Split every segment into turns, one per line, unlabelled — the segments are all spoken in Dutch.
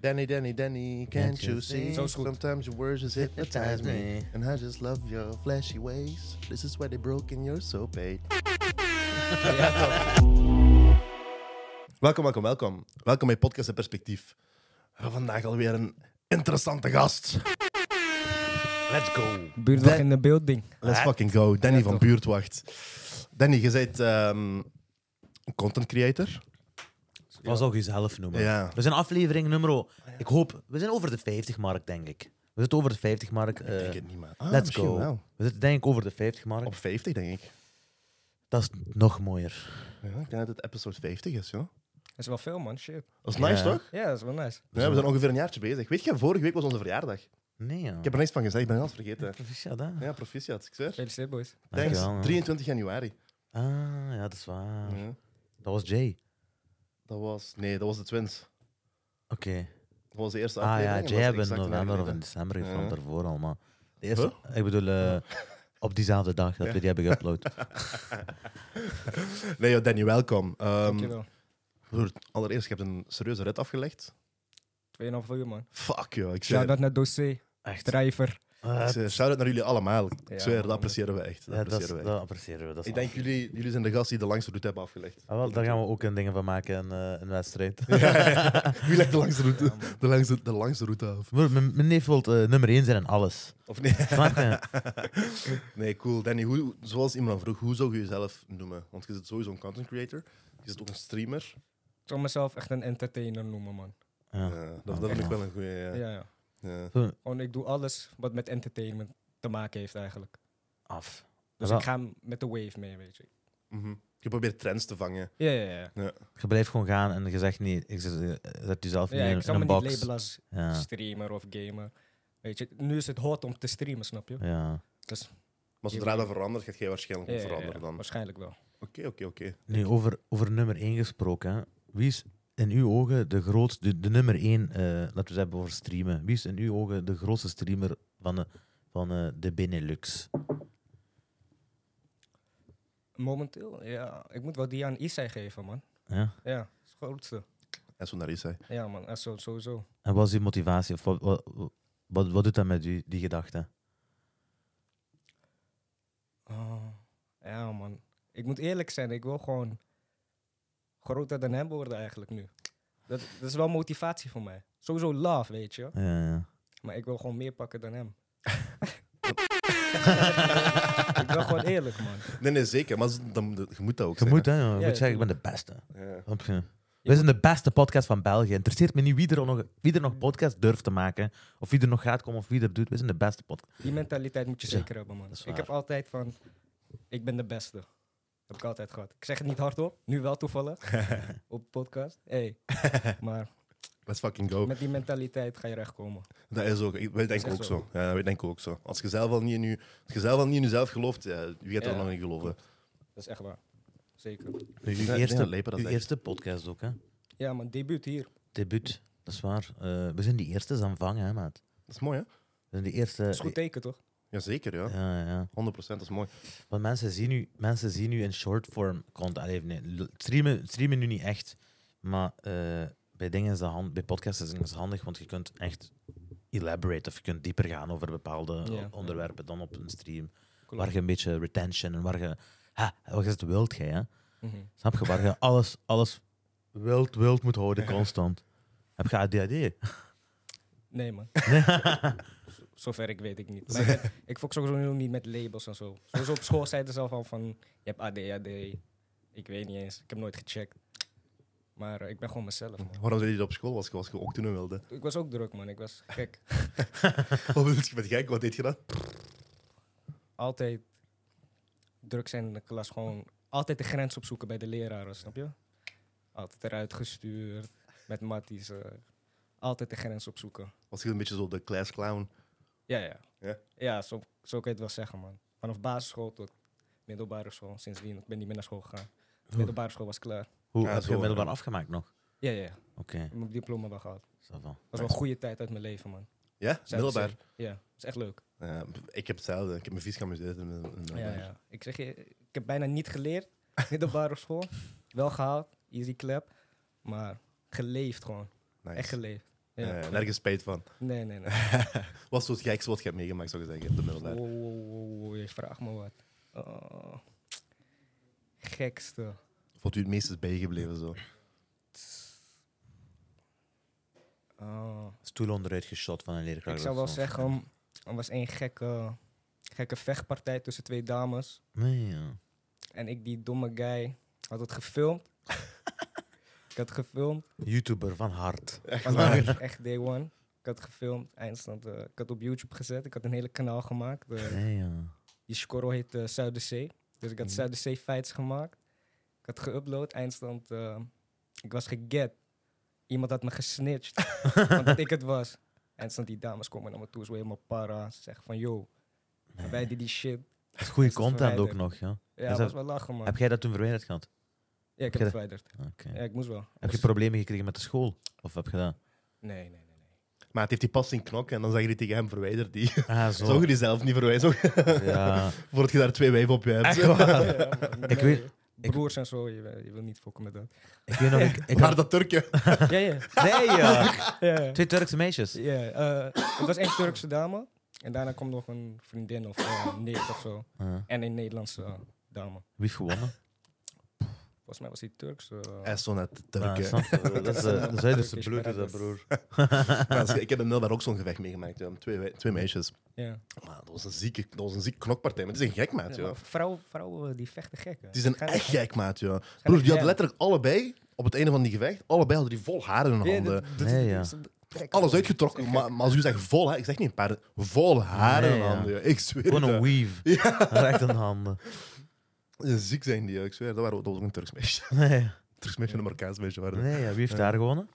Danny, Danny, Danny, can't you see?
Zo is goed.
Sometimes your words just hypnotize me. And I just love your flashy ways. This is why they broke in your so paid. Welkom, welkom, welkom. Welkom bij Podcast en Perspectief. We hebben Vandaag alweer een interessante gast.
Let's go.
Wij-
Buurtdag in de building.
Let's
Ah,
fucking go. Danny
ja,
van
toch.
Buurtwacht. Danny, je bent ehm, een content creator.
Wat zou je zelf noemen?
Ja. Ah,
We zijn aflevering nummer... Ik hoop... We zijn over de 50-mark, denk ik. We zitten over de 50-mark.
ik denk het niet, maar... Ah,
Eh, let's
misschien
go.
wel.
We zitten denk ik over de 50-mark.
Op 50, denk ik.
Dat is nog mooier.
Ja, ik denk dat het episode 50 is, joh.
Dat is wel veel, man. Shit.
Dat is nice,
Ja.
toch?
Ja, dat is wel nice.
Ja, we zijn ongeveer een jaartje bezig. Weet je, vorige week was onze verjaardag.
Nee, ja.
Ik heb er niks van gezegd, ik ben alles vergeten.
Proficiat, hè?
Ja, proficiat, ik zweer.
Gefeliciteerd, boys.
Ehm,
Thanks,
Dankjewel, man.
23 januari.
Ah, ja, dat is waar.
Ja.
Dat was Jay.
Dat was... Nee, dat was de Twins.
Oké.
Dat was de eerste
Ah
aflevering.
ja,
en dat
Jay
is
hebben we
exact
in
een
november
jaar
of in
geleden.
december gefilmd,
Ja.
daarvoor al, maar... De eerste... Ik bedoel, eh, op diezelfde dag dat we die hebben geüpload.
Nee, joh, Danny, welkom. Ehm
Dankjewel.
broer, allereerst, je hebt een serieuze rit afgelegd.
2,5 uur, man.
Fuck, joh. Ik zweer.
Shout-out naar Dossier,
Echt.
Drijver.
Ah,
Ik zweer, Shout-out naar jullie allemaal.
Ja,
Ik zweer, dat
man.
appreciëren we echt. Dat
Eh, Ja, dat, is-
appreciëren we echt.
dat appreciëren we. Dat is
Ik denk, jullie, jullie zijn de gast die de langste route hebben afgelegd.
Ah, wel, daar gaan we ook een dingen van maken in eh, een wedstrijd.
Wie legt de langste route, de langste, de langste route af?
Broer, Mijn mijn neef wil eh, nummer 1 zijn in alles.
Of nee?
Snap je?
Nee, cool. Danny, hoe, zoals iemand al vroeg, hoe zou je jezelf noemen? Want je bent sowieso een content creator. Je bent ook een streamer.
Ik zou mezelf echt een entertainer noemen, man.
Ja. Ah,
Ja, Eh, dat dat vind ik wel een goede. Ja.
Ja,
Ja.
ja. Gewoon, ik doe alles wat met entertainment te maken heeft, eigenlijk.
Af.
Dus
Wel.
ik ga met de wave mee, weet je.
Mhm. Je probeert trends te vangen.
Ja, ja, ja.
Je blijft gewoon gaan en je zegt niet, ik zet, eh, zet jezelf
ja
niet in,
ik zou
in
me
een
niet
box.
labelen als
Ja.
streamer of gamer. Weet je, nu is het hot om te streamen, snap je?
ja.
Maar
Je
zodra
wil-
dat verandert, gaat jij waarschijnlijk ook veranderen dan. Oké,
Waarschijnlijk wel.
oké, oké.
Nu, over, over nummer 1 gesproken. hè. Wie is in uw ogen de grootste, de, de nummer 1, eh laten we het hebben over streamen. Wie is in uw ogen de grootste streamer van de, van, eh, de Benelux?
Momenteel, ja. Ik moet wel die aan Isai geven, man.
Ja?
Ja, dat is het grootste.
En zo naar is hij.
Ja, man. echt zo- Sowieso.
En wat is die motivatie? Of wat, wat, wat, wat doet dat met u, die gedachte?
Oh, ja, man. Ik moet eerlijk zijn, ik wil gewoon groter dan hem worden eigenlijk nu. Dat, dat is wel motivatie voor mij. Sowieso love, weet je.
Ja, ja.
Maar ik wil gewoon meer pakken dan hem. ik ben gewoon eerlijk, man.
Nee, nee, zeker. Maar z- dan, moet het- je moet dat ook
Je
zijn,
moet, hè, je moet
Ja,
zeggen, ik ben
tuurlijk.
de beste.
hè. Ja.
Snap je? We zijn de beste podcast van België. Interesseert me niet wie er nog, wie er nog podcast durft te maken. Of wie er nog gaat komen of wie er doet. We zijn de beste podcast.
Die mentaliteit moet je
Ja,
zeker hebben, man.
dat is
Ik heb altijd van, ik ben de beste. Heb ik altijd gehad. Ik zeg het niet hardop, nu wel toevallig. op podcast. Hey. Maar
Let's fucking go.
met die mentaliteit ga je recht komen.
Dat is ook. ik- Wij denken
echt
ook
zo.
zo. Ja, wij denken ook zo. Als je zelf al niet in je, als je zelf al niet in jezelf gelooft, ja, wie gaat er
Ja.
dan in geloven?
Dat is echt waar. Zeker.
Uw
Ja,
eerste,
ja, Leper, dat
uw
is echt-
eerste podcast ook, hè?
Ja, man, debuut hier.
Debuut. Dat is waar. Eh, we zijn die eerste aanvangen, hè, maat.
Dat is mooi, hè?
We zijn die eerste.
Dat is goed teken, toch?
Jazeker, ja.
ja, ja.
100%, dat is mooi.
Want mensen zien u, mensen zien u in short form content. Allee, nee, l- streamen, streamen nu niet echt. Maar eh, bij, dingen is dat hand, bij podcasts is het handig, want je kunt echt elaborate of je kunt dieper gaan over bepaalde eh,
Ja.
onderwerpen dan op een stream.
Klopt.
Waar je een beetje retention en waar je. Ha, wat is het wild jij, hè?
Mhm.
Snap je? Waar je alles, alles wild, wild moet houden, constant. Heb je ADHD?
Nee, man. Zo- Zover ik weet ik niet. Maar ik, ben- ik fok sowieso niet met labels en zo. Sowieso op school zeiden ze al van, van je hebt ADHD. Ik weet niet eens. Ik heb nooit gecheckt. Maar eh, ik ben gewoon mezelf, man.
Waarom zei je dat op school was? Was je ook toen een wilde?
Ik was ook druk, man. Ik was gek.
Wat bedoel je met gek? Wat deed je dan?
Altijd druk zijn in de klas. Gewoon altijd de grens opzoeken bij de leraren, snap je? Altijd eruit gestuurd. Met matties. eh, altijd de grens opzoeken.
Was je een beetje zo de class clown?
Ja, ja.
Ja?
Ja, zo, zo kan je het wel zeggen, man. Vanaf basisschool tot middelbare school. Sindsdien, ik ben niet meer naar school gegaan. Middelbare school was klaar.
Hoe
Ja,
heb
zo,
je middelbaar
ja.
afgemaakt nog?
Ja, ja, ja.
Oké,
Ik heb mijn diploma wel gehad.
ça va.
Dat was wel een goede tijd uit mijn leven, man.
Ja,
Zou ik
middelbaar.
zeggen. Ja, dat is echt leuk.
Ja, ik heb hetzelfde. Ik heb me vies geamuseerd in mijn- in
Ja,
mijn-
ja, Ik zeg je, ik heb bijna niet geleerd. Middelbare school. Wel gehaald. Easy clap. Maar geleefd gewoon.
Nice.
Echt geleefd. Ja.
Eh, nergens spijt van.
Nee, nee, nee.
Wat is zo het gekste wat je hebt meegemaakt, zou je zeggen, op de middelbare?
Wow, wow, wow, wow, je vraagt me wat. Oh. Gekste.
Of wat u het meest is bijgebleven? Zo.
Oh.
Stoel onderuit geschot van een leerkracht.
Ik zou wel
of zo.
zeggen, er was één gekke, gekke vechtpartij tussen twee dames.
Nee, ja.
En ik, die domme guy, had het gefilmd. ik had gefilmd.
YouTuber van hart.
Echt waar?
Vandaag echt day one. Ik had gefilmd, eindstand. eh, ik had op YouTube gezet. Ik had een hele kanaal gemaakt. eh,
Nee, ja.
die score heet eh, Zuiderzee. Dus ik had
Mhm.
Zuiderzee fights gemaakt. Ik had geüpload, eindstand. eh, ik was geget. Iemand had me gesnitcht. omdat ik het was. Eindstand, die dames komen naar me toe. Zo helemaal para. Ze zeggen van, yo,
Nee.
wij die die shit.
Dat is goede
is het
content ook
verwijderd.
nog, ja.
Ja,
Is
dat
dat-
was wel lachen, man.
Heb jij dat toen verwijderd gehad?
ja, ik
heb
heb
je
het verwijderd.
Oké.
Ja, ik moest wel.
Heb je
Moest-
problemen gekregen met de school? Of heb je dat?
Nee, nee, nee. nee.
Maar het heeft die pas zien knokken en dan zeg je die tegen hem: verwijder die.
Oh.
Ah,
Zou
zo.
je die zelf niet verwijzen?
Ja.
Voordat je daar twee wijven op je hebt.
Echt waar?
Ja, man,
Ik
nee,
weet- ik-
Broers en zo, je, wil- je wil niet fokken met dat.
Ik weet nog, ik, ik
maar
had-
dat Turkje.
ja, ja.
Nee, ja.
ja.
Twee Turkse meisjes.
Ja, eh, het was één Turkse dame. En daarna komt nog een vriendin of eh, een neef of zo.
Ja.
En een Nederlandse eh, dame.
Wie heeft gewonnen?
Volgens mij was die Turks. eh,
Hij stond net
Ah,
Turkje.
snap je? dat is eh, de Zuiderse
Turkish
broer, is dat
brothers.
broer.
Maar ik heb in Nel daar ook zo'n gevecht meegemaakt. ja, met Twee, wij- twee meisjes.
ja.
Maar dat was een zieke, dat was een zieke knokpartij. Maar het is een gek, maat.
Ja,
joh.
maar vrouwen, vrouwen eh, die vechten gek. hè.
Het is een
Gaan-
echt gek, maat. joh.
gaan
Broer, die
echt
hadden
jam.
letterlijk allebei, op het einde van die gevecht, allebei hadden die vol haren in hun
Ja,
handen.
dit- dit-
Nee, ja.
dit is een gekke
Alles
man.
uitgetrokken. Maar, maar als u zegt vol, hè, ik zeg niet een paar, vol haren in
Nee,
hun
ja.
handen. joh. Ik zweer
Gewoon een
het.
weave. Recht aan de handen.
ja. Ziek zijn die, joh. ik zweer. Dat, waren, dat was ook een Turks meisje.
Nee,
Een Turks meisje en een Marokkaans meisje waren.
nee ja. wie heeft daar gewonnen?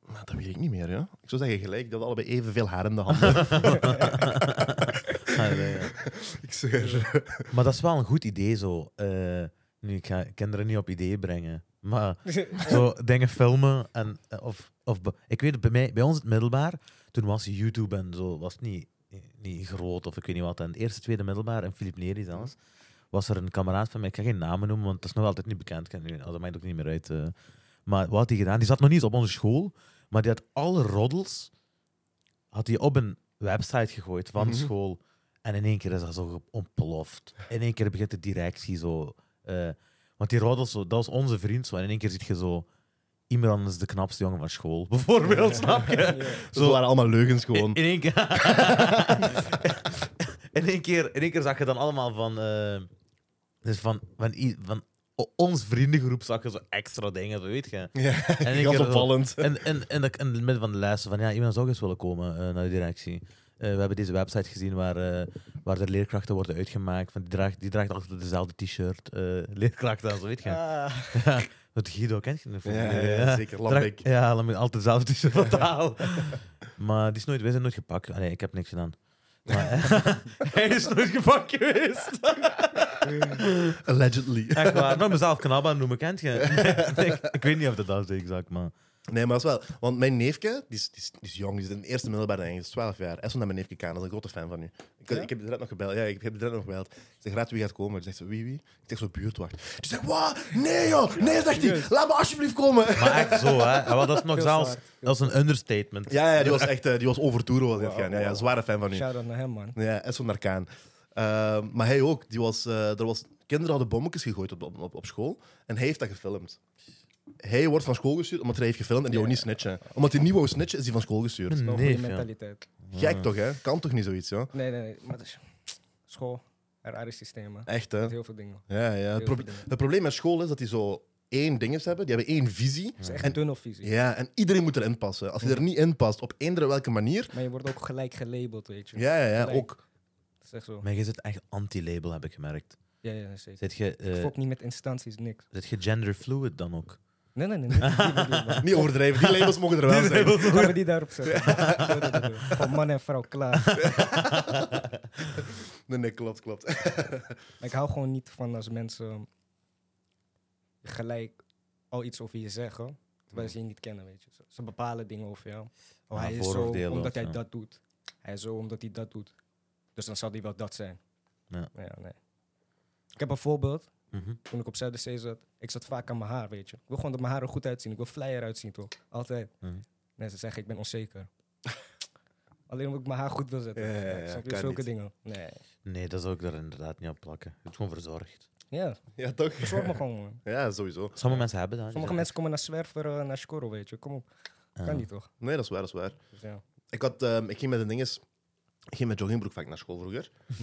Maar dat weet ik niet meer, ja. Ik zou zeggen gelijk, die hadden allebei evenveel haren in de handen.
Ah, nee, ja.
ik zweer.
Maar dat is wel een goed idee zo. Eh, nu, ik ga kinderen niet op ideeën brengen. Maar zo dingen filmen en... eh, Of, of, be- ik weet, het, bij, mij, bij ons in het middelbaar, toen was YouTube en zo, was het niet, niet groot of ik weet niet wat. En het eerste, tweede middelbaar, en Filip Neri zelfs, was er een kameraad van mij, ik ga geen namen noemen, want dat is nog altijd niet bekend. Ik ken die- Dat maakt ook niet meer uit. eh. Maar wat had hij gedaan? Die zat nog niet eens op onze school, maar die had alle roddels had hij op een website gegooid van de
Mhm.
school. En in één keer is dat zo ge- ontploft. In één keer begint de directie zo. eh, want die roddels, zo, dat was onze vriend zo. En in één keer ziet je zo. Iemand is de knapste jongen van school, bijvoorbeeld. Snap je?
Zo waren allemaal leugens gewoon.
In, in één keer. in, één keer in één keer zag je dan allemaal van. eh, dus van, van, i- van o- ons vriendengroep zag je zo extra dingen, zo weet je.
Ja,
En
ik
ik
was
heb-
opvallend.
En, en, en dat ik in het midden van de les van ja, iemand zou ook eens willen komen eh, naar de directie. Eh, we hebben deze website gezien waar, eh, waar de leerkrachten worden uitgemaakt. Van, die, draagt, die draagt altijd dezelfde t-shirt. eh, leerkrachten en zo, weet je.
Ah,
Ja, het Guido kent je nog van-
Ja, ja, ja, zeker,
Draag-
Lambik.
Ja, Lambik, altijd zelf tussen totaal. maar die is nooit, wij zijn nooit gepakt. Allee, ik heb niks gedaan. Maar, hij is nooit gepakt geweest.
Allegedly.
Echt waar. Nou, mezelf knabba noemen, kent je? Nee, ik, ik weet niet of dat dat is exact, maar...
Nee, maar dat is wel. Want mijn neefje, die is, die is, die is jong, die is in de eerste middelbare denk ik, die is 12 jaar. Hij stond naar mijn neefje Kaan, dat is een grote fan van nu. Ik,
Ja?
ik heb die direct nog gebeld. Ja, ik heb die direct nog gebeld. Ik zeg, raad wie gaat komen. Die zegt, zo, wie, wie? Ik zeg, zo, buurtwacht. Die zegt, wat? Nee, joh! Nee, zegt hij. Laat me alsjeblieft komen.
Maar echt zo, hè. En wat, dat is nog
Veel
zelfs...
zwaar.
Dat is een understatement.
Ja, ja, die was echt, eh, die was over tour. Was hij aan het gaan. Ja, ja,
Wauw.
zware fan van nu.
Shout-out naar hem, man.
Ja, Esson naar Kaan. Ehm, maar hij ook. Die was, eh, er was, kinderen hadden bommetjes gegooid op, op, op school. En hij heeft dat gefilmd. Hij wordt van school gestuurd omdat hij heeft gefilmd en die wou niet snitchen. Omdat hij niet wou snitchen, is hij van school gestuurd.
Wel
Een
een goede
neef, ja.
mentaliteit.
Gek toch, hè? Kan toch niet zoiets, joh?
Nee, nee, nee. Maar dat is school, rare systemen.
Echt, hè?
Met heel veel dingen.
Ja, ja. Het,
Heel
proble-
veel dingen.
het probleem met school is dat die zo één ding hebben. Die hebben één visie.
Het is echt
En-
een tunnelvisie.
Ja, en iedereen moet erin passen. Als je er niet in past, op eender welke manier...
Maar je wordt ook gelijk gelabeld, weet je.
Ja, ja, ja.
Gelijk.
Ook.
Dat is echt zo.
Maar je zit echt anti-label, heb ik gemerkt.
Ja, ja, zeker.
Zit je,
Ik
eh
fok niet met instanties, niks.
zit je genderfluid dan ook?
Nee, nee, nee. nee, die bedoel ik, man.
Niet overdrijven. Die labels mogen er wel zijn.
Gaan we die daarop zetten? Nee, nee, nee, nee. Gewoon man en vrouw, klaar.
Nee, nee, klopt, klopt.
Maar ik hou gewoon niet van als mensen gelijk al iets over je zeggen, terwijl ze je niet kennen, weet je. Ze- Ze bepalen dingen over jou. Oh,
Ja,
hij is zo
vooroordelen of
omdat hij
zo.
dat doet. Hij is zo omdat hij dat doet. Dus dan zal hij wel dat zijn.
Ja.
nee. Ik heb een voorbeeld.
Mhm.
Toen ik op Zuiderzee zat, ik zat vaak aan mijn haar, weet je. Ik wil gewoon dat mijn haar er goed uitzien. Ik wil flyer uitzien, toch? Altijd.
Mhm.
Mensen zeggen, ik ben onzeker. Alleen omdat ik mijn haar goed wil zetten.
Ja, ja, ja,
Snap je?
kan
Zulke
niet.
dingen. Nee.
Nee, dat zou ik daar inderdaad niet op plakken. Het is gewoon verzorgd.
Ja,
Ja, toch?
verzorg me gewoon, man.
Ja, sowieso.
Sommige mensen hebben dat.
Sommige mensen komen naar Zwerver, eh, naar Skoro, weet je. Kom op.
Ja.
Ah.
Kan niet, toch?
Nee, dat is waar, dat is waar.
Dus ja.
Ik, had, ehm, ik ging met een dinges... Ik ging met joggingbroek vaak naar school vroeger.
Hm.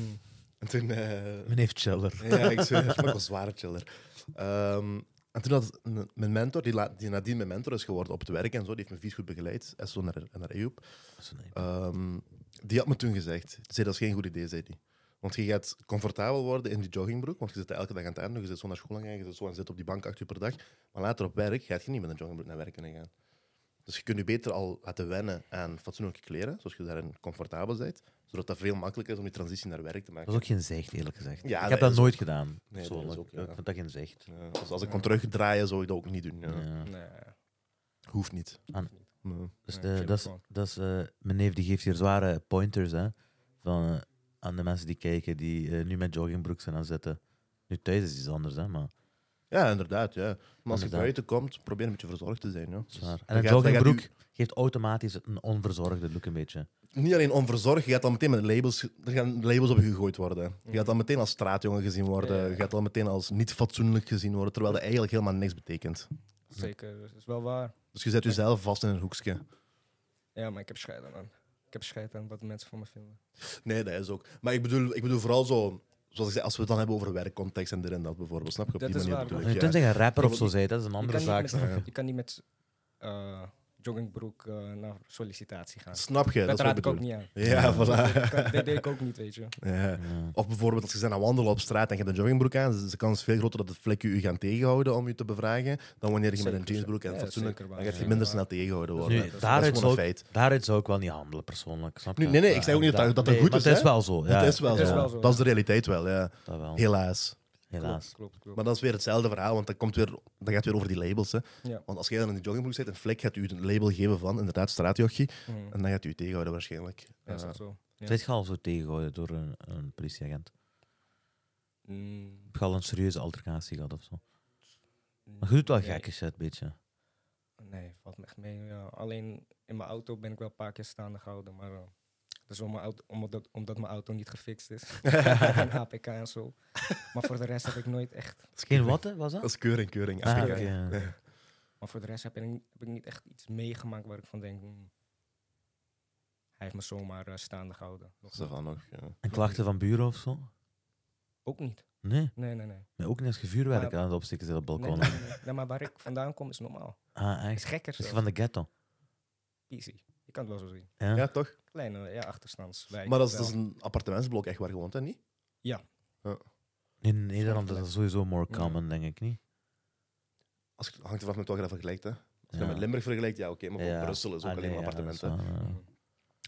En toen... eh,
Men heeft chiller.
Ja, ik zweer, het, maar ik was zware chiller. Ehm, en toen had een- mijn mentor, die, la- die nadien mijn mentor is geworden op het werk en zo, die heeft me vies goed begeleid, en zo naar, naar EUP.
Zo, nee.
Ehm, die had me toen gezegd, zei, dat is geen goed idee, zei die. Want je gaat comfortabel worden in die joggingbroek, want je zit elke dag aan het einde, je zit zo naar school aan het gaan, je zit zo en zit op die bank acht uur per dag. Maar later op werk gaat je niet met een joggingbroek naar werk kunnen gaan. Dus je kunt je beter al laten wennen aan fatsoenlijke kleren, zodat je daarin comfortabel bent, zodat dat veel makkelijker is om die transitie naar werk te maken.
Dat is ook geen zicht, eerlijk gezegd.
Ja,
ik
dat
heb dat
is
nooit gedaan.
dat is
persoonlijk.
ook, ja.
Ik vind dat geen zicht.
Ja, dus als ik kon terugdraaien, zou ik dat ook niet doen. ja.
Ja.
Nee.
Hoeft niet.
Aan-
Nee.
Dus
Ja,
de-
ik vind
dat
het
is,
wel.
dat is, eh, mijn neef die geeft hier zware pointers hè, van, eh, aan de mensen die kijken, die eh, nu met joggingbroek zijn aan zitten. Nu thuis is iets anders, hè, maar
Ja, inderdaad. Ja. Maar als je
Inderdaad.
buiten komt, probeer een beetje verzorgd te zijn. Ja.
zwaar.
Dan
En een
Dus gaat- dan gaat
joggingbroek geeft automatisch een onverzorgde look een beetje.
u- niet alleen onverzorgd, je gaat dan meteen met labels, er gaan labels op je gegooid worden. Je gaat dan meteen als straatjongen gezien worden.
Ja.
Je gaat dan meteen als niet fatsoenlijk gezien worden, terwijl dat eigenlijk helemaal niks betekent.
Zeker, dat is wel waar.
Dus je zet jezelf vast in een hoekje.
Ja, maar ik heb scheid aan. Ik heb scheid aan wat mensen van me vinden.
Nee, dat is ook. Maar ik bedoel, ik bedoel vooral zo, zoals ik zei, als we het dan hebben over werkcontext en dit en dat bijvoorbeeld. Snap je? Op
Dat
die
is
manier
waar,
bedoel
ja.
ik,
Je
ja.
kunt zeggen rapper
Je
of zo
wilt
zijn, dat is een
Je
andere
kan,
zaak.
niet met,
ja.
je kan niet met eh, joggingbroek eh, naar sollicitatie gaan.
Snap je? Dat,
dat
is wat
raad
ik
ik ook
bedoel.
niet aan.
Ja, voilà.
Dat, kan- dat deed ik ook niet, weet je.
Ja.
Ja.
Eh, Of bijvoorbeeld als je bent aan het wandelen op straat en je hebt een joggingbroek aan, dus de kans is veel groter dat het vlekken u gaan tegenhouden om je te bevragen, dan wanneer je met
Zeker,
een jeansbroek en
ja,
fatsoenlijk,
zeker
dan gaat
waar,
je
zeker
minder
waar.
snel tegengehouden
Dus Nu,
worden. dat is
daaruit,
gewoon
zou
een
ik,
feit.
daaruit zou ik wel niet handelen, persoonlijk. Snap je? Eh,
Nu, nee, nee, ik zeg ook niet dat- dat dat goed
maar
is,
Het is
hè.
wel zo. Ja,
dat is wel,
het is
zo.
wel zo,
Dat is de realiteit wel, ja.
Dat wel,
Helaas.
helaas.
Klopt, klopt, klopt.
Maar dat is weer hetzelfde verhaal, want dat, komt weer, dat gaat het weer over die labels. Hè.
Ja.
Want als jij dan in die joggingbroek zit, een vlek gaat u een label geven van, inderdaad, straatjochie,
Mhm.
en dan gaat u je tegenhouden waarschijnlijk. Eh,
Ja, is
Ja.
dat zo? Ja.
Zit je al zo tegengehouden door een, een politieagent?
Mm,
Heb je al een serieuze altercatie gehad of zo? Maar je doet wel
nee.
gekke shit, beetje.
Nee, valt me echt mee. ja. Alleen in mijn auto ben ik wel een paar keer staande gehouden. Maar eh, dat is om mijn auto, omdat, omdat mijn auto niet gefixt is. en APK en zo. Maar voor de rest heb ik nooit echt.
Dat is
Geen
keuring.
wat, hè, was dat?
Dat is keuring, keuring.
Ah,
Afrika.
oké, ja.
Maar voor de rest heb ik, heb ik niet echt iets meegemaakt waar ik van denk. hmm, hij heeft me zomaar eh, staande gehouden. Nog
Dat is er van nog. Ja.
En klachten van buren of zo?
Ook niet.
Nee,
Nee, nee, nee.
maar ook niet als je vuurwerk
Maar-
aan het opsteken zit op
Nee,
balkon.
nee, nee, nee. Nee, maar waar ik vandaan kom is normaal.
Ah,
Is
echt?
gekker
Is je
zelfs.
van de ghetto?
Easy. Je kan het wel zo zien.
Ja.
ja, toch?
Kleine ja, achterstandswijk.
Maar dat is, dus-
wel.
dat is een appartementsblok echt waar je woont, hè, niet?
In Nederland is dat sowieso more
Ja.
common, denk ik niet.
Als, het hangt er vanaf met wat je dat vergelijkt, hè. Als je
Ja.
dat met Limburg vergelijkt, ja, oké. maar
Ja.
bijvoorbeeld Brussel is ook
Ah,
alleen
nee,
maar
ja, dat is
appartementen.
waar, ja,
Mhm.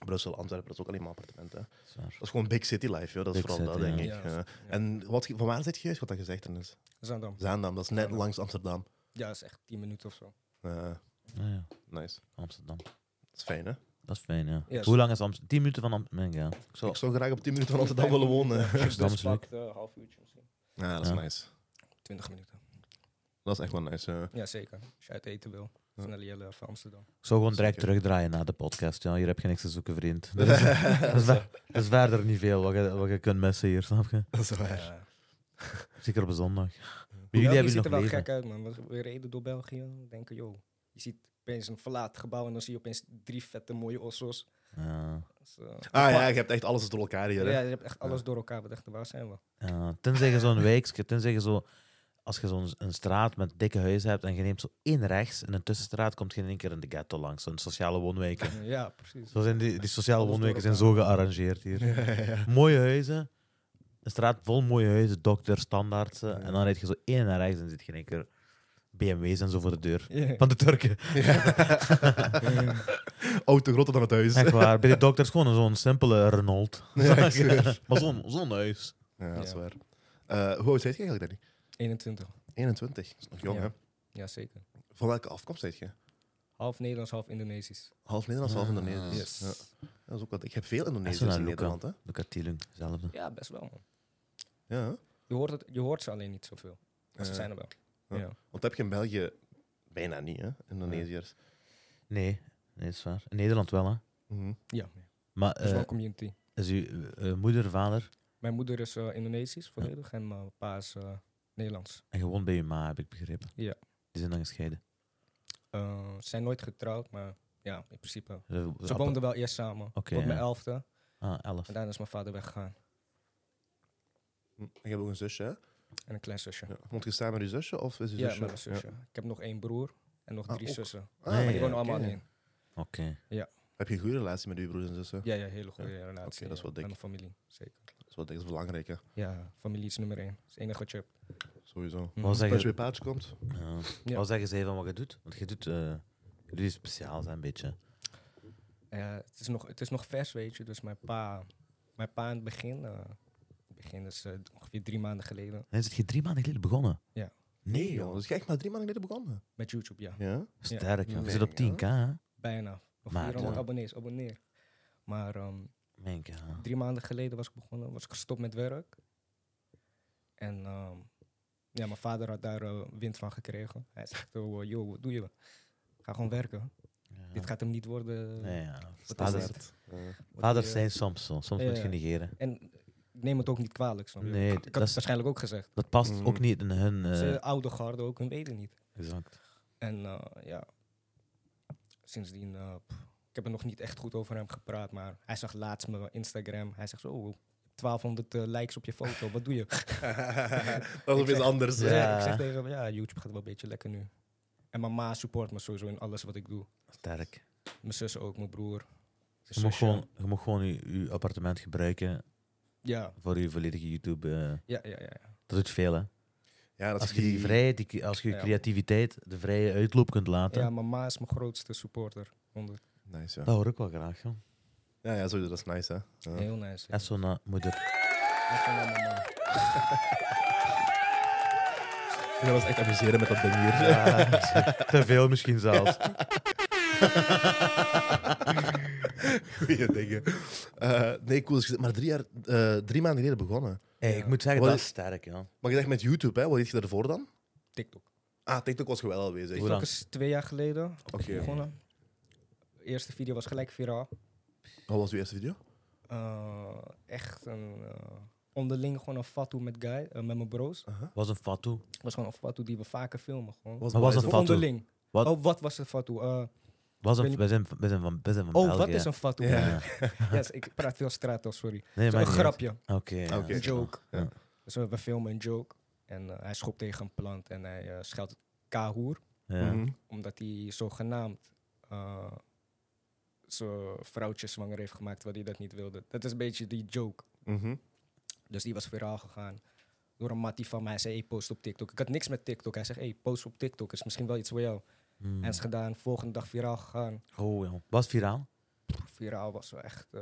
Brussel, Antwerpen, dat is ook alleen maar appartementen. hè.
dat is waar.
Dat is gewoon big city life, joh. dat is
Big
vooral
city,
dat, denk
ja.
ik.
Ja,
ja.
ja.
En wat, van waar zit je juist wat dat gezegd is?
Zaandam.
Zaandam, dat is net
Zaandam.
langs Amsterdam.
Ja, dat is echt 10 minuten of zo.
Eh,
Ah, ja.
nice.
Amsterdam.
Dat is fijn, hè?
Dat is fijn, ja.
Yes.
Hoe lang is Amsterdam? 10 minuten van Amsterdam. Ja. Ik zou-
Ik zou graag op 10 minuten van Amsterdam willen wonen.
Ja,
Ja,
dus
Amsterdam is leuk.
pakt, eh, half uurtje misschien.
dat is
Ja.
nice.
20 minuten.
Dat is echt wel nice. ja.
Ja, zeker. Als je uit eten wil.
Ja.
Snelle Jelle van Amsterdam.
ik zou gewoon direct
Zeker.
terugdraaien na de podcast. Ja. Hier heb je niks te zoeken, vriend. Dat is, dat is, ver- dat is verder niet veel wat je, wat je kunt missen hier, snap je?
Dat is waar.
Ja.
Zeker op een zondag. Maar
België
jullie hebben
Eh, ziet er
nog
wel
leven.
gek uit, man. Want We reden door België. Denken, joh, je ziet opeens een verlaten gebouw en dan zie je opeens drie vette mooie ossos.
Ja.
Dat is, eh,
Ah ja, je hebt echt alles door elkaar hier, hè?
ja, je hebt echt alles door elkaar. We dachten, waar zijn we?
Ja, tenzij je zo'n wijkje, tenzij je zo... Als je zo'n een straat met dikke huizen hebt en je neemt zo één rechts en een tussenstraat, komt je in één keer in de ghetto langs. Zo'n sociale woonwijken.
Ja, precies.
Zo zijn die, die sociale
Alles door
woonwijken zijn zo gearrangeerd hier. Mooie huizen. Een straat vol mooie huizen, dokter, standaardse. En dan rijd je zo één naar rechts en zit je in één keer BMW's en zo voor de deur.
Ja.
Van de Turken.
Auto groter dan het huis.
Echt waar. Bij de dokter is gewoon zo'n simpele Renault.
Ja, ik zweer.
maar zo'n zo'n huis.
Ja, dat is
Ja.
waar. Eh, hoe oud ben je eigenlijk, Danny?
21.
21. Dat is nog jong,
Ja.
hè?
Ja, zeker.
Van welke afkomst ben je?
Half Nederlands, half Indonesisch.
Half Nederlands, half
Ah,
Indonesisch.
Yes.
Ja. Dat is ook wat. Ik heb veel
Echt zo
Indonesiërs
naar
in
Luca.
Nederland, hè?
Luca Tielung, hetzelfde.
Ja, best wel, man.
Ja. hè?
Je hoort, het, je hoort ze alleen niet zoveel. Maar ze
Ja.
zijn er wel.
Ja.
Ja.
Want dat heb je in België bijna niet, hè? Indonesiërs.
Nee, Nee, is waar. In Nederland wel, hè?
Mhm.
Ja, ja.
Maar
dat is wel
eh,
een community.
is uw eh, eh, moeder, vader
Mijn moeder is eh, Indonesisch volledig en mijn pa is eh, Nederlands.
en gewoon bij je ma, heb ik begrepen.
Ja.
Die zijn dan gescheiden.
Eh, ze zijn nooit getrouwd, maar ja, in principe.
Ze,
Ze woonden wel eerst samen.
Oké,
tot mijn
ja.
elfde.
Ah, elf.
En daarna is mijn vader weggegaan.
Hm. En je hebt ook een zusje, hè?
En een klein zusje.
Ja. Woont je samen met je zusje? Of is je
Ja,
zusje?
met mijn zusje. Ik heb nog één broer en nog
Ah,
drie
ook.
zussen.
Ah,
Nee,
maar
Maar
ja,
die wonen allemaal
oké.
alleen.
Oké.
Heb je een goede relatie met je broers en zussen?
Ja, ja, hele goede relatie.
Oké, dat is
ja,
wel dik.
Met mijn familie, zeker.
Dat is wel dat is belangrijk, hè?
Ja, familie is nummer één. Dat is het enige wat je hebt.
Sowieso.
Mhm.
Wat
Als
zeggen,
je bij paardje komt.
ja.
Ja.
Eh, Wat zeggen zij van wat je doet? Want je doet, eh, je doet iets speciaals, hè, een beetje.
Ja, het, is nog, het is nog vers, weet je. Dus mijn pa, mijn pa in het begin, eh, het begin is eh, ongeveer drie maanden geleden,
En is het je drie maanden geleden begonnen?
Ja.
Nee,
joh.
joh.
Dat is echt maar drie maanden geleden begonnen.
met YouTube, ja.
Ja?
Sterk, joh. Je
Nee,
zit op
ja.
10k, hè?
Bijna. Nog
Maar, eh,
400
ja.
abonnees, abonneer. Maar ehm,
Mijn k, hè.
drie maanden geleden was ik begonnen, was ik gestopt met werk. En ehm, ja, mijn vader had daar eh, wind van gekregen. Hij zegt, oh, eh, yo, wat doe je? Ga gewoon werken.
Ja.
Dit gaat hem niet worden.
Nee, ja.
Wat is
Vaders,
dit?
Ja.
Wat
vaders
die, eh,
zijn soms zo. Soms moet
Ja.
je negeren.
En ik neem het ook niet kwalijk, snap je?
Nee, dat
ik had
is-
het waarschijnlijk ook gezegd.
Dat past
Mhm.
ook niet in hun... eh,
Ze oude garde ook, hun weten niet.
exact.
En eh, ja, sindsdien, eh, pff, ik heb er nog niet echt goed over hem gepraat, maar hij zag laatst mijn Instagram. Hij zegt zo, oh, 1200 eh, likes op je foto, wat doe je?
dat is
Ik
weer
zeg-
anders.
Dus,
hè?
Ja.
eh, ik zeg tegen hem, ja, YouTube gaat wel een beetje lekker nu. En mijn ma support me sowieso in alles wat ik doe.
Sterk.
Mijn zus ook, mijn broer.
Je
moet
mag gewoon, je, mag gewoon je, je appartement gebruiken
Ja,
voor je volledige YouTube. eh,
ja, ja, ja. ja.
dat doet veel, hè?
Ja, dat
Als
is
je die vrijheid, die, ki- als je je
Ja.
creativiteit, de vrije uitloop kunt laten.
ja, mijn ma is mijn grootste supporter. Honderd.
Nice,
Dat
ja.
hoor ik wel graag, joh.
Ja, ja, sowieso, dat is nice, hè? Ja.
Heel nice.
Echt zo naar moeder.
Echt van mijn ma.
Ik wil ons echt amuseren met dat ding hier.
Te veel misschien zelfs.
Goeie dingen. Eh, nee, cool. Dus je zit maar drie, jaar, eh, drie maanden geleden begonnen.
Hey,
Ja.
Ik moet zeggen,
Wat
dat is
is-
sterk, joh.
Maar je zegt met YouTube, hè? Wat deed je daarvoor dan?
TikTok.
Ah, TikTok was geweldig aanwezig.
Hoe
Oké.
lang?
Dat is twee jaar geleden
Ja.
begonnen. De eerste video was gelijk viraal.
Wat was uw eerste video?
Eh, echt een, eh, onderling gewoon een fatu met guy, eh, met mijn bro's.
Was een fatu.
was gewoon een fatu die we vaker filmen. Gewoon.
Was
Maar was
nice,
een
hè?
Of
fatu?
onderling.
Wat?
Oh, wat was een fatu? Eh,
Was
Ik
een,
weet
wij zijn, wij zijn van, wij zijn van
oh,
België.
wat is een fatu?
Ja.
Ja.
Yes, ik praat veel straattaal, sorry.
Nee,
Het
maar
is een grapje,
Oké. ja.
Oké.
een joke.
Ja.
Dus we we filmen een joke. En eh, hij schopt tegen een plant en hij eh, scheldt Kahoer.
Ja.
Mhm.
Omdat hij zogenaamd eh zijn vrouwtje zwanger heeft gemaakt, terwijl hij dat niet wilde. Dat is een beetje die joke.
Mhm.
Dus die was viraal gegaan door een mattie van mij. Hij zei, hey, post op TikTok. Ik had niks met Tiktok. Hij zegt, hey, post op TikTok. Is misschien wel iets voor jou.
Mm.
En is gedaan. Volgende dag viraal gegaan.
Oh, joh. Was het viraal?
Viraal was wel echt eh,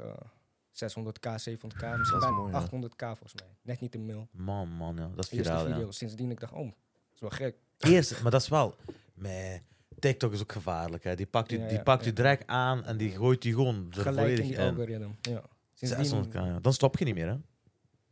600k, 700k. Misschien
is
bijna
mooi, ja.
800k volgens mij. Net niet een mil.
Man, man, ja. Dat is
Eerste
viraal,
video.
ja.
Sindsdien ik dacht, oh, dat is wel gek.
Eerst, maar dat is wel... Meh, TikTok is ook gevaarlijk, hè. Die pakt u,
Ja,
die
ja,
pakt u
ja.
direct aan en die gooit u gewoon er
Gelijk in
volledig
die
in.
algoritme. Ja.
600k, ja. Dan stop je niet meer, hè.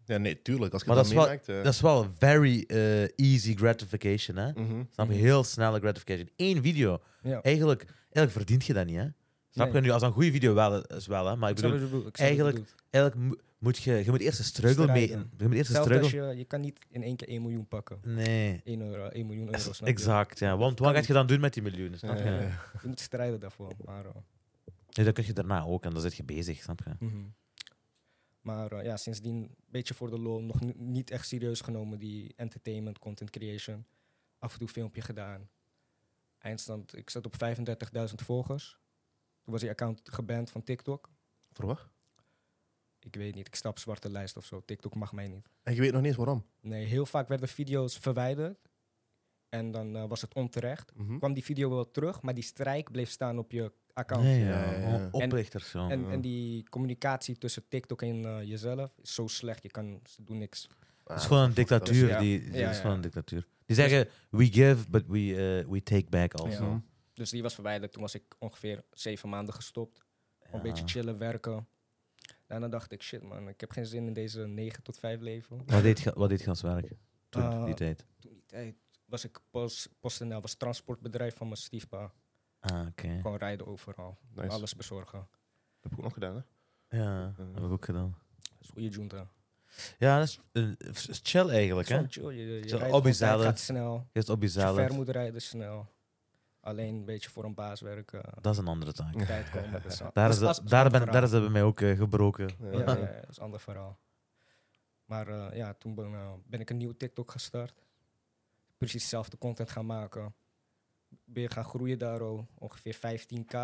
Ja, nee, tuurlijk. Als je
Maar
dat
dat is wel-
meemaakt... eh,
Dat is wel very eh, easy gratification, hè.
mhm.
Snap je?
Mhm.
Heel snelle gratification. Eén video.
ja.
Eigenlijk, eigenlijk verdient je dat niet, hè. Snap je?
Nee.
Nu, als dat een goede video wel is, wel, hè. Maar ik
Ik
bedoel,
snap wat je bedoelt, ik snap wat je
eigenlijk-
bedoelt.
eigenlijk mo- moet je... Je moet eerst een struggle mee...
Strijden.
Je moet eerst een
Hetzelfde
struggle...
als je, je kan niet in één keer 1 miljoen pakken.
Nee.
1 euro, 1 miljoen euro. snap je?
Exact, ja. Want wat
kan
ga je dan doen met die miljoenen? Snap je?
Ja, ja, ja.
Je moet strijden daarvoor. Maar eh,
Nee, dat kun je daarna ook en dan zit je bezig, snap je?
Mhm. Maar eh, ja, sindsdien een beetje voor de lol, nog ni- niet echt serieus genomen die entertainment, content creation. Af en toe een filmpje gedaan. Eindstand, ik zat op 35.000 volgers. Toen was die account geband van TikTok.
Voor wat?
Ik weet niet, ik stap zwarte lijst of zo. TikTok mag mij niet.
En je weet nog niet eens waarom.
Nee, heel vaak werden video's verwijderd. En dan eh, was het onterecht.
Mhm.
Kwam die video wel terug, maar die strijk bleef staan op je account.
Nee,
Ja,
ja.
ja, ja.
o- Oplichters, zo.
En, en die communicatie tussen TikTok en eh, jezelf is zo slecht. Je kan, ze doen niks.
Ah,
Het is gewoon een dictatuur.
Ja.
Die, die
Ja,
is
ja.
gewoon een dictatuur. Die zeggen, we give, but we, eh, we take back also.
Mhm.
Dus die was verwijderd. Toen was ik ongeveer zeven maanden gestopt. Gewoon Een
Ja.
beetje chillen, werken. Daarna dacht ik, shit man, ik heb geen zin in deze 9 tot 5 leven.
Wat deed, ge- wat deed je als werk toen,
Eh,
die tijd?
Toen die tijd was ik pas, PostNL was het transportbedrijf van mijn stiefpa.
Ah, oké.
Gewoon rijden overal.
Nice.
Alles bezorgen.
heb ik ook nog gedaan, hè?
Ja, dat heb ik ook gedaan.
Dat is goede junta.
Ja, dat is eh, is chill eigenlijk, hè?
Zo
Je
chill, Je, je,
Zo
rijdt gewoon, tijd
obizalen.
gaat snel.
is op
Als je
jezelf.
ver moet rijden, snel. Alleen een beetje voor een baas werken.
Dat is een andere taak.
op tijd komen. dus dat is al-
Daar
dat
is,
dat
de- daar, ben,
verhaal.
daar is het bij mij ook eh, gebroken.
Ja.
Ja, ja, dat is een ander verhaal. Maar eh, ja, toen ben, eh, ben ik een nieuwe TikTok gestart. Precies dezelfde content gaan maken. Weer gaan groeien daar al ongeveer 15k.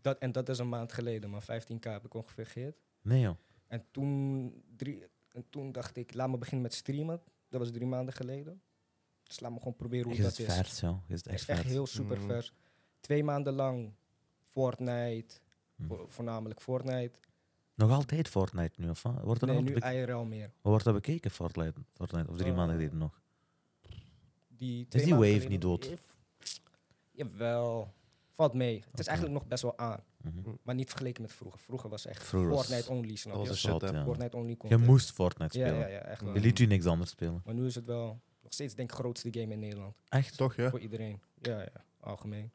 Dat, en dat is een maand geleden, maar 15k heb ik ongeveer geheerd.
Nee, joh.
En toen, drie, en toen dacht ik, laat me beginnen met streamen. Dat was drie maanden geleden. Dus laat me gewoon proberen hoe
Je
dat
is
is.
het vers, joh. Je is het echt
Het
Mm-hmm.
is echt
vers.
heel super
Mm.
vers. Twee maanden lang Fortnite,
Mm.
vo- voornamelijk Fortnite.
Nog altijd Fortnite nu, of wat? Wordt er
Nee,
nog
nu
be-
IRL meer.
wordt dat bekeken, Fortnite? Fortnite? Of drie
Eh,
maanden geleden nog?
Die
die
twee maanden
wave
geleden-
niet dood?
Jawel. Valt mee. Het is
Oké.
eigenlijk nog best wel aan.
Mhm.
Maar niet vergeleken met vroeger. Vroeger was echt
Vroeger was-
Fortnite only, snap
dat
je?
was een
Dat
shit, hè?
ja.
Fortnite only
Je
content.
moest Fortnite
Ja,
spelen.
ja, ja, echt wel.
Je liet u niks anders spelen.
Maar nu is het wel nog steeds denk ik grootste game in Nederland.
Echt?
Toch, ja?
Voor iedereen. Ja, ja. Algemeen.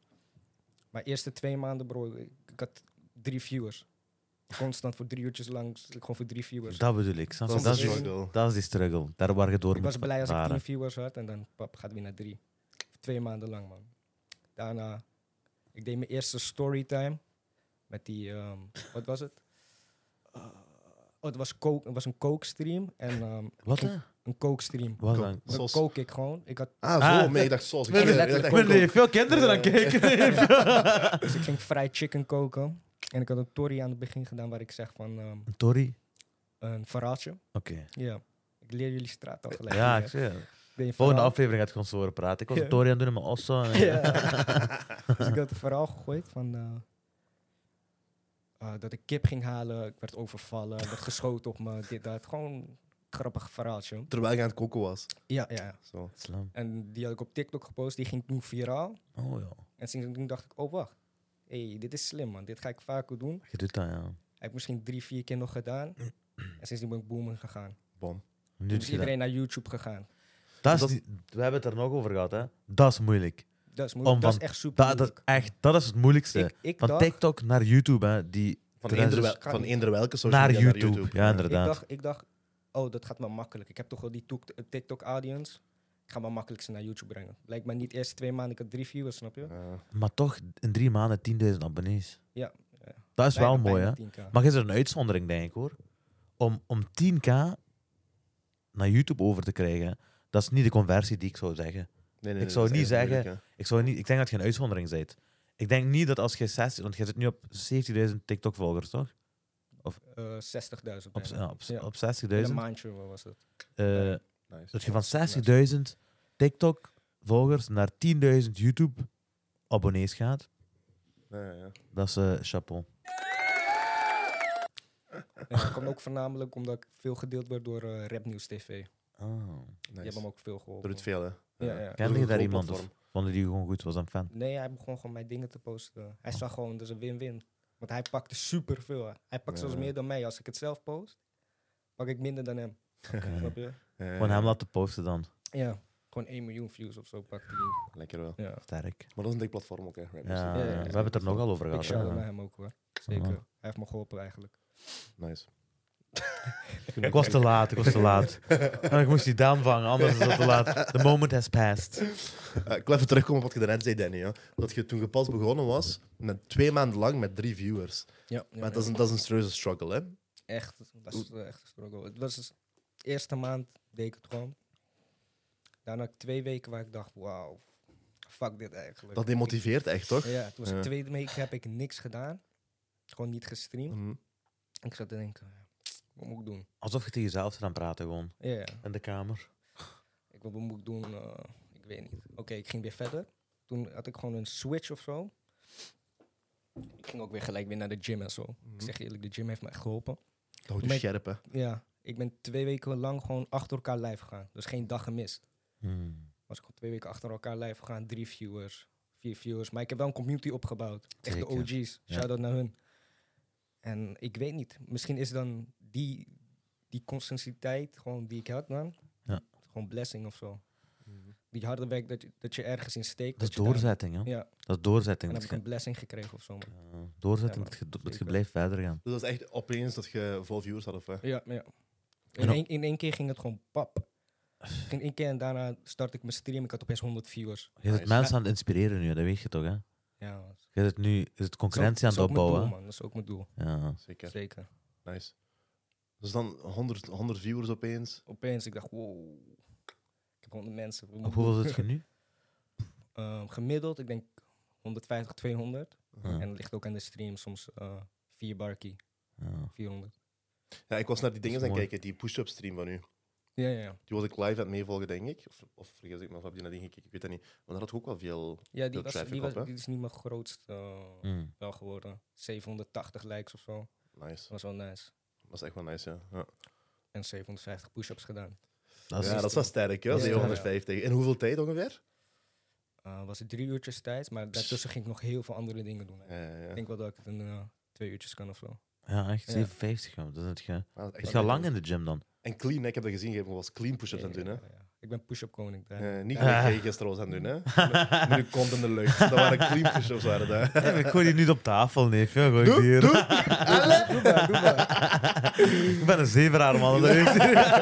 Maar eerste twee maanden, bro, ik ik had drie viewers. Constant voor drie uurtjes lang, gewoon voor drie viewers.
Dat bedoel ik. snap je?
Dat
Dat
was
is,
een
is-
struggle.
dat is die struggle. Daar waar je door
Ik
moet
was blij als ik
varen.
tien viewers had en dan pap, gaat weer naar drie. Twee maanden lang, man. Daarna, ik deed mijn eerste storytime met die, ehm, wat was het? Eh, oh, het was, coke, het was een coke stream en ehm,
Wat? hè?
een coke stream.
Wat
Kom.
dan?
Dan
Sos.
coke ik gewoon. Ik, had,
Ah, zo.
Ah.
nee, ik dacht zoals. Ik
Nee,
zweer,
nee,
ik dacht
nee,
echt
Ik ben
coke.
veel kinderen aan het kijken.
dus ik ging fried chicken koken. En ik had een tori aan het begin gedaan waar ik zeg van ehm,
Tori?
een verhaaltje.
Oké.
Ja, ik leer jullie straat al gelijk.
Ja,
Ik
ik zie het.
deed een
Volgende
verhaal.
aflevering gaat gewoon zo horen praten. Ik was
Ja.
een Tori aan het doen, maar also. eh,
Ja. dus ik had het verhaal gegooid van eh, eh, dat ik kip ging halen, ik werd overvallen, werd geschoten op me, dit, dat. Gewoon een grappig verhaaltje.
Terwijl ik aan het koken was.
Ja, ja.
Zo.
Slam.
En die had ik op TikTok gepost, die ging toen viraal.
Oh ja,
En sinds toen dacht ik, oh wacht, hey, dit is slim man, dit ga ik vaker doen.
je doet dat ja.
Heb ik misschien drie, vier keer nog gedaan. En sindsdien ben ik booming gegaan.
Bom.
Nu
Toen
Mm. doet
is
je dat.
iedereen naar YouTube gegaan.
Dat is
Dat-
die- we hebben het er nog over gehad, hè? Dat is moeilijk.
Dat is,
Om
moeilijk, dat is
van-
echt super
Oh, Dat, dat,
moeilijk.
echt, dat is het moeilijkste.
Ik, ik
Van
dacht,
TikTok naar YouTube, hè? Die
Van
Terwijl
eender,
ze-
wel-
kan
van
niet.
eender welke social
naar
media
YouTube. Ja, inderdaad.
Ik dacht, ik dacht, oh, dat gaat me makkelijk. Ik heb toch wel die toek- TikTok-audience. Ik ga me makkelijk ze naar YouTube brengen. Lijkt me niet eerst twee maanden, ik had drie viewers, snap je?
Ja.
Maar toch in drie maanden 10.000 abonnees.
Ja, ja.
Dat is wel
Bijna-
mooi, hè?
bijna 10K.
Maar is er een uitzondering, denk ik hoor. Om, om 10k naar YouTube over te krijgen, dat is niet de conversie die ik zou zeggen.
Nee, nee,
Ik
nee,
zou
dat is
niet
echt
zeggen-
moeilijk,
Ik, zou niet, ik denk dat je een uitzondering bent. Ik denk niet dat als je 60, want je zit nu op 70.000 TikTok-volgers, toch?
Eh, 60.000
Op,
bijna.
ja, op,
Ja.
op
In
60.000.
Een maandje wat was het.
eh,
hè. Nice.
dat je van 60.000 TikTok-volgers naar 10.000 YouTube-abonnees gaat,
Ja, ja, ja.
dat is eh, chapeau.
En dat kwam ook voornamelijk omdat ik veel gedeeld werd door eh Rap News TV. Die Ah.
Oh.
Nice.
hebben me ook veel
Doe
geholpen.
het veel, hè?
Ja, ja.
Dat is
Kende
ook
je
een
daar
groot
iemand of
platform.
vonden die gewoon goed? Was een fan?
Nee, hij begon gewoon mijn dingen te posten. Hij zag gewoon, dus een win-win. Want hij pakte superveel. hè. Hij pakt zelfs
Ja.
meer dan mij. Als ik het zelf post, pak ik minder dan hem. Snap je?
Ja,
Gewoon
ja, ja.
hem laten posten dan.
Ja, gewoon 1 miljoen views of zo pakt hij.
Lekker wel.
Ja.
Sterk.
Maar dat is een dik platform ook, hè? Rap Music.
Ja,
ja, ja.
we hebben het er nogal over
Big
gehad.
shout
hè.
naar hem ook hoor. Zeker.
man.
Hij heeft me geholpen eigenlijk.
Nice.
Ik was te laat, ik was te laat. ik moest die Daan vangen, anders is het te laat. The moment has passed.
Eh, ik wil even terugkomen op wat je daarnet zei, Danny. Hè? Dat je toen je pas begonnen was, net twee maanden lang met drie viewers.
Ja, ja,
maar dat is een, dat is een serieuze struggle, hè?
echt, dat is eh, echt een struggle. Het was dus- de eerste maand deed ik het gewoon. Daarna had ik twee weken waar ik dacht, wauw, fuck dit eigenlijk.
Dat demotiveert echt, toch?
Ik- Ja, toen was
Ja.
ik tweede week heb ik niks gedaan. Gewoon niet gestreamd.
Mhm.
Ik zat te denken, ja, wat moet ik doen?
Alsof je tegen jezelf zit aan het praten, gewoon.
Ja, ja.
In de kamer.
Ik, wat moet ik doen? eh, ik weet niet. Oké, ik ging weer verder. Toen had ik gewoon een switch of zo. Ik ging ook weer gelijk weer naar de gym en zo.
Mhm.
Ik zeg je eerlijk, de gym heeft me echt geholpen.
Dat houdt je
Maar-
scherp, hè?
Ja, ik ben twee weken lang gewoon achter elkaar live gegaan. Dus geen dag gemist.
Hmm.
Was ik gewoon twee weken achter elkaar live gegaan. Drie viewers, vier viewers. Maar ik heb wel een community opgebouwd. Echt de
Zeker,
OG's.
ja.
Shout-out naar hun. En ik weet niet. Misschien is dan die, die consistentiteit gewoon die ik had dan...
Ja. Mhm.
Gewoon blessing of zo. die harde werk dat je, dat je ergens in steekt.
Dat is
je daar-
doorzetting, hè?
Ja,
Dat is doorzetting.
dan heb
Dat
ik
je,
een blessing gekregen of zo. man.
eh, doorzetting,
Ja,
dat je, dat je
zeker.
blijft verder gaan.
Dus dat is echt opeens dat je veel viewers had of hè?
Ja, maar ja.
En
In
op-
één, in één keer ging het gewoon pap. In één keer en daarna startte ik mijn stream. Ik had opeens 100 viewers.
Je bent
Nice.
mensen aan het inspireren nu, dat weet je toch, hè?
Ja, man. Dat
Je bent nu je bent
is ook-
concurrentie aan
dat is
het
ook mijn
opbouwen.
doel, man. Dat is ook mijn doel.
Ja.
Zeker.
Zeker.
Nice. Dus dan 100, 100 viewers opeens.
Opeens, ik dacht, wow. Ik heb 100 mensen. Wat
Op
moet ik doen?
hoeveel zit je nu?
Ehm, gemiddeld, ik denk 150, 200.
Ja.
En dat ligt ook aan de stream soms eh 4 barkie,
Ja.
400.
Ja, ik was naar die dingen
Dat is
aan
mooi.
kijken, die push-up stream van u.
Ja, ja, ja.
Die was ik live aan het meevolgen, denk ik. Of, of vergis ik me, of heb je naar die gekeken? Ik weet dat niet. Maar daar had ik ook wel veel...
Ja, die,
Veel
was,
traffic
die,
op,
was,
hè?
die is nu mijn grootste eh,
Mm.
wel geworden. 780 likes of zo.
Nice.
Dat was wel nice.
Dat is echt wel nice, ja. Ja,
En 750 push-ups gedaan.
Dat is
ja, dat is wel sterk, hè?
Ja,
750. In hoeveel tijd ongeveer?
Eh, was het drie uurtjes tijd, maar daartussen ging ik nog heel veel andere dingen doen. hè.
Ja, ja.
Ik denk wel dat ik het in eh, twee uurtjes kan of zo.
Ja, echt
Ja.
57 man. Dat is het ge...
Ah, dat is echt
Ik ga
wel
lang
leuk.
in de gym dan.
En clean, hè, ik heb dat gezien, je was clean push-ups
Ja,
aan het doen, hè?
ja, ja. Ik ben push-up koning. daar.
Eh, niet
Ja.
wat jij gisteren was aan het doen, hè? Met de kont in de lucht. Dat waren clean push-ups, waren dat.
Ja, ik gooi die niet op tafel, neef. Ja, gooi
Doe,
die hier.
doe.
Doe maar, doe maar.
Ik ben een zeveraar, man. Dat weet je.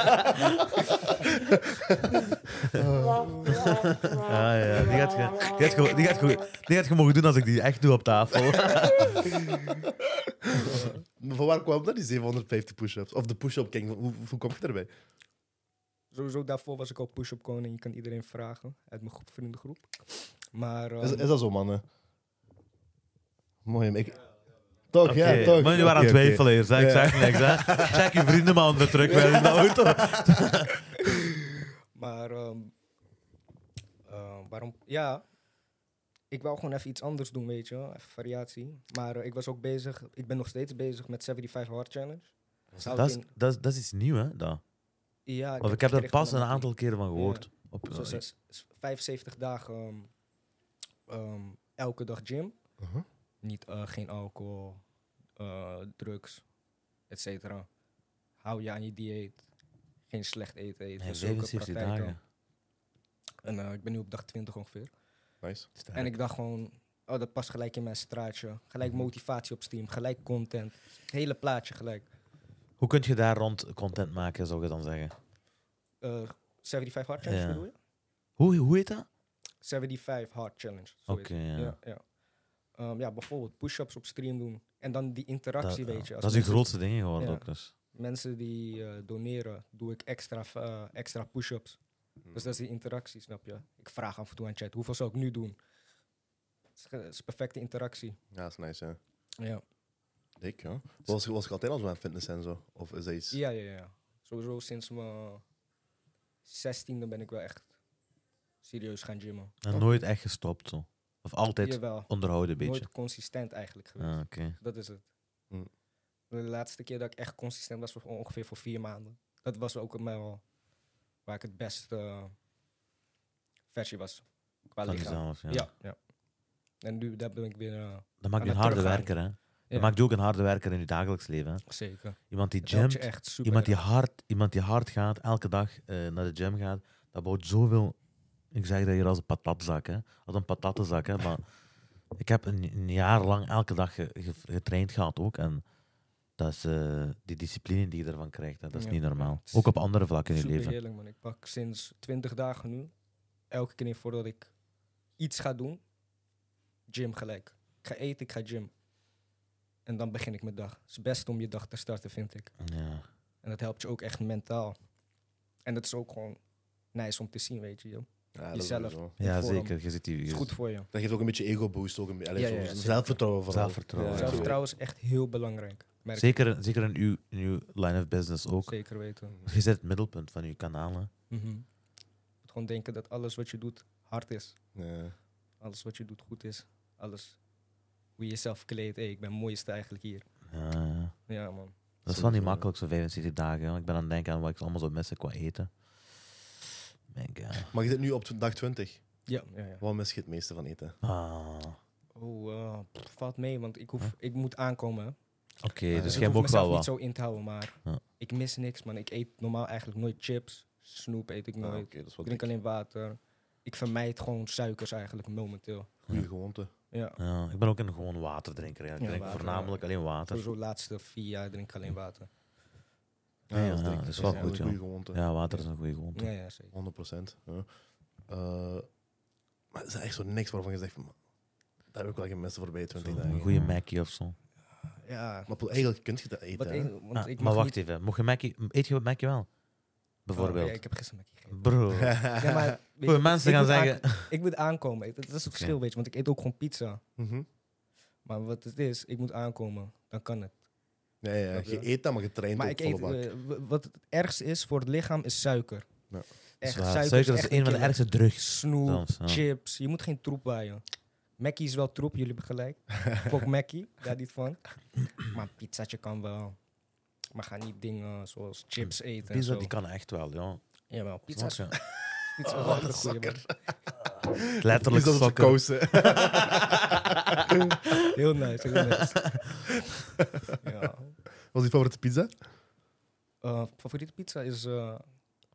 Ja, Ah, ja. Die gaat je die gaat ge- die gaat ge- die gaat ge mogen doen als ik die echt doe op tafel.
Maar van waar kwam dat, die 750 push-ups? Of de push-up king, hoe, hoe kom je daarbij?
Sowieso daarvoor was ik al push-up koning. Je kan iedereen vragen uit mijn groep, vriendengroep. Maar
Is,
ehm,
is dat zo, mannen? Mooi, maar ik... Toch, ja,
Oké,
toch.
Maar jullie waren aan het
Oké, oké.
twijfelen hier. zeg. Ik
Ja.
zeg niks, hè. Check je vrienden maar onder druk bij in de auto.
Maar ehm, eh, waarom? Ja, ik wou gewoon even iets anders doen, weet je wel. Even variatie. Maar eh, ik was ook bezig, ik ben nog steeds bezig met 75 Hard Challenge. Zou
Dat is,
ik in-
dat, is, dat is iets nieuws, hè. Dat.
ja,
Want ik heb
het
er pas
gericht
een
van
aantal keren van gehoord. Op,
Zo zes- s- 75 dagen ehm, ehm, elke dag gym.
Uh-huh.
Niet, eh, geen alcohol, eh, drugs, et cetera. Hou je aan je dieet. Geen slecht eten eten.
nee,
zulke
77
praktijken.
dagen.
En eh, ik ben nu op dag 20 ongeveer.
Nice.
En ik dacht gewoon, oh, dat past gelijk in mijn straatje. Gelijk
Mhm.
motivatie op Steam, gelijk content. Het hele plaatje gelijk.
Hoe kun je daar rond content maken, zou je dan zeggen?
Eh 75 Hard Challenge
Ja.
bedoel je?
Hoe, hoe heet dat?
75 Hard Challenge. zo
Oké,
heet
ja.
het. Ja, ja. Ehm, ja, bijvoorbeeld push-ups op stream doen. En dan die interactie,
dat,
weet je.
Dat
Als
is uw
mensen-
grootste ding geworden
Ja.
ook dus.
Mensen die eh, doneren, doe ik extra, eh, extra push-ups.
Hmm.
Dus dat is die interactie, snap je? Ik vraag af en toe aan chat, hoeveel zou ik nu doen? Het is, ge- het is perfecte interactie.
Ja, dat is nice, hè.
Ja.
Dik, ja. Was, was ik altijd al zo aan fitness en zo? Of is dat iets...
Ja, ja, ja. Sowieso sinds mijn zestiende ben ik wel echt serieus gaan gymmen.
En nooit echt gestopt, zo. Of altijd
Jawel,
onderhouden, een beetje.
nooit consistent eigenlijk geweest.
Ah, oké.
Dat is het.
Hm.
De laatste keer dat ik echt consistent was, was ongeveer voor vier maanden. Dat was ook wel waar ik het beste eh, versie was. Qua
Van
lichaam.
jezelf, ja.
Ja. ja, En nu daar ben ik weer... eh,
Dat maakt je
Aan
een
het
harde
teruggaan.
werker, hè.
Ja.
Dat maakt je ook een harde werker in je dagelijks leven, hè.
zeker.
Iemand die
Het helpt je
gymt,
echt super.
iemand die, hard, iemand die hard gaat, elke dag eh, naar de gym gaat, dat bouwt zoveel... Ik zeg dat hier als een patatzak, hè. Als een patattenzak, hè. Maar ik heb een, een jaar lang elke dag ge- ge- getraind gehad ook. En dat is eh, die discipline die je ervan krijgt, hè, dat is
Ja,
niet
ja.
normaal.
Het is
Ook op andere vlakken in je
Super
leven.
heerlijk, man. Ik pak sinds 20 dagen nu, elke keer voordat ik iets ga doen, gym gelijk. Ik ga eten, ik ga gym. En dan begin ik mijn dag. Het is best om je dag te starten, vind ik.
Ja.
En dat helpt je ook echt mentaal. En dat is ook gewoon nice om te zien, weet je. joh.
Ja, dat is
Jezelf.
sowieso.
Ja,
vorm.
zeker. Je zit hier.
Het is
je-
goed voor je.
Dat geeft ook een beetje ego-boost. Ook een, allee,
Ja,
zo-
ja, ja,
zelfvertrouwen vooral.
Zelfvertrouwen,
Ja,
ja.
Zelfvertrouwen is echt heel belangrijk. Merk ik.
Zeker, zeker in uw, in uw line of business ook.
Zeker weten.
Je zit het middelpunt van uw kanalen.
Mhm. Je moet gewoon denken dat alles wat je doet hard is.
Ja.
Alles wat je doet goed is. Alles hoe je jezelf kleedt. Hey, ik ben het mooiste eigenlijk hier.
Ja, ja.
Ja, man.
dat is wel niet makkelijk, zo'n 75 dagen. hè. Ik ben aan het denken aan wat ik allemaal zou missen qua eten. Mijn god.
Maar je zit nu op tw- dag 20.
Ja, ja, ja.
Wat mis je het meeste van eten?
Ah.
Oh, eh, pff, valt mee, want ik, hoef, ik moet aankomen. hè.
Oké,
Dus
dus
ik
jij hebt
hoef
ook wel
mezelf niet
wat.
zo in te houden, maar
Ja.
ik mis niks, man. Ik eet normaal eigenlijk nooit chips. Snoep eet ik
Ah,
nooit.
oké, dat is wat
ik drink alleen water. ik vermijd gewoon suikers eigenlijk momenteel.
Goede gewoonte.
Ja.
Ja, ik ben ook een gewoon waterdrinker. eigenlijk.
Ja,
ik drink
water,
voornamelijk alleen water.
Sowieso de laatste vier jaar drink ik alleen water.
Ja, ja,
dat
ja,
denk ik.
dat is wel
Ja,
goed,
een
ja.
goede gewoonte.
Ja, water is een goede gewoonte.
Ja, ja, zeker.
100 procent. Eh, maar er is echt zo niks waarvan je zegt, van, daar heb ik wel geen mensen voorbij 20
Zo,
dagen.
een goede Mackie of zo.
Ja.
Maar Paul, eigenlijk kun je dat
Wat
eten. hè.
ik, want
Ah,
ik
maar
mag
wacht
niet... Oh,
even, mocht je Mackie, eet je Mackie wel? Bijvoorbeeld.
Ja, ik heb gisteren Mackie gegeten.
Bro.
Ja, maar, weet je,
Goeie, mensen
ik
gaan
moet aan-
zeggen.
ik moet aankomen. Dat is het verschil, weet je. Want ik eet ook gewoon pizza.
Mhm.
Maar wat het is, ik moet aankomen. Dan kan het.
Nee, ja,
Snap je?
je eet dat, maar je traint
Maar
ook
ik
volle
eet,
bak.
eh, w- wat het ergste is voor het lichaam is suiker.
Ja.
Zwaar.
Echt,
Suiker, is
echt
een van de
killer.
ergste drugs.
Snoep,
zelfs, ja.
chips. Je moet geen troep waaien. Mackie is wel troep, jullie hebben gelijk. Fok Mackie, daar niet van. Maar een pizzaatje kan wel. Maar ga niet dingen zoals chips eten en
Hm. Pizza,
zo.
die kan Oh, echt wel, ja.
Jawel, pizza is
Snap je?
pizza is wel een goeie, man.
Letterlijk
Pizza op de
sokken.
kousen.
Heel nice, heel nice. ja.
Wat is je favoriete pizza?
Eh, favoriete pizza is eh,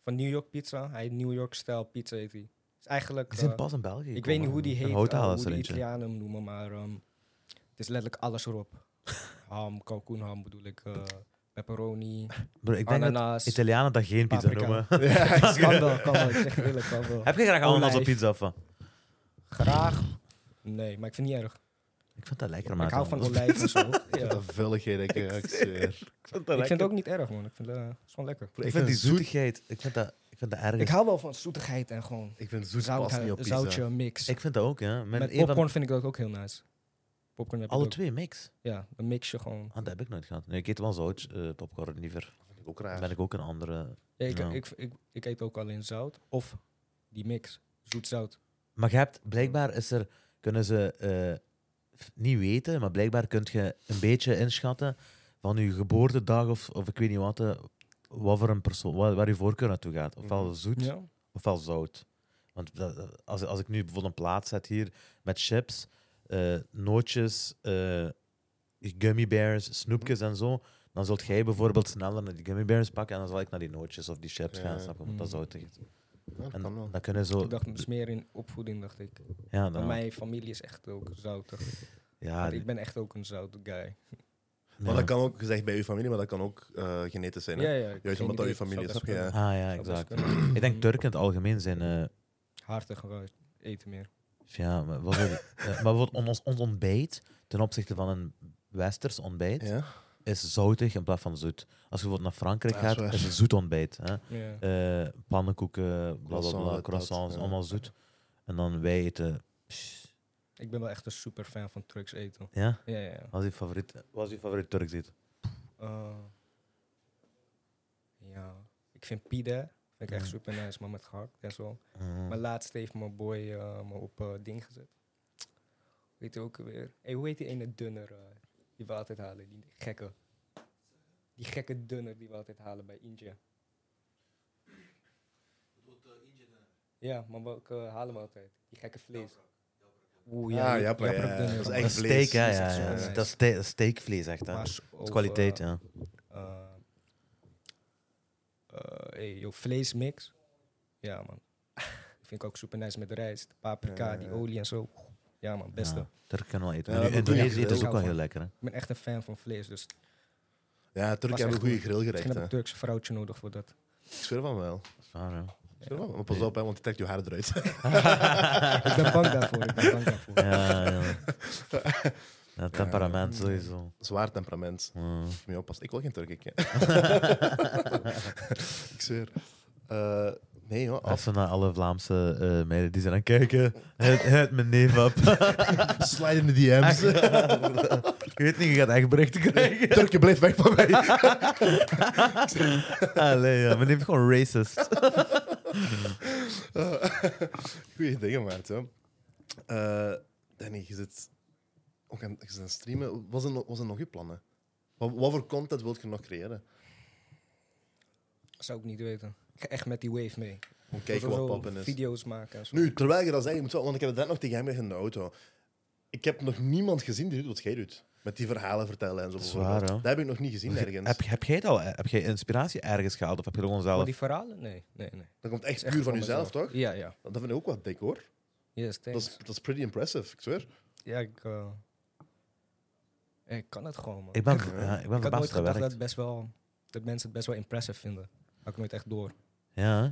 van New York Pizza. Hij New York-stijl pizza heet hij. Is eigenlijk...
Die zijn
eh,
pas in België.
Ik weet niet hoe die heet, eh, hoe de
ja.
Italianen hem noemen, maar ehm, het is letterlijk alles erop. Ham, kalkoenham bedoel ik, eh, pepperoni,
Bro,
Oh,
ik denk dat
ananas,
Italianen dat geen pizza
paprika.
noemen.
kan wel, kan wel, ik zeg je eerlijk, kan wel.
Heb je graag ananas op
Olijf.
pizza of wat?
Graag? Nee, maar ik vind het niet erg.
Ik vind dat lekker, maar
Ik hou van olijf en zo.
Ja.
Ja.
Dat vulligheid, ik, eh, ik zweer.
Ik vind het ook niet erg, man. Ik vind eh, het is gewoon lekker.
Bro,
Ik vind die
zoet-
zoetigheid, ik vind dat, ik vind dat erg.
Ik hou wel van zoetigheid en gewoon
Ik vind zoet
zout,
past niet op pizza.
zoutje mix.
Ik vind dat ook, ja. Mijn
Met
een van-
popcorn vind ik dat ook heel nice. Popcorn heb ik
Alle
ook.
twee mix.
Ja, dan mix je gewoon.
Ah, dat heb ik nooit gehad. Nee, ik eet wel zout eh, popcorn liever.
Dat vind ik ook
Dan
raar.
ben ik ook een andere.
Ja, ik,
Ja.
Ik, ik, ik eet ook alleen zout of die mix. Zoet-zout.
Maar je hebt, blijkbaar is er, kunnen ze eh, f- niet weten, maar blijkbaar kun je een beetje inschatten van je geboortedag of, of ik weet niet wat, eh, wat voor een persoon, waar, waar je voorkeur naartoe gaat. Ofwel zoet,
Mhm. Ja.
ofwel zout. Want dat- als, als ik nu bijvoorbeeld een plaat zet hier met chips, eh, nootjes, eh, gummy bears, snoepjes en zo, dan zult jij bijvoorbeeld sneller naar die gummy bears pakken en dan zal ik naar die nootjes of die chips
Ja.
gaan, snap je? Want dat is
Mm.
zoutig.
Ja, dat
En
kan wel.
dan kunnen zo...
Ik dacht, het is meer in opvoeding, dacht ik.
Ja,
Maar
dan,
mijn familie is echt ook zoutig.
ja,
Want
die-
ik ben echt ook een zoute guy.
Maar
ja.
dat kan ook, gezegd bij je familie, maar dat kan ook eh, genetisch zijn. hè?
ja, ik
Juist
geen
omdat dat je
idee,
familie is,
zou
snap
best
je?
kunnen.
Ah ja,
Zou best
exact.
kunnen. Mm.
Ik denk Turken in het algemeen zijn. eh,
Hartig gewoon eten meer.
ja, maar wat wil ik- eh, maar bijvoorbeeld on- ons, ons ontbijt ten opzichte van een westers ontbijt
Ja?
is zoutig in plaats van zoet. Als je bijvoorbeeld naar Frankrijk
Ja,
gaat,
is waar.
is het zoet ontbijt. Hè?
Ja.
Eh, pannenkoeken, bla bla
Croissant,
bla,
dat,
croissants,
dat, ja.
allemaal zoet. En dan wij eten. pss,
Ik ben wel echt een super fan van Turks eten.
Ja?
Ja, ja, ja.
Wat is je favoriet, wat is je favoriet Turks eten?
Eh, ja. Ik vind pide vind ik echt
Mm.
super nice, maar met gehakt en zo.
Mm.
Maar laatst heeft mijn boy eh, me op eh, ding gezet. Weet je ook weer? Hey, hoe heet die ene dunner eh, die we altijd halen? Die gekke. Die gekke dunner die we altijd halen bij India. Ja, maar welke eh, halen we altijd? Die gekke vlees. Oeh,
Ja,
die-
Japra, Ah, ja.
dunner.
Dat is
Dat
echt
is
vlees.
steak, hè?
Dat is
Ja,
echt zo
ja.
nice.
Dat is ste- steakvlees, echt. Hè?
Maar
Dat
s-
is
of,
kwaliteit,
eh,
ja.
eh, eh, hey, yo, vleesmix. Ja, man. Vind ik ook super nice met rijst, paprika,
Ja,
die
ja.
olie en zo. Ja, man, beste.
Ja, Turken kunnen wel eten.
Ja,
Maar nu
dat doe je
Indonesië eten is
heel
ook wel
veel.
heel lekker. Hè?
Ik ben echt een fan van vlees, dus
Ja, Turken
Was
hebben een
echt
goede
goed. misschien
grillgerecht.
heb ik
hè.
een Turkse vrouwtje nodig voor dat.
Ik zweer van wel.
Dat is waar, ja.
Ik zweer van wel. Maar pas op, hè, want die trekt je haar eruit.
ik ben bang daarvoor, ik ben bang daarvoor.
Ja, ja. Ja, temperament sowieso.
Zwaar temperament.
Ja.
Moet je mee oppassen. Ik wil geen Turk, ik. hè. ik zweer. Eh, nee, joh. Af.
Even naar alle Vlaamse eh, meiden die zijn aan het kijken. Het, het mijn neef op.
Slide in de DM's.
Ik weet niet, je gaat echt berichten krijgen.
Turken, blijf weg van mij.
Allee, ja. Mijn neef is gewoon racist.
Goeie dingen, Maarten. Eh Danny, je zit ook aan, je zit aan het streamen. Wat zijn, wat zijn nog je plannen? Wat, wat voor content wil je nog creëren?
Zou ik niet weten. Ik ga echt met die wave mee.
Om kijken
Sowieso
wat poppen is.
Video's maken en zo.
Nu, terwijl je dat zegt, ik moet wel, want ik heb het net nog tegen hem gezegd in de auto. Ik heb nog niemand gezien die doet wat jij doet. Met die verhalen vertellen en zo.
Dat is
bijvoorbeeld.
waar, hè?
dat heb ik nog niet gezien ergens.
Heb, heb jij het al? Heb jij inspiratie ergens gehaald? Of heb je gewoon
Maar
zelf...
die verhalen? Nee, nee, nee.
Dat komt
Het
echt
is echt
puur van
gewoon
jezelf,
mezelf.
toch?
Ja, ja.
Dat vind ik ook wat dik, hoor.
Yes,
Dat is,
thanks.
dat is pretty impressive, ik zweer.
Ja, ik... eh, ik kan het gewoon, man.
Ik ben, ja, ik ben
ik had
verbaasd dat
nooit gedacht
dat
dat,
werkt.
best wel, dat mensen het best wel impressive vinden. Had ik nooit echt door.
Ja. hè?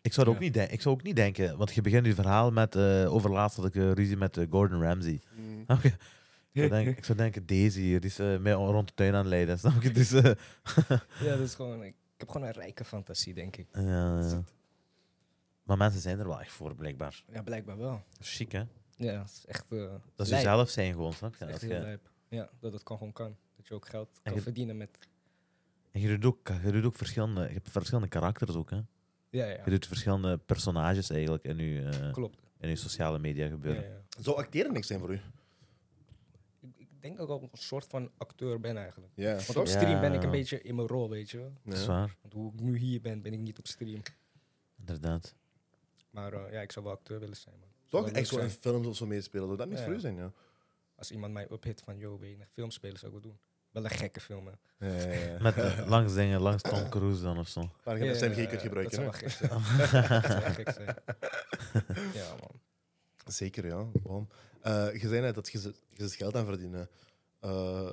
Ik zou, het ook
Ja.
niet de- ik zou ook niet denken, want je begint je verhaal met eh over laatst had ik eh, ruzie met eh, Gordon Ramsay.
Mm.
Snap je? Ik zou, denken, ik zou denken, Daisy hier, die is eh, mij rond de tuin aan het leiden. Snap je? Dus, eh,
Ja, dat is gewoon... Ik, ik heb gewoon een rijke fantasie, denk ik. Dus
ja, ja. maar mensen zijn er wel echt voor, blijkbaar.
Ja, blijkbaar wel.
Chic, hè?
Ja, dat is echt... eh,
Dat ze
lijp.
zelf zijn gewoon, snap je?
Dat is echt
Dat
heel
je
lijp. Ja, dat het kan gewoon kan. Dat je ook geld
En
kan
je-
verdienen met...
en je doet ook, je doet ook verschillende, je hebt verschillende karakters ook, hè?
Ja, ja.
Je doet verschillende personages eigenlijk in je, eh,
Klopt.
in je sociale media
Ja,
gebeuren.
ja.
Zou acteren niks zijn voor u?
Ik, ik denk dat ik ook een soort van acteur ben eigenlijk.
Ja,
Want op
toch?
Ja.
stream ben ik een beetje in mijn rol, weet je wel.
Dat is
Ja.
waar,
Want hoe ik nu hier ben, ben ik niet op stream.
inderdaad.
Maar eh, ja, ik zou wel acteur willen zijn, man. Zou
Toch
wel
echt
leuk
zo in
zijn.
films of zo meespelen, zou dat niks
Ja.
voor u zijn, ja.
Als iemand mij ophit van, yo, ben je een filmspeler, zou ik wel doen. Wel een gekke film, hè.
Ja, ja, ja.
Met eh, langs dingen, langs Tom Cruise dan of zo.
Waar je
Ja,
de
ja,
SMG
ja,
kunt
ja,
gebruiken, hè?
Dat zou wel gek zijn. dat zou wel gek zijn. Ja, man.
Zeker, ja. Waarom? Eh, je zei net dat je ze- je zit geld aan verdienen. Eh,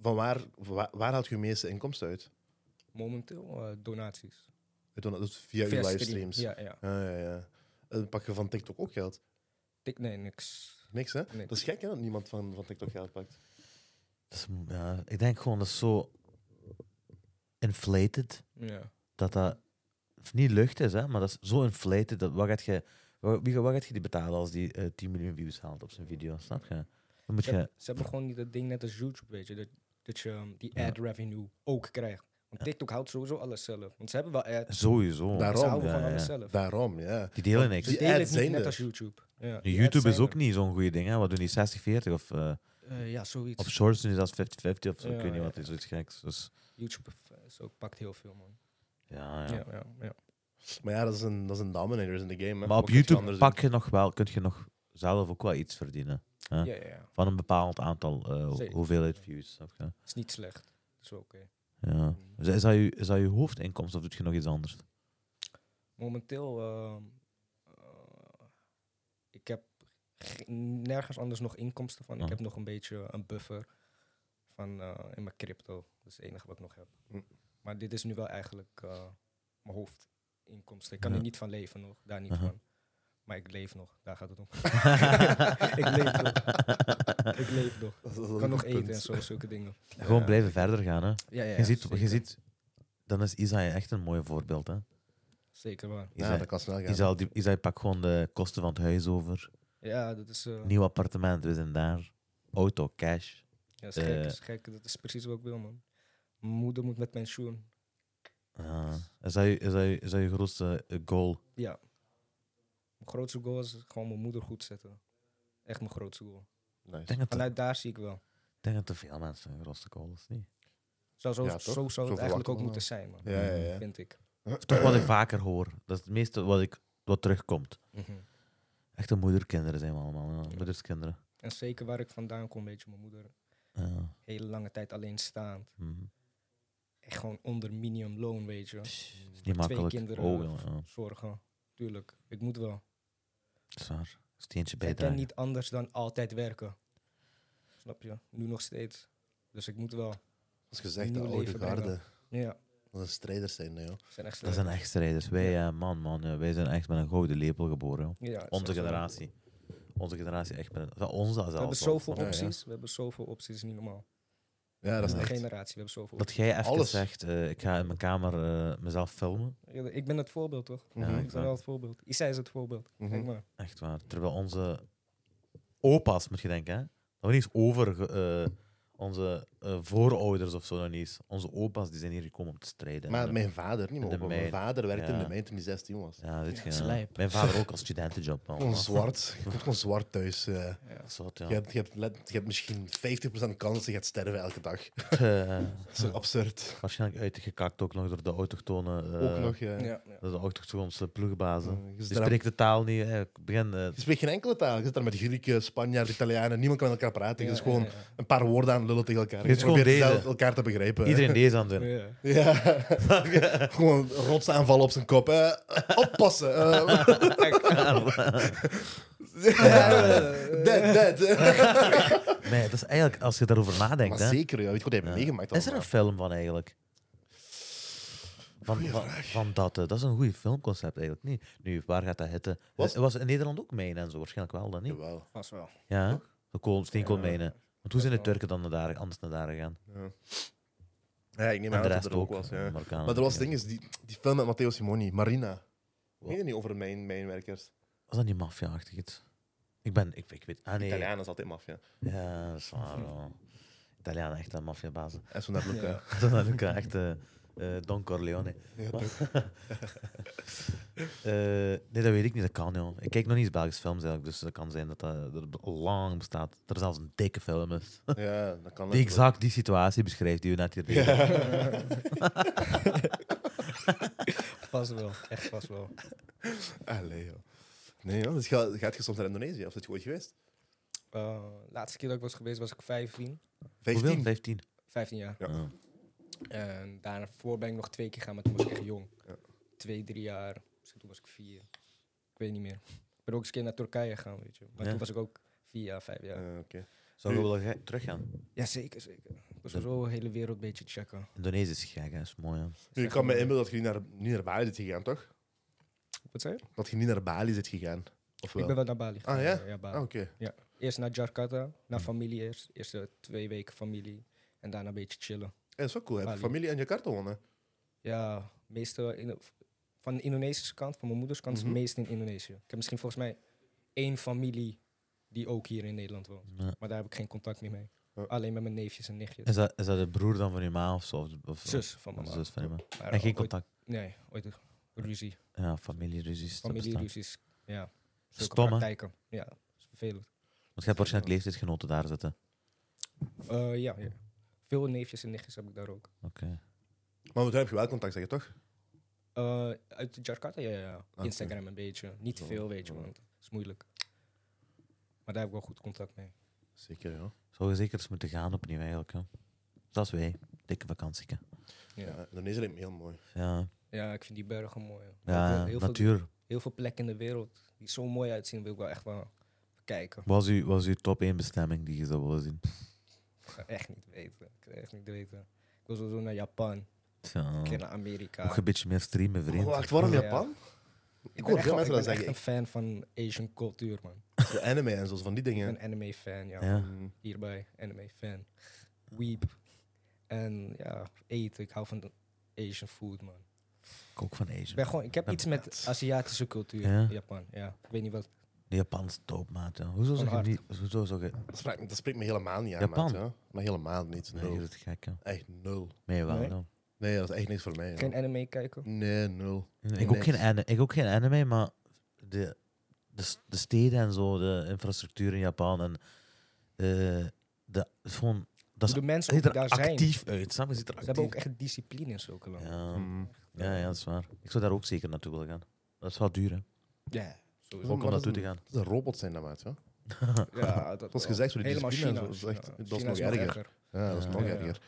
van waar, waar, waar haalt je meeste inkomsten uit?
Momenteel eh, donaties.
Uit dan- Dus via, je
Via stream.
livestreams.
Ja, ja.
Ah, ja, ja. En pak je van TikTok ook geld?
Tik, nee, niks.
Niks, hè?
Nee.
Dat is gek, hè, dat niemand van, van TikTok geld pakt.
Dat is, ja, ik denk gewoon dat is zo inflated
Ja.
dat dat of niet lucht is, hè, maar dat is zo inflated. Dat, wat, gaat je, wat, wie, wat gaat je die betalen als die eh, 10 miljoen views haalt op zijn video? Snap je? Dan moet
Ze,
je.
heb- ze hebben gewoon niet dat ding net als YouTube, weet je. Dat, dat je ehm, die
Ja.
ad revenue ook krijgt. Want TikTok houdt sowieso alles zelf. Want ze hebben wel ads.
Sowieso.
Daarom,
ze houden
ja,
van
ja.
alles zelf.
Daarom, ja.
Die delen
Ze
Die
niks.
delen
ads
het niet
zijn
net
er.
als YouTube. Ja, die ads
YouTube is
zijn
ook
er.
niet zo'n goede ding. Hè. Wat doen die 60, 40 of eh,
Eh, ja, zoiets.
op shorts doen die zelfs 50, 50 of zo.
Ja,
ik weet niet
ja,
wat,
ja.
is zoiets geks. Dus,
YouTube is ook, pakt heel veel, man.
ja, ja.
Ja, ja, ja.
Maar ja, dat is een, dat is een dominator in de game. Hè.
Maar op
Wat kun je
YouTube
anders
pak je nog wel, kun je nog zelf ook wel iets verdienen. Ja.
ja, ja, ja.
Van een bepaald aantal eh, ho-
Zeker.
hoeveelheid views. Snap je?
is niet slecht. is wel oké. Mm.
Ja. Dus is, dat je, is dat je hoofdinkomst of doet je nog iets anders?
Momenteel, ehm, eh, ik heb ge- nergens anders nog inkomsten van.
Ah.
Ik heb nog een beetje een buffer van eh, in mijn crypto. Dat is het enige wat ik nog heb.
Hm.
Maar dit is nu wel eigenlijk eh, mijn hoofdinkomsten. Ik kan
Ja. Uh-huh.
er niet van leven nog, daar niet
Aha.
van. Maar ik leef nog, daar gaat het om. ik leef nog, ik leef nog.
doen? Dat is- dat is
Ik
een
kan nog
goed
eten
punt.
en zo, zulke dingen.
Gewoon
Ja.
blijven verder gaan. Hè.
Ja, ja,
je, ziet, je
zeker.
ziet, dan is Isai echt een mooi voorbeeld. Hè.
Zeker waar.
Ja,
Isai,
dat kan snel gaan.
Isai, die- Isai pakt gewoon de kosten van het huis over.
Ja, dat is... eh,
Nieuw appartement, we zijn daar. Auto, cash.
Ja, dat is gek,
Eh.
dat is gek. Dat is precies wat ik wil, man. Mijn moeder moet met pensioen.
Ja. Eh, Is, dat je, is, dat je, is dat je grootste eh, goal?
Ja. Mijn grootste goal is gewoon mijn moeder goed zetten. Echt mijn grootste goal.
Ik
Nice.
denk dat,
Vanuit daar zie ik wel.
ik denk dat te veel mensen hun grootste goal is. Niet.
Zo, zo,
Ja, toch? Zo
zo zou het
verwachten
eigenlijk
we
ook
wel.
moeten zijn, man.
Ja, ja, ja.
Vind ik.
Dat is wat ik vaker hoor. Dat is het meeste wat, ik, wat terugkomt.
Mhm.
Echte moederkinderen zijn we allemaal. ja. Moederskinderen. Eh,
En zeker waar ik vandaan kom, weet je, mijn moeder
Ja.
hele lange tijd alleen staand.
Mhm.
Echt gewoon onder minimumloon, weet je.
is niet
Twee
makkelijk.
kinderen. eh.
Oh, ja, ja.
Zorgen. Tuurlijk. Ik moet wel.
Zwaar. Steentje
Ik kan
bijdragen.
niet anders dan altijd werken. Snap je? Nu nog steeds. Dus ik moet wel.
Als gezegd, de
Nieuw
oude
leven brengen.
garde.
Ja.
Dat is strijders zijn, hè, joh.
ze Zijn echt
Dat zijn
sterk.
echt strijders. Wij,
Ja.
eh, man, man, ja, wij zijn echt met een gouden lepel geboren. joh.
Ja, het is
Onze
echt zo.
generatie. Onze generatie echt met een... Onze zelfs.
We hebben
al.
zoveel
Ja, ja.
opties. We hebben zoveel opties, niet normaal.
Ja, dat is
Onze
echt...
generatie, we hebben zoveel
Dat jij even
Alles.
zegt, eh, ik ga in mijn kamer eh, mezelf filmen.
opties. Ja, Ik ben het voorbeeld, toch?
Mhm.
Ja,
Ik ben wel het voorbeeld. Isa is het voorbeeld.
Mhm.
Kijk maar.
Echt waar. Terwijl onze opa's, moet je denken, hè? nog niet eens over eh, onze eh, voorouders of zo, nog niet eens. Onze opa's die zijn hier gekomen om te strijden.
Maar
En,
mijn vader, niet
de
meer opa. Mijn
mijn.
vader werkte in
Ja.
de mijn toen hij 16 was.
Ja, weet
Ja,
je,
dat is
eh,
lijp.
Mijn vader ook als studentenjob. man.
Gewoon zwart. Je komt gewoon zwart thuis. eh.
Ja.
Zot,
Je,
ja.
hebt, je, hebt, let- je hebt misschien 50% kans dat je gaat sterven elke dag.
Eh,
Dat is zo absurd.
waarschijnlijk uitgekakt ook nog door de autochtone. eh,
Ook nog. eh,
Ja,
door De autochtonse ploegbazen.
eh, je,
Die
zit daar-
spreekt de taal niet. eh, Ik begin, eh,
je spreekt geen enkele taal. Je zit daar met Grieken, Spanjaarden, Italianen. Niemand kan met elkaar praten.
Ja,
Het is dus
ja,
gewoon
ja, ja.
een paar woorden aan gaan lullen tegen elkaar.
Je is
Je
gewoon
probeert
deze.
zelf elkaar te begrijpen. hè.
Iedereen deze aan het doen.
Ja.
Ja. gewoon rotsaanval op zijn kop. hè. Oppassen. eh. dead, dead.
Nee, dat is eigenlijk, als je daarover nadenkt,
Maar
hè,
zeker, ja. weet je wat hij heeft meegemaakt?
is er een
allemaal?
film van eigenlijk? Van, van, van dat, eh, dat is een goed filmconcept eigenlijk niet. Nu, waar gaat dat hitten?
Was-
Was, was in Nederland ook mijnen en zo, waarschijnlijk wel dan niet.
Jawel.
Vast wel.
Ja, hè? de kool, steenkoolmijnen. Want hoe zijn de
Ja.
Turken dan naar daar, anders naar daar gegaan?
Ja, ik neem
En
aan
de
dat
rest
het er ook
ook.
was. Ja.
eh, Marokkanen.
Maar er was
Ja.
ding is, die, die film met Matteo Simoni, Marina.
Wat?
Weet je niet over mijn, mijnwerkers?
Was dat niet maffia-achtig iets? Ik ben, ik, ik weet, ah nee.
Italianen is altijd mafia.
Ja, dat is waar. wel. Italianen, echt een maffiabazen.
En zo naar Luca.
Ja.
Dat is ook echt eh, eh, Don Corleone.
Ja,
Wat? Eh, nee, dat weet ik niet. Dat kan, joh. Ik kijk nog niet eens Belgische films, eigenlijk, dus dat kan zijn dat dat, dat het lang bestaat. Dat er zelfs een dikke film is.
Ja, dat kan
Die
ook.
exact die situatie beschrijft die we net hier deden.
Vast wel. Echt vast wel.
Allee, joh. Nee, joh. Dus ga, gaat je soms naar Indonesië? Of zit je ooit geweest?
Eh, laatste keer dat ik was geweest was ik 15.
Hoeveel?
15?
15.
15 jaar.
Ja.
Ah.
En daarvoor ben ik nog twee keer gegaan, maar toen was ik echt jong.
Ja.
Twee, drie jaar. Misschien toen was ik vier. Ik weet niet meer. Ik ben ook eens een keer naar Turkije gegaan, weet je. Maar
Ja.
toen was ik ook vier jaar, vijf jaar.
Eh, Oké.
Zou je
Nu-
wel ge- teruggaan?
Ja, zeker, zeker. Ik was
Dat-
zo de hele wereld een beetje checken.
Indonesië is gek, hè. is mooi, hè.
Nu, ik kan me inbeelden dat je niet naar, niet naar Bali zit gegaan, toch?
Wat zei je?
Dat je niet naar Bali zit gegaan. Of wel?
Ik ben wel naar Bali gegaan. eh,
Ah, ja?
Bali.
Ah, oké.
Eerst naar Jakarta, naar familie eerst. Eerst eh, twee weken familie. En daarna een beetje chillen.
Ja, dat Eh, is wel cool. Heb je
Bali.
familie in Jakarta wonen?
Ja, meeste in, van de Indonesische kant, van mijn moeders kant,
Mhm.
is meest in Indonesië. Ik heb misschien volgens mij één familie die ook hier in Nederland woont.
Ja.
Maar daar heb ik geen contact meer mee.
Ja.
Alleen met mijn neefjes en nichtjes.
Is dat, is dat de broer dan van je ma of zo? Of, of,
Zus van
of
mijn
de
ma.
zus van je ma.
Maar
En geen
ooit-
contact.
Nee, ooit een ruzie.
Ja, familieruzies. dat bestaat.
Familieruzies. Ja. Zulke
Stom, hè?
praktijken. Ja, dat is vervelend.
Want je hebt waarschijnlijk leeftijdsgenoten daar zitten.
Eh, ja, ja. Veel neefjes en nichtjes heb ik daar ook.
Oké.
Maar daar heb je wel contact, zeg je toch?
Eh, uit Jakarta, ja, ja, ja.
oké.
Instagram een beetje. Niet
Zo,
veel, weet je,
ja.
want het is moeilijk. Maar daar heb ik wel goed contact mee.
Zeker, ja.
Zou je zeker eens moeten gaan opnieuw eigenlijk, hè? Zoals wij. Dikke vakantieke.
Ja.
ja. Indonesië lijkt me heel mooi.
Ja,
Ja, ik vind die bergen mooi. hoor. Maar ik wil
ja
heel, veel,
natuur.
heel veel plekken in de wereld die zo mooi uitzien, wil ik wel echt wel kijken.
Was uw, was uw top 1 bestemming die je zou willen zien?
Ik ga echt niet weten. Ik ga echt niet weten. Ik wil sowieso naar Japan, een
Tja.
keer naar Amerika.
Mocht je een beetje meer streamen,
Oh,
vriend.
Oh, Wacht, waarom
Ja.
Japan?
ik
hoor veel
ben echt,
mensen
wel- ik ben
dat
echt
zeggen.
een fan van Asian cultuur, man.
De anime en zo, van die
Ik
dingen.
ben anime fan, ja.
Ja.
Mm.
Hierbij, anime fan. Weep. En ja, eten. Ik hou van de Asian food, man.
Ik ook van
Ik,
Asia.
ben gewoon, ik heb
Ben-
iets met Aziatische cultuur
Ja.
Japan. Ja. Ik weet niet wat.
De Japanse topmaat, ja. Hoezo zou je
Van
niet... Hoezo zou je...
Dat, spreekt, me- dat spreekt me helemaal niet aan,
Japan?
maat, ja. Maar helemaal niet.
Nee,
Nul.
je bent gek, ja.
Echt nul.
Nee, wel,
Nee.
ja.
Nee, dat is echt niks voor mij. ja.
Geen anime kijken.
Nee, nul.
Ik ook,
Niks.
geen anime, ik ook geen anime, maar de, de, s- de steden en zo, de infrastructuur in Japan en eh, de, gewoon, dat
Hoe
is-
de mensen ook
ziet
die
er
daar zijn.
actief uit. Snap je? Ziet er
Ze hebben Hmm.
actief.
ook echt discipline in zulke landen.
Ja.
Mm.
Ja, ja, dat is waar. Ik zou daar ook zeker naartoe willen gaan. Dat is wel duur, hè?
Ja,
Ja,
Ook
sowieso.
maar dat
om naartoe
is
te gaan.
Dat is een robot zijn, dat maat. Ja.
Ja, dat
Zoals
wel.
gezegd, zo die
Helemaal
discipline
China.
en zo, dat is echt-
China.
dat is
China
nog erger. ja, dat is
Ja.
nog
Ja.
erger. Dat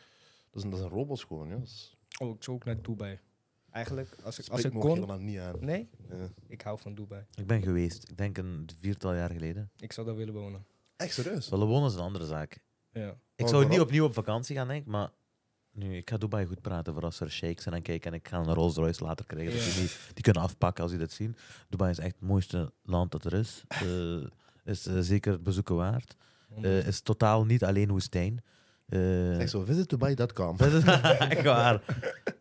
is, een- dat is een robot gewoon, ja. Dat is-
Oh, ik zou ook naar Dubai. Eigenlijk, als ik, als
spreekt
ik
me ook
kon...
helemaal niet aan.
Nee,
Ja.
ik hou van Dubai.
Ik ben geweest, ik denk een viertal jaar geleden.
Ik zou daar willen wonen.
Echt serieus?
Willen wonen is een andere zaak.
Ja.
Ik
Oh,
zou niet
waarom?
opnieuw op vakantie gaan, denk ik, maar... Nu, ik ga Dubai goed praten voor als er shakes zijn en kijken en ik ga een Rolls Royce later krijgen. dat
Ja.
die, niet- die kunnen afpakken als die dat zien. Dubai is echt het mooiste land dat er is. Eh, is eh, zeker het bezoeken waard. Eh, is totaal niet alleen woestijn. Eh,
Echt zo, visitdubai.com.
Dat is echt waar.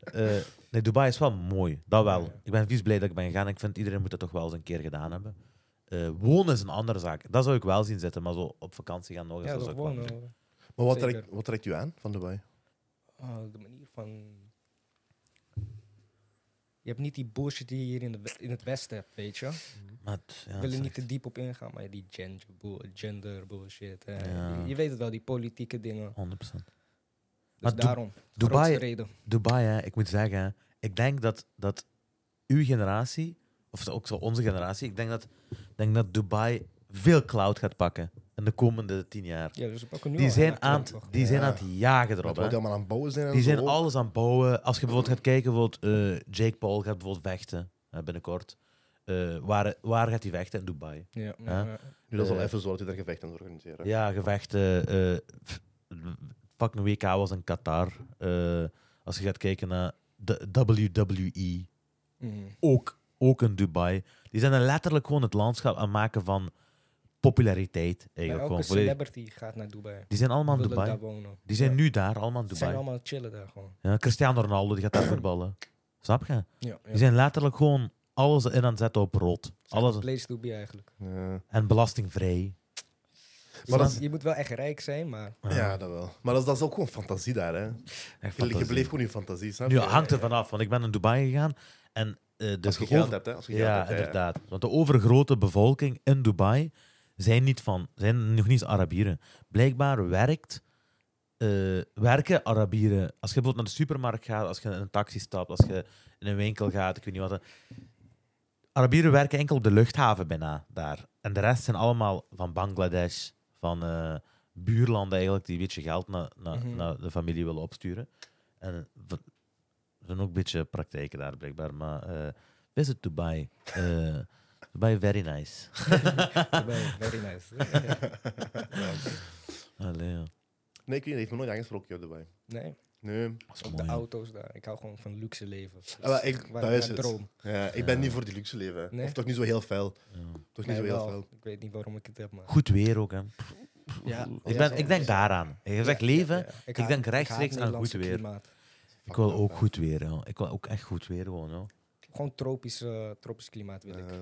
Eh, nee, Dubai is wel mooi. Dat wel.
Ja.
Ik ben vies blij dat ik ben gegaan. Ik vind iedereen moet dat toch wel eens een keer gedaan hebben. Eh, wonen is een andere zaak. Dat zou ik wel zien zitten, maar zo op vakantie gaan nog eens.
ja,
dat
toch
zou ik wel
wonen.
doen.
hoor.
Maar wat
Zeker.
trekt, wat trekt u aan van Dubai?
Ah, de manier van... Je hebt niet die bullshit die je hier in, de, we- in het Westen hebt, weet je.
Maar het- ja,
Ik
het
wil
is
er niet
echt-
te diep op ingaan, maar die gender, bull- gender bullshit. eh,
Ja.
Je, je weet het wel, die politieke dingen.
100%.
Dus
Maar Du-
daarom,
Dubai-
grootste reden.
Dubai, hè, ik moet zeggen, hè, ik denk dat, dat uw generatie, of zo- ook zo onze generatie, ik denk dat, denk dat Dubai veel cloud gaat pakken. in de komende tien jaar.
Ja, dus we pakken nu
Die
al
zijn
hard
aan het,
terug, toch?
die zijn
Ja.
aan het jagen
Wat
erop.
we
hè.
allemaal aan het bouwen zijn. en
Die
zo
zijn
ook.
alles aan het bouwen. Als je bijvoorbeeld gaat kijken, bijvoorbeeld, eh, Jake Paul gaat bijvoorbeeld vechten eh, binnenkort. Eh, waar, waar gaat hij vechten? In Dubai.
Ja, ja,
Ja.
ja.
Nu, dat is wel
Eh.
even zo dat hij daar gevecht aan het organiseren.
Ja, gevechten. eh f- fucking WK was in Qatar. Eh, als je gaat kijken naar de WWE,
Mhm.
ook, ook in Dubai. Die zijn er letterlijk gewoon het landschap aan het maken van populariteit.
Maar
Eigenlijk
elke
gewoon volledig.
celebrity gaat naar Dubai.
Die zijn allemaal in
Willen
Dubai.
E.
daar wonen.
Die zijn
Ja.
nu daar, allemaal in
Ze zijn
Dubai.
allemaal chillen daar gewoon.
Ja, Cristiano Ronaldo die gaat daar voetballen. Snap je?
Ja, ja.
Die zijn letterlijk gewoon alles in aan het zetten op rood.
Echt
Alles
Place to be eigenlijk.
Ja.
en belastingvrij.
Maar dat is-
Je moet wel echt rijk zijn, maar
Ja, dat wel. Maar dat is, dat is ook gewoon fantasie daar, hè.
echt
Je, je
fantastisch.
bleef gewoon in fantasie, snap je?
Nu hangt er vanaf, want ik ben naar Dubai gegaan en eh de
Als je
over-
geld hebt, hè. Als je geld
ja,
hebt,
inderdaad. Want de overgrote bevolking in Dubai zijn niet van, zijn nog niet eens Arabieren. Blijkbaar werkt, eh, werken Arabieren. Als je bijvoorbeeld naar de supermarkt gaat, als je in een taxi stapt, als je in een winkel gaat, ik weet niet wat. eh. Arabieren werken enkel op de luchthaven bijna daar. En de rest zijn allemaal van Bangladesh, van eh, buurlanden eigenlijk, die een beetje geld naar, naar,
Mhm.
naar de familie willen opsturen. En v- er zijn ook een beetje praktijken daar blijkbaar, maar eh visit Dubai. Eh, Dubai very nice.
Dubai, very nice.
Allee, ja.
Nee, ik weet niet, heeft me nooit aangesproken, joh, Dubai.
nee,
Nee.
Dat is
ook
mooi.
de auto's daar. Ik hou gewoon van luxe leven.
Ah, wel, ik,
Waar-
dat
waar
is het.
droom.
Ja, ik ben
Ja.
niet voor die luxe leven.
Nee?
Of toch niet zo heel fel.
Ja.
Toch niet
Nee,
zo heel
wel.
fel.
Ik weet niet waarom ik het heb, maar...
Goed weer ook, hè.
Ja,
Ik,
Ja,
ben,
ja,
ik denk
ja.
daaraan. Je zegt
Ja,
leven,
ja, ja.
ik denk rechtstreeks aan
het
goed weer.
Klimaat.
ik wil
Fuck,
ook
ja.
goed weer. Ja. Ik wil ook echt goed weer gewoon. Ja.
Gewoon tropisch, eh, tropisch klimaat wil ik.
Eh,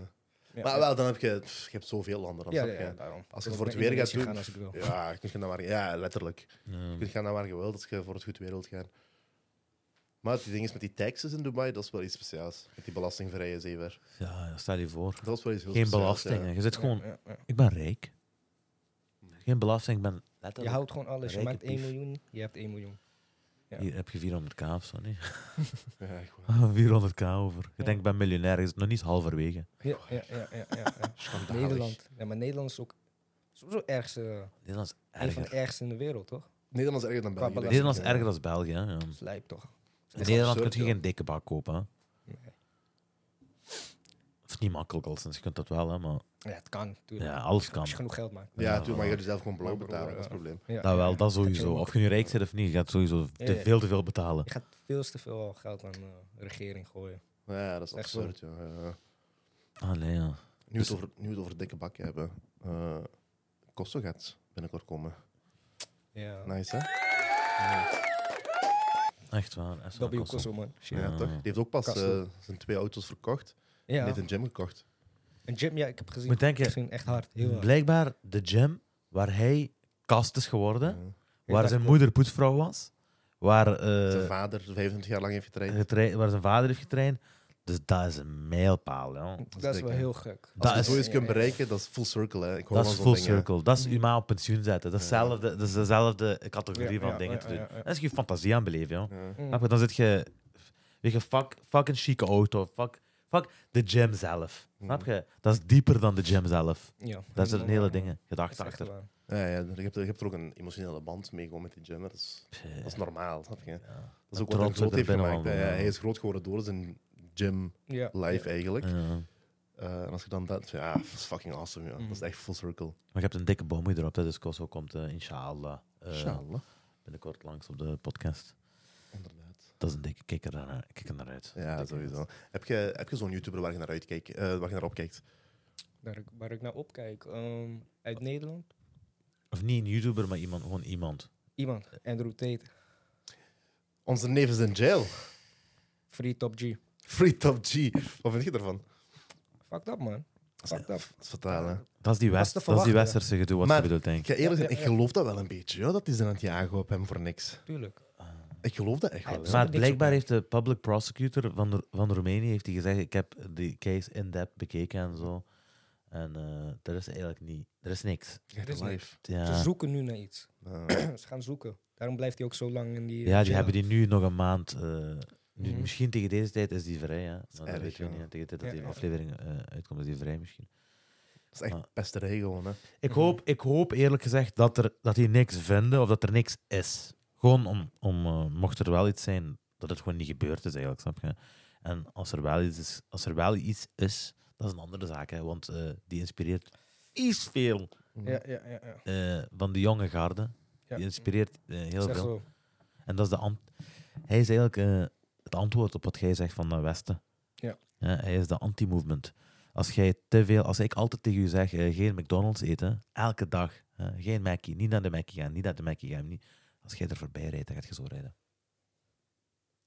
Ja.
Maar wel, dan heb je, pff, je hebt zoveel landen. Dan
Ja,
snap
ja,
je.
ja, daarom.
Als je
Ik wil
voor het
naar
weer gaat
Indonesië
doen-
gaan als ik wil.
Ja, je kunt gaan naar waar je- ja, letterlijk. Je
Ja.
kunt gaan naar waar je wilt als je voor het goed weer wilt gaan. Maar het ding is met die taxes in Dubai, dat is wel iets speciaals. Met die belastingvrije zeever.
Ja, stel je voor.
Dat is wel iets heel
Geen
speciaals,
belastingen.
ja.
Je zit
eh, Ja,
gewoon...
ja, ja.
Ik ben rijk. Geen belasting, ik ben...
Je houdt gewoon alles. Je
Rijke
maakt 1
pief.
miljoen, je hebt 1 miljoen. ja.
Hier heb je 400k of zo, nee?
Ja, echt waar.
400k over. Je
Ja.
denkt, ik ben miljonair. Je zit nog niet eens halverwege.
Ja, ja, ja, ja, ja, ja.
Schandalig.
Nederland. Ja, maar Nederland is ook sowieso ergste,
Nederland is
een
erger.
van de ergste in de wereld, toch?
Nederland is erger dan
Qua
België. denk ik.
Nederland is
Ja.
erger dan België. hè, Ja.
Slijp toch?
In Nederland
absurd,
kun je
joh.
geen dikke bak kopen. Hè.
Nee.
Dat is niet makkelijk al sinds je kunt dat wel, hè, maar
Ja, het kan, natuurlijk.
ja, alles kan.
Als je genoeg geld maakt.
Ja,
Ja,
tuurlijk, maar je gaat jezelf gewoon blauw
Maar
betalen, dat is
broer,
het probleem.
Ja,
Dat wel, dat
je
sowieso.
ook-
Of je nu rijk bent of niet, je gaat sowieso
Ja,
te
ja.
veel te veel betalen.
Je gaat veel te veel geld aan eh, de regering gooien.
Ja, dat is
Echt zo.
absurd, joh. Ja, ja.
Allee, Ah, ja.
Nu we het over, nu we het over dikke bakken hebben. eh Kosto gaat binnenkort komen.
Ja.
Nice, hè?
Echt waar. echt waar,
Dat ben je ook
kost
zo, man. Shit.
Ja,
Ja.
toch? Die heeft ook pas
Kassel.
eh, zijn twee auto's verkocht.
Ja.
En heeft een gym gekocht.
Een gym, ja, ik heb
op.
gezien.
Moet denken,
Misschien echt hard. Heel hard.
Dus blijkbaar de gym waar hij kast is geworden,
Ja.
waar zijn
dat klopt.
moeder poetsvrouw was, waar, eh,
Zijn vader 25 jaar lang heeft getraind.
getraind- waar zijn vader heeft getraind. Dus dat is een mijlpaal. joh.
Dat is wel
dik, hè?
heel gek.
Als
Dat
je
is-
zoiets kunt
Ja, ja.
bereiken, dat is full circle. Hè. Ik hoor
Dat
wel
is
zo'n
full
ding, hè.
circle. Dat is je maar op pensioen zetten. Dat is,
Ja.
hetzelfde- dat is dezelfde categorie
Ja,
van
ja,
dingen
ja,
te doen.
ja, ja.
Dat is je fantasie aan beleven, joh.
Ja.
Mm.
Snap je? Dan zit je... Weet je, fuck, fuck een chique auto. Fuck, fuck de gym zelf. Snap je? Dat is dieper dan de gym zelf.
Ja.
Daar zitten hele dingen,
Dat is
gedachten
echt
achter.
waar.
Ja, ja, je, hebt, je hebt er ook een emotionele band mee gewoon met die gym. hè. Dat is, dat is normaal, snap je?
Ja.
Dat is ook wat
Trots
hij
op
groot
de
heeft gemaakt. hè.
binnenwandel,
Ja,
ja.
hij is groot geworden door zijn gym
Ja.
life eigenlijk.
Ja.
Eh, en als je dan dat... Ja, dat is fucking awesome, ja.
Mhm.
Dat is echt full circle.
Maar je hebt een dikke boom erop, hè, dus Koso komt eh, inshallah eh,
Inshallah.
binnenkort langs op de podcast.
Inderdaad.
Dat is een dikke kikker naar, kikker naar uit.
Ja, sowieso. Heb je, heb je zo'n YouTuber waar je naar uitkijkt, eh, waar je naar opkijkt?
Waar ik, waar ik naar opkijk. ehm, uit Nederland.
Of niet een YouTuber, maar iemand, gewoon iemand.
Iemand. Andrew Tate.
Onze neef is in jail.
Free Top G.
Free Top G. Wat vind je ervan?
Fuck dat, man. Fuck dat.
Dat is fataal, hè?
Dat is die,
Dat is
West,
te
dat is die
verwachten, ja.
westerse gedoe wat
Maar-
je bedoelt, denk
Ik
ik.
ga eerlijk
Ja,
zijn,
ja,
ik
ja.
geloof dat wel een beetje, joh, dat die zijn aan het jagen op hem voor niks.
Tuurlijk.
Ik geloof dat echt
Hij
wel.
heeft
ja.
Ah. Maar
niks op
blijkbaar
mij.
heeft de public prosecutor van, Ro- van Roemenië heeft hij gezegd: Ik heb die case in-depth bekeken en zo. En eh er is eigenlijk niet, er is niks.
Echt
is
live.
Ze
Ja,
zoeken nu naar iets.
Ja.
Ze gaan zoeken. Daarom blijft hij ook zo lang in die... eh,
ja die
jail.
hebben die nu nog een maand. eh, nu,
Mhm.
Misschien tegen deze tijd is die vrij, hè? Maar dat
erg,
weten we
ja.
niet. hè. Tegen de tijd dat
Ja,
die
ja.
aflevering eh, uitkomt, is die vrij misschien.
Dat is
Ja.
echt pesterij gewoon, hè.
Ik
Mhm.
hoop, ik hoop eerlijk gezegd dat, er, dat die niks vinden of dat er niks is. Gewoon om, om eh, mocht er wel iets zijn, dat het gewoon niet gebeurd is eigenlijk, snap je? En als er wel iets is, als er wel iets is dat is een andere zaak, hè, want eh, die inspireert iets veel
Mm-hmm.
Ja, ja, ja. ja.
eh, van de jonge garde.
Ja.
Die inspireert eh, heel
Zeg
veel.
zo.
En dat is de ant- hij is eigenlijk eh, het antwoord op wat jij zegt van de Westen.
Ja.
Ja, hij is de anti-movement. Als jij te veel, als ik altijd tegen u zeg, eh, geen McDonald's eten, elke dag, eh, geen Mackie, niet naar de Mackie gaan, niet naar de Mackie gaan, niet. Als jij er voorbij rijdt, dan gaat je zo rijden.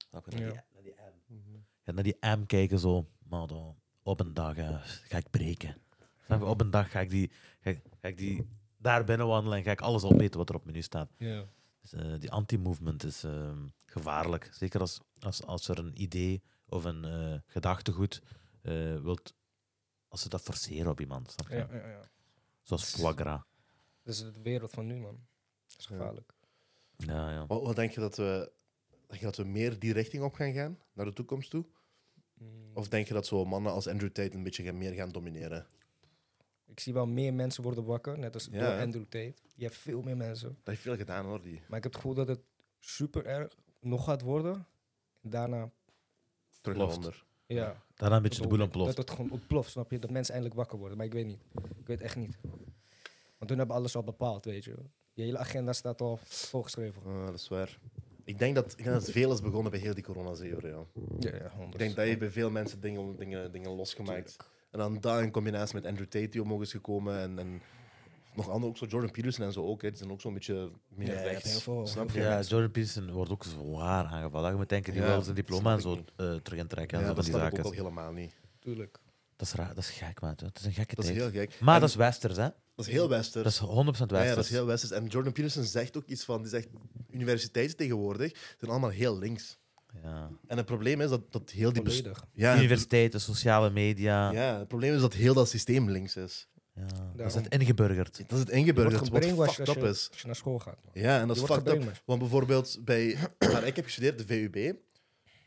Snap je? Naar,
Ja.
die, naar die M.
Mm-hmm.
Je gaat naar die M kijken zo, maar dan, op een dag eh, ga ik breken. Snap je? Op een dag ga ik die, ga, ik- ga ik die daar binnen wandelen en ga ik alles opeten wat er op het menu staat.
Ja.
Dus, eh, die anti-movement is ehm, gevaarlijk. Zeker als, als, als er een idee of een eh, gedachtegoed eh, wilt, als ze dat forceren op iemand. Snap je?
Ja, ja, ja.
Zoals foie gras.
Dat is de wereld van nu, man. Dat is
Ja.
gevaarlijk.
Ja, ja.
Wat, wat denk je dat we... Denk je dat we meer die richting op gaan gaan, naar de toekomst toe?
Mm.
Of denk je dat zo mannen als Andrew Tate een beetje gaan- meer gaan domineren?
Ik zie wel meer mensen worden wakker, net als
Ja,
door
hè?
Andrew Tate. Je hebt veel meer mensen.
Dat heeft veel gedaan, hoor, die.
Maar ik heb het gevoel dat het super erg nog gaat worden. En daarna,
Terug naar
Klopt.
onder.
ja.
Daarna een beetje de boel
Dat
ontploft.
het gewoon ontploft, snap je? Dat mensen eindelijk wakker worden. Maar ik weet niet. Ik weet echt niet. Want toen hebben we alles al bepaald, weet je. Je hele agenda staat al volgeschreven.
Ah, dat is waar. Ik denk dat, ik denk dat veel is begonnen bij heel die coronazeeuwen, ja.
Ja, ja,
Ik denk dat heeft bij veel mensen dingen, dingen, dingen losgemaakt. En dan dat in combinatie met Andrew Tate die omhoog is gekomen. En, en nog andere, ook zo Jordan Peterson en zo ook. Hè, die zijn ook zo'n beetje meer
Ja,
rechts.
heel veel-
Snap je?
Ja, Jordan Peterson wordt ook zwaar aangevallen. Je moet denken, die
Ja,
wil zijn diploma en
snap
zo
ik
eh, terug intrekken.
Ja,
en zo
dat
van die
snap ik
zaken.
ook al helemaal niet.
Tuurlijk.
Dat is raar, dat is gek, maat. hè. Het is een gekke
Dat is
tijd.
heel gek.
Maar
En
dat is westers, hè?
dat is heel westers.
Dat is 100% westers.
Ja, ja, dat is heel westers. En Jordan Peterson zegt ook iets van, die zegt, universiteiten tegenwoordig zijn allemaal heel links.
Ja.
En het probleem is dat, dat heel die... bes-
Volledig.
Ja, het-
Universiteiten, sociale media. Ja.
ja, het probleem is dat heel dat systeem links is.
Dat is
Daarom.
het
Dat is
ingeburgerd.
het
Je wordt
ingeburgerd, wat
gebrainwashed
fucked
als
up
je,
is.
als je naar school gaat. man.
Ja, en dat
Je
is
wordt
fucked up.
gebrainwashed.
Want bijvoorbeeld bij waar ik heb gestudeerd, de VUB.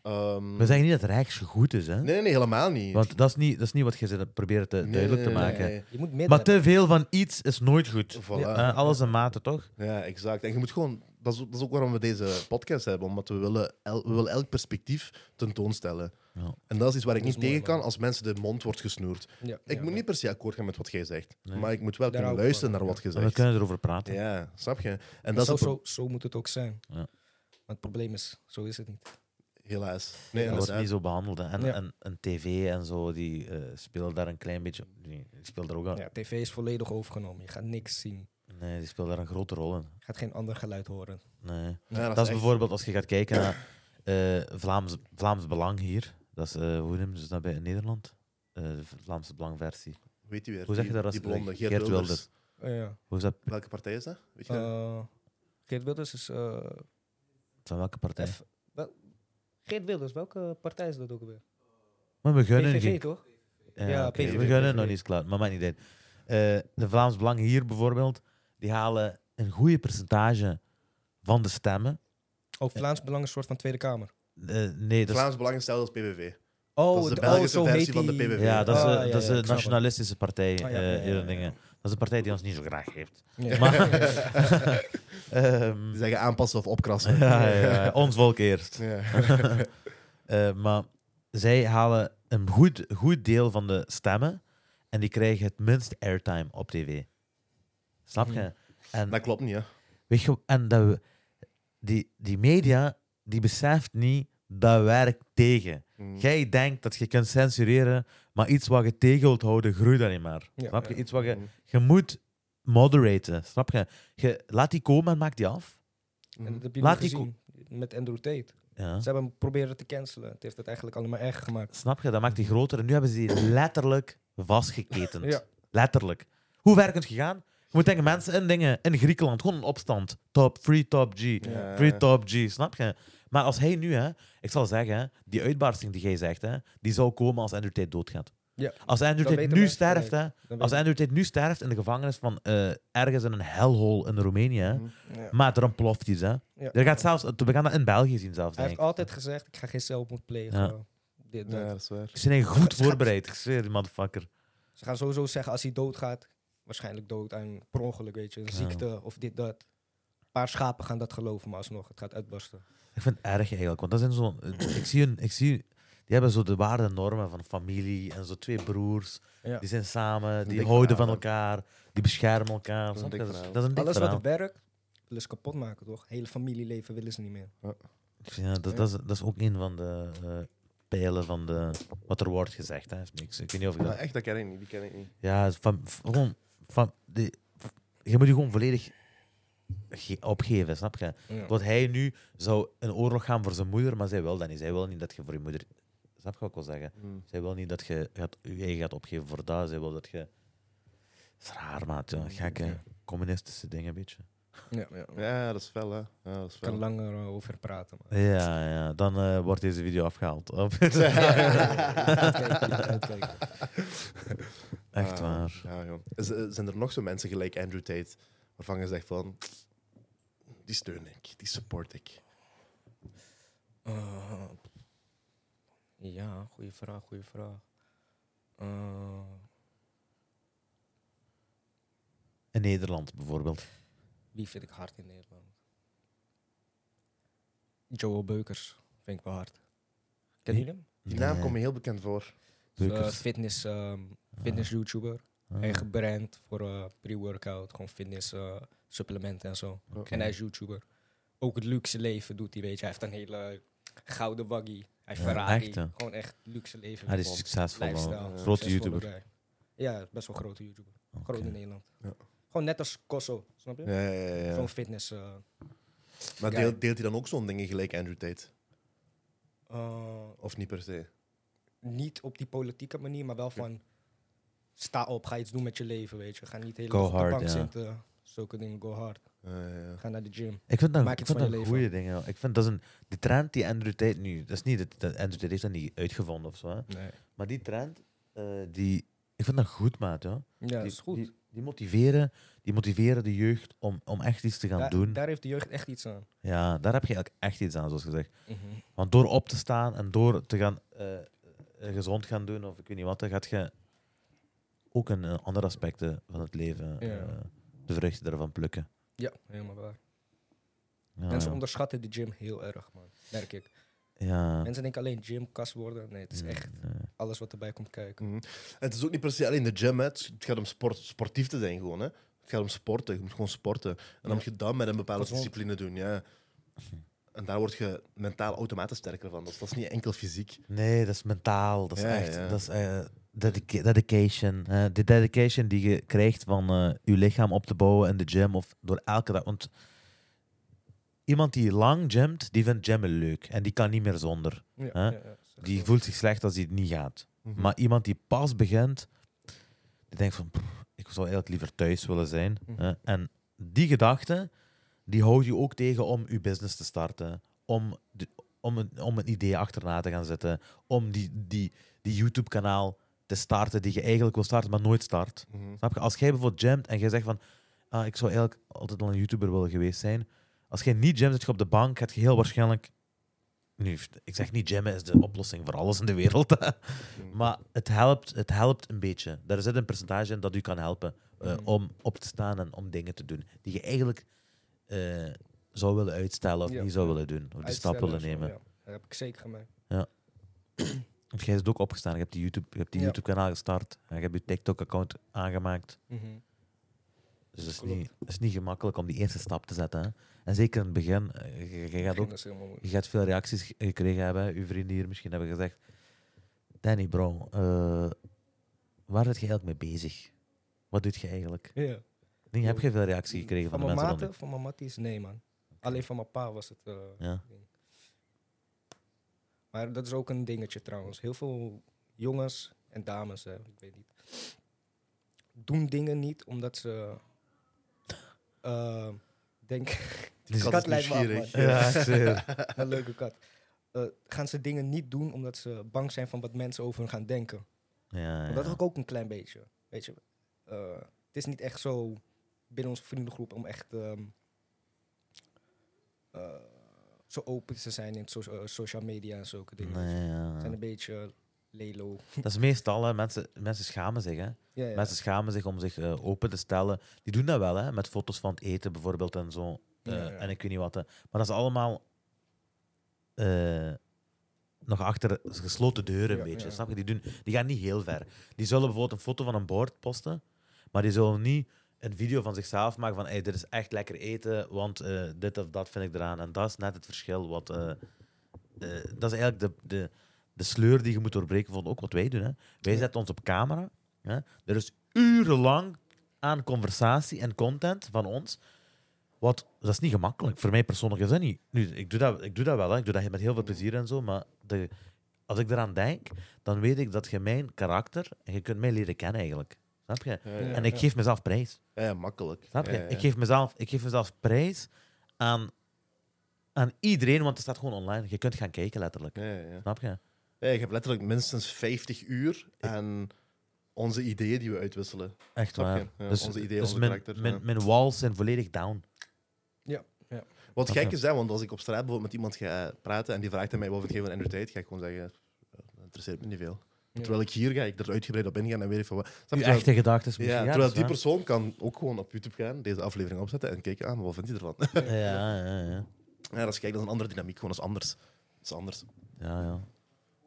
ehm,
We zeggen niet dat het Rijks goed is, hè?
nee, nee, nee, helemaal niet.
Want dat is niet, dat is niet wat je zit- probeert te,
Nee,
duidelijk te
nee, nee,
maken.
nee.
Je moet midden
Maar te veel van iets is nooit goed.
Voilà.
Eh, alles in mate, toch?
Ja, exact. En je moet gewoon, dat is, ook- dat is ook waarom we deze podcast hebben, omdat we willen, el- we willen elk perspectief tentoonstellen.
Ja.
En dat is iets waar ik
Dat is
niet
mooi,
tegen kan
man.
als mensen de mond wordt gesnoerd.
Ja,
Ik
ja,
moet
ja.
niet per se akkoord gaan met wat jij zegt,
Nee.
maar ik moet wel
Daar
kunnen
hou ik
luisteren naar
van,
wat je
En we
zegt.
kunnen erover praten.
Ja, snap je? En dat is
zo,
het pro-
zo, zo moet het ook zijn.
Ja.
Maar het probleem is, zo is het niet.
helaas. Nee,
dat wordt
inderdaad.
niet zo behandeld. hè. En,
Ja.
en, en tv en zo, die eh, spelen daar een klein beetje... Die spelen daar ook een,
Ja, TV is volledig overgenomen. Je gaat niks zien.
Nee, die spelen daar een grote rol in.
Je gaat geen ander geluid horen.
Nee.
Ja,
Dat,
is
is
echt-
bijvoorbeeld als je gaat kijken naar eh, Vlaams, Vlaams Belang hier. Dat is, eh, hoe noemen ze dat bij in Nederland? Eh de Vlaamse Belang-versie.
Weet je weer?
Hoe zeg je
die-
dat als
Die blonde, Geert,
Geert
Wilders.
Wilders.
Eh, ja.
Hoe is dat?
Welke partij is dat? Weet je dat?
Eh, Geert Wilders is... eh,
Van welke partij?
F- wel- Geert Wilders, welke partij is dat ook weer?
Maar we gunnen
PVV,
geen-
toch?
Ja,
Ja,
Eh, oké,
PVV,
we gunnen
PVV.
nog niet eens klaar, maar maakt niet uit. Eh, de Vlaams Belang hier bijvoorbeeld, die halen een goede percentage van de stemmen.
Ook Vlaams Belang is een soort van Tweede Kamer.
Eh, nee, dat is,
Vlaams Belang is hetzelfde als PVV.
Oh,
Dat is de
d-
Belgische
zo
versie
heet
van de
die-
PVV.
ja, dat is,
Ah,
eh,
ja,
dat is
ja,
een
ik snap het.
nationalistische partij.
Ah, ja,
eh,
ja, ja,
hier
ja, ja.
dingen. Dat is een partij die ons niet zo graag heeft.
Ja.
Maar-
Ja.
Ehm,
Die zeggen aanpassen of opkrassen.
ja, ja, ja, ons volk eerst.
Ja.
Eh, maar zij halen een goed, goed deel van de stemmen en die krijgen het minst airtime op tv. Snap
Hmm.
je? En
Dat klopt niet, hè?
Weet je, en dat we, die, die media, die beseft niet, dat werkt tegen.
Hm.
Mm.
Jij denkt dat je kunt censureren, maar iets wat je tegen wilt houden, groeit dan niet maar.
Ja,
snap je?
ja.
Iets wat je,
Mm.
je moet moderaten, snap je? je? Laat die komen en maak die af.
Mm.
En dat heb je
Laat
nu
die ko-
gezien met Andrew Tate.
Ja.
Ze hebben hem proberen te cancelen. Het heeft het eigenlijk allemaal erg gemaakt.
Snap je? Dat maakt die groter. En nu hebben ze die letterlijk vastgeketend.
Ja.
Letterlijk. Hoe ver kunt je gaan? Je moet tegen mensen in dingen in Griekenland, gewoon een opstand. Top, free top G.
Ja.
Free top G, snap je? Maar als hij nu, hè, ik zal zeggen, hè, die uitbarsting die jij zegt, hè, die zou komen als Andrew Tate doodgaat.
Ja.
Als Andrew
Dan
Tate
weten
nu
mensen het
sterft, hè,
Dan
als
weet-
Andrew Tate nu sterft in de gevangenis van eh, ergens in een hellhole in Roemenië, hè,
Ja.
maar er ontploft iets. Hè.
Ja.
Er gaat zelfs, we gaan dat in België zien zelfs,
Hij
denk ik.
heeft altijd gezegd, ik ga geen zelfmoord plegen.
Ja.
Dit, dat.
Ja, dat is waar.
Ze zijn goed voorbereid, ik zweer die motherfucker.
Ze gaan sowieso zeggen als hij doodgaat, waarschijnlijk dood aan per ongeluk, weet je, een
Ja.
ziekte of dit, dat. Een paar schapen gaan dat geloven, maar alsnog, het gaat uitbarsten.
Ik vind het erg eigenlijk, want dat zijn zo'n... eh, ik zie hun... Ik zie, die hebben zo de waarden en normen van familie en zo twee broers.
Ja.
Die zijn samen, die
dik
houden van
verhaal,
elkaar, die beschermen
is
elkaar.
een
snap je?
dik
Dat is,
verhaal.
dat is een dik
Alles
verhaal.
wat werkt, willen ze kapot maken, toch? Hele familieleven willen ze niet meer.
Ja, dat, dat, is, dat is ook een van de eh, pijlen van de, wat er wordt gezegd. Hè. Heeft niks. Ik weet niet of ik
Maar
dat...
echt, dat ken ik niet. Die ken ik niet.
Ja, van, f- gewoon... Van, die, f- je moet je gewoon volledig ge- opgeven, snap je?
Ja.
Want hij nu zou een oorlog gaan voor zijn moeder, maar zij wil dat niet. Zij wil niet dat je voor je moeder... Snap je wat ik wil zeggen?
Mm.
Zij wil niet dat je gaat, je eigen gaat opgeven voor dat. Zij wil dat je... Dat is raar, maat. Ja. Gekke
Ja.
communistische dingen, een beetje.
Ja, ja. Ik
Ja, dat is fel, hè. Ja, dat is
kan
fel.
langer eh, over praten. Maar.
Ja, ja. Dan eh, wordt deze video afgehaald.
Uitkijken, uitkijken.
Echt
Ah,
waar.
Ja, joh. Is- eh, zijn er nog zo mensen gelijk Andrew Tate, waarvan je zegt van... Die steun ik, die support ik.
Eh, ja, goede vraag, goede vraag. Eh,
In Nederland bijvoorbeeld.
wie vind ik hard in Nederland? Joel Beukers vind ik wel hard. Ken je
Wie?
hem?
Die naam
Nee,
komt me heel bekend voor.
Beukers.
Eh, fitness, ehm, fitness YouTuber.
Ah,
Eigen brand voor eh, pre-workout, gewoon fitness eh, supplementen en zo.
oké.
En hij is YouTuber. Ook het luxe leven doet hij, weet je. Hij heeft een hele gouden waggie. Hij heeft
Ja,
Ferrari.
echt, hè?
Gewoon echt luxe leven.
Hij Ah, is
gewoon
succesvol. man.
lifestyle,
grote
succesvolle
YouTuber.
guy. Ja, best wel grote YouTuber.
Oké.
Groot in Nederland.
Ja.
Gewoon net als Kosso, snap je?
Ja, ja, ja, ja.
Zo'n fitness. eh,
Maar
guy.
deelt, deelt hij dan ook zo'n dingen gelijk Andrew Tate?
eh,
Of niet per se?
niet op die politieke manier, maar wel van... Sta op, ga iets doen met je leven, weet je. Ga niet
Go
helemaal op de
hard,
bank
ja.
zitten. Zulke dingen, go hard.
Ja, ja, ja.
Ga naar de gym.
Ik vind dat,
Maak
ik
iets
vind
van je
dat
leven.
goede dingen. Ik vind dat is een, die trend die Andrew Tate nu. Dat is niet dat, dat Andrew Tate heeft dat niet uitgevonden of zo. Hè.
Nee.
Maar die trend, eh, die, ik vind dat goed, maat. Ja.
Ja,
die,
dat is goed.
Die, die motiveren, die motiveren de jeugd om, om echt iets te gaan
Daar-
doen.
Daar heeft de jeugd echt iets aan.
ja, daar heb je eigenlijk echt iets aan, zoals gezegd.
Mhm.
Want door op te staan en door te gaan eh, eh, gezond gaan doen of ik weet niet wat, dan gaat je ook een, eh, andere aspecten van het leven,
Ja.
eh, de vruchten daarvan plukken.
Ja, helemaal waar.
Ja,
Mensen
ja.
onderschatten de gym heel erg, man. Merk ik.
Ja.
Mensen denken alleen gym, kas worden. Nee, het is echt
Nee.
alles wat erbij komt kijken.
Mhm. En het is ook niet per se alleen de gym, hè. Het is- het gaat om sport, sportief te zijn gewoon. Hè. Het gaat om sporten, je moet gewoon sporten. En dan
Ja.
moet je dat met een bepaalde
Gezond.
discipline doen, ja. En daar word je mentaal automatisch sterker van. Dat is, dat is niet enkel fysiek.
Nee, dat is mentaal. Dat is
Ja,
echt.
ja.
Dat is, eh, dedica- dedication. eh, de dedication die je krijgt van eh, je lichaam op te bouwen in de gym of door elke dag. Want iemand die lang gymt, die vindt gymmen leuk en die kan niet meer zonder.
Ja,
Hè?
ja, ja, is echt
Die
zo.
voelt zich slecht als hij het niet gaat.
Mhm.
Maar iemand die pas begint, die denkt van, "Pff, ik zou eigenlijk liever thuis willen zijn.
Mhm.
hè. en die gedachte, die houdt je ook tegen om je business te starten, om, de- om, een, om een idee achterna te gaan zetten, om die, die, die YouTube-kanaal te starten die je eigenlijk wil starten, maar nooit start.
Mhm.
Snap je? Als jij bijvoorbeeld gymt en jij zegt van, ah, ik zou eigenlijk altijd al een YouTuber willen geweest zijn. Als jij niet gymt, zit je op de bank, gaat je heel waarschijnlijk... Nu, ik zeg niet gymmen is de oplossing voor alles in de wereld. hè. Maar het helpt, het helpt een beetje. Daar zit een percentage in dat u kan helpen eh,
Mhm.
om op te staan en om dingen te doen die je eigenlijk eh, zou willen uitstellen of
Ja.
niet zou willen doen. Of die stap
Uitstellen
willen
en zo,
nemen.
ja. Dat heb ik zeker gemerkt.
Want jij is ook opgestaan. Je hebt die YouTube- je hebt die
Ja.
YouTube-kanaal gestart. En je hebt je TikTok-account aangemaakt.
Mhm.
Dus het is,
Klopt.
niet, het is niet gemakkelijk om die eerste stap te zetten. Hè? En zeker in het begin, eh, je, je gaat
Begin
ook
is helemaal moeilijk.
je gaat veel reacties ge- gekregen hebben. hè. Uw vrienden hier misschien hebben gezegd: Danny, bro, eh, waar zit je eigenlijk mee bezig? Wat doet je eigenlijk?
Ja.
Nee, heb je veel reactie gekregen van,
mijn
de mensen
maten, van mijn matties? Nee, man. Alleen van mijn pa was het. eh,
rondom je? Ja.
Maar dat is ook een dingetje trouwens. Heel veel jongens en dames, hè, ik weet niet, doen dingen niet omdat ze eh, denken.
Dus
kat
kat
is
lijkt me af,
nieuwsgierig.
man.
Ja, ik zie het.
Een leuke kat. Eh, gaan ze dingen niet doen omdat ze bang zijn van wat mensen over hun gaan denken?
ja,
Want
ja.
dat heb ik ook een klein beetje. Weet je, Eh, het is niet echt zo binnen onze vriendengroep om echt ehm, eh, zo open te zijn in socia- eh, social media en zulke dingen.
Nee, ja,
We
ja.
zijn een beetje Lelo.
Dat is meestal, hè, mensen, mensen schamen zich. Hè.
Ja, ja.
Mensen schamen zich om zich eh, open te stellen. Die doen dat wel, hè, met foto's van het eten bijvoorbeeld en zo. eh,
Ja, ja.
En ik weet niet wat. hè. Maar dat is allemaal eh, nog achter gesloten deuren
Ja,
een beetje.
ja.
Snap je? Die, doen, die gaan niet heel ver. Die zullen bijvoorbeeld een foto van een bord posten, maar die zullen niet een video van zichzelf maken van hey, dit is echt lekker eten, want eh, dit of dat vind ik eraan. En dat is net het verschil. Wat, eh, eh, dat is eigenlijk de, de, de sleur die je moet doorbreken van ook wat wij doen. Hè. Wij
Ja.
zetten ons op camera. Hè. Er is urenlang aan conversatie en content van ons. Wat, dat is niet gemakkelijk. Voor mij persoonlijk is dat niet. Nu, ik, doe dat, ik doe dat wel, hè. ik doe dat met heel veel plezier en zo. Maar de, als ik eraan denk, dan weet ik dat je mijn karakter en je kunt mij leren kennen eigenlijk. Snap je?
Ja,
Ja.
ja.
En ik geef mezelf prijs.
Ja, makkelijk.
Snap je?
Ja, ja.
Ik, geef mezelf, ik geef mezelf prijs aan, aan iedereen, want het staat gewoon online. Je kunt gaan kijken, letterlijk.
Ja, ja, ja.
Snap je?
Ja, ik heb letterlijk minstens 50 uur aan onze ideeën die we uitwisselen.
Echt
Snap
waar.
je? Ja,
dus
onze ideeën,
dus
onze
mijn,
karakters,
mijn,
ja.
mijn walls zijn volledig down.
Wat
Snap je?
gek is, hè, want als ik op straat bijvoorbeeld met iemand ga praten en die vraagt aan mij over het geven van energie, ga ik gewoon zeggen, "Eh, dat interesseert me niet veel.
Ja.
Terwijl ik hier ga, ik er uitgebreid op ingaan en weet ik van wat. Snap je?
Je
Terwijl-
echte gedachten.
Ja,
misschien. Ja,
terwijl
dat is
die
waar.
persoon kan ook gewoon op YouTube gaan, deze aflevering opzetten en kijken aan, wat vindt hij ervan?
Ja, ja, ja.
ja, dat is gek, dat is een andere dynamiek, gewoon dat is anders. Dat is anders.
ja, ja.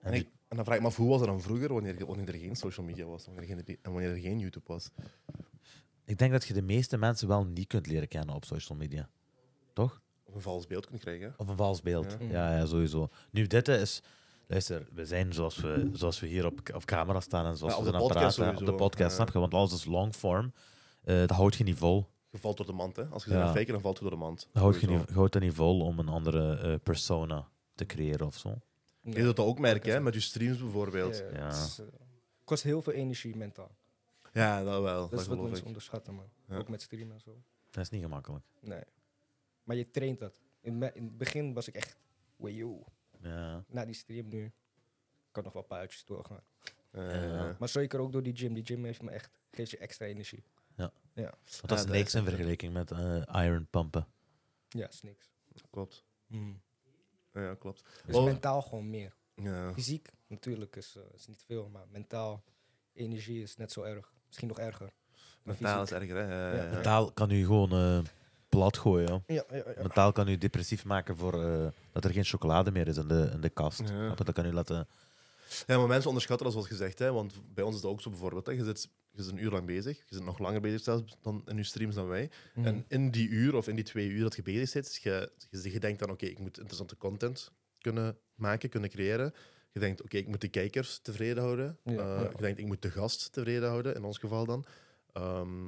En,
En
ik- en dan vraag ik me af, hoe was dat dan vroeger, wanneer, wanneer er geen social media was, wanneer er geen, en wanneer er geen YouTube was?
Ik denk dat je de meeste mensen wel niet kunt leren kennen op social media. Toch?
Of een vals beeld kunnen krijgen. hè?
Of een vals beeld.
Ja.
Ja, ja, sowieso. Nu, dit is... Luister, we zijn zoals we, zoals we hier op, op camera staan en zoals
Ja, op
we
de
zijn aan het
podcast
praten. Op de
sowieso.
podcast,
Ja.
snap je? Want alles is long form. Eh, dat houdt je niet vol.
Je valt door de mand, hè. Als je
Ja.
ja. gaat faken, dan valt je door de mand.
Dat houdt je
Sowieso.
niet, je houdt dat niet vol om een andere eh, persona te creëren of zo.
Ja.
Je doet dat ook merken, hè,
Ja.
met je streams bijvoorbeeld. Ja,
Ja.
het is, eh, kost heel veel energie mentaal.
dat wel. Dat,
Dat is wat
geloof
mensen
ik.
onderschatten, man.
Ja.
Ook met streamen en zo.
Dat is niet gemakkelijk.
Nee. Maar je traint dat. In, me- in het begin was ik echt, "Wee, yo.
Ja.
Na die stream nu, ik kan nog wel een paar uitjes doorgaan.
Ja, ja, ja.
Maar zeker ook door die gym. Die gym heeft me echt, geeft je extra energie.
Want dat is
Ja, dat
niks
is
in
echt, ja.
vergelijking met eh, iron pumpen.
Ja, is niks.
Klopt.
Mm.
Ja, ja, klopt.
Dus
Oh.
mentaal gewoon meer.
Ja.
Fysiek natuurlijk is, eh, is niet veel, maar mentaal energie is net zo erg. Misschien nog erger. Maar
Mentaal is
fysiek-
erger, hè.
Ja.
Ja, ja, ja.
Mentaal kan u gewoon eh, plat gooien. hoor.
Ja, ja, ja.
Mentaal kan u depressief maken voor eh, dat er geen chocolade meer is in de, in de kast.
Ja.
Snap je? Dat kan u laten...
Ja, maar mensen onderschatten dat, zoals gezegd, hè. Want bij ons is dat ook zo bijvoorbeeld, hè. Je zit, je zit een uur lang bezig. Je zit nog langer bezig zelfs dan in je streams dan wij.
Mm.
En in die uur of in die twee uur dat je bezig zit, je, je, je denkt dan, oké, ik moet interessante content kunnen maken, kunnen creëren. Je denkt, oké, ik moet de kijkers tevreden houden.
Ja,
Eh,
ja.
Je denkt, ik moet de gast tevreden houden, in ons geval dan. Ehm,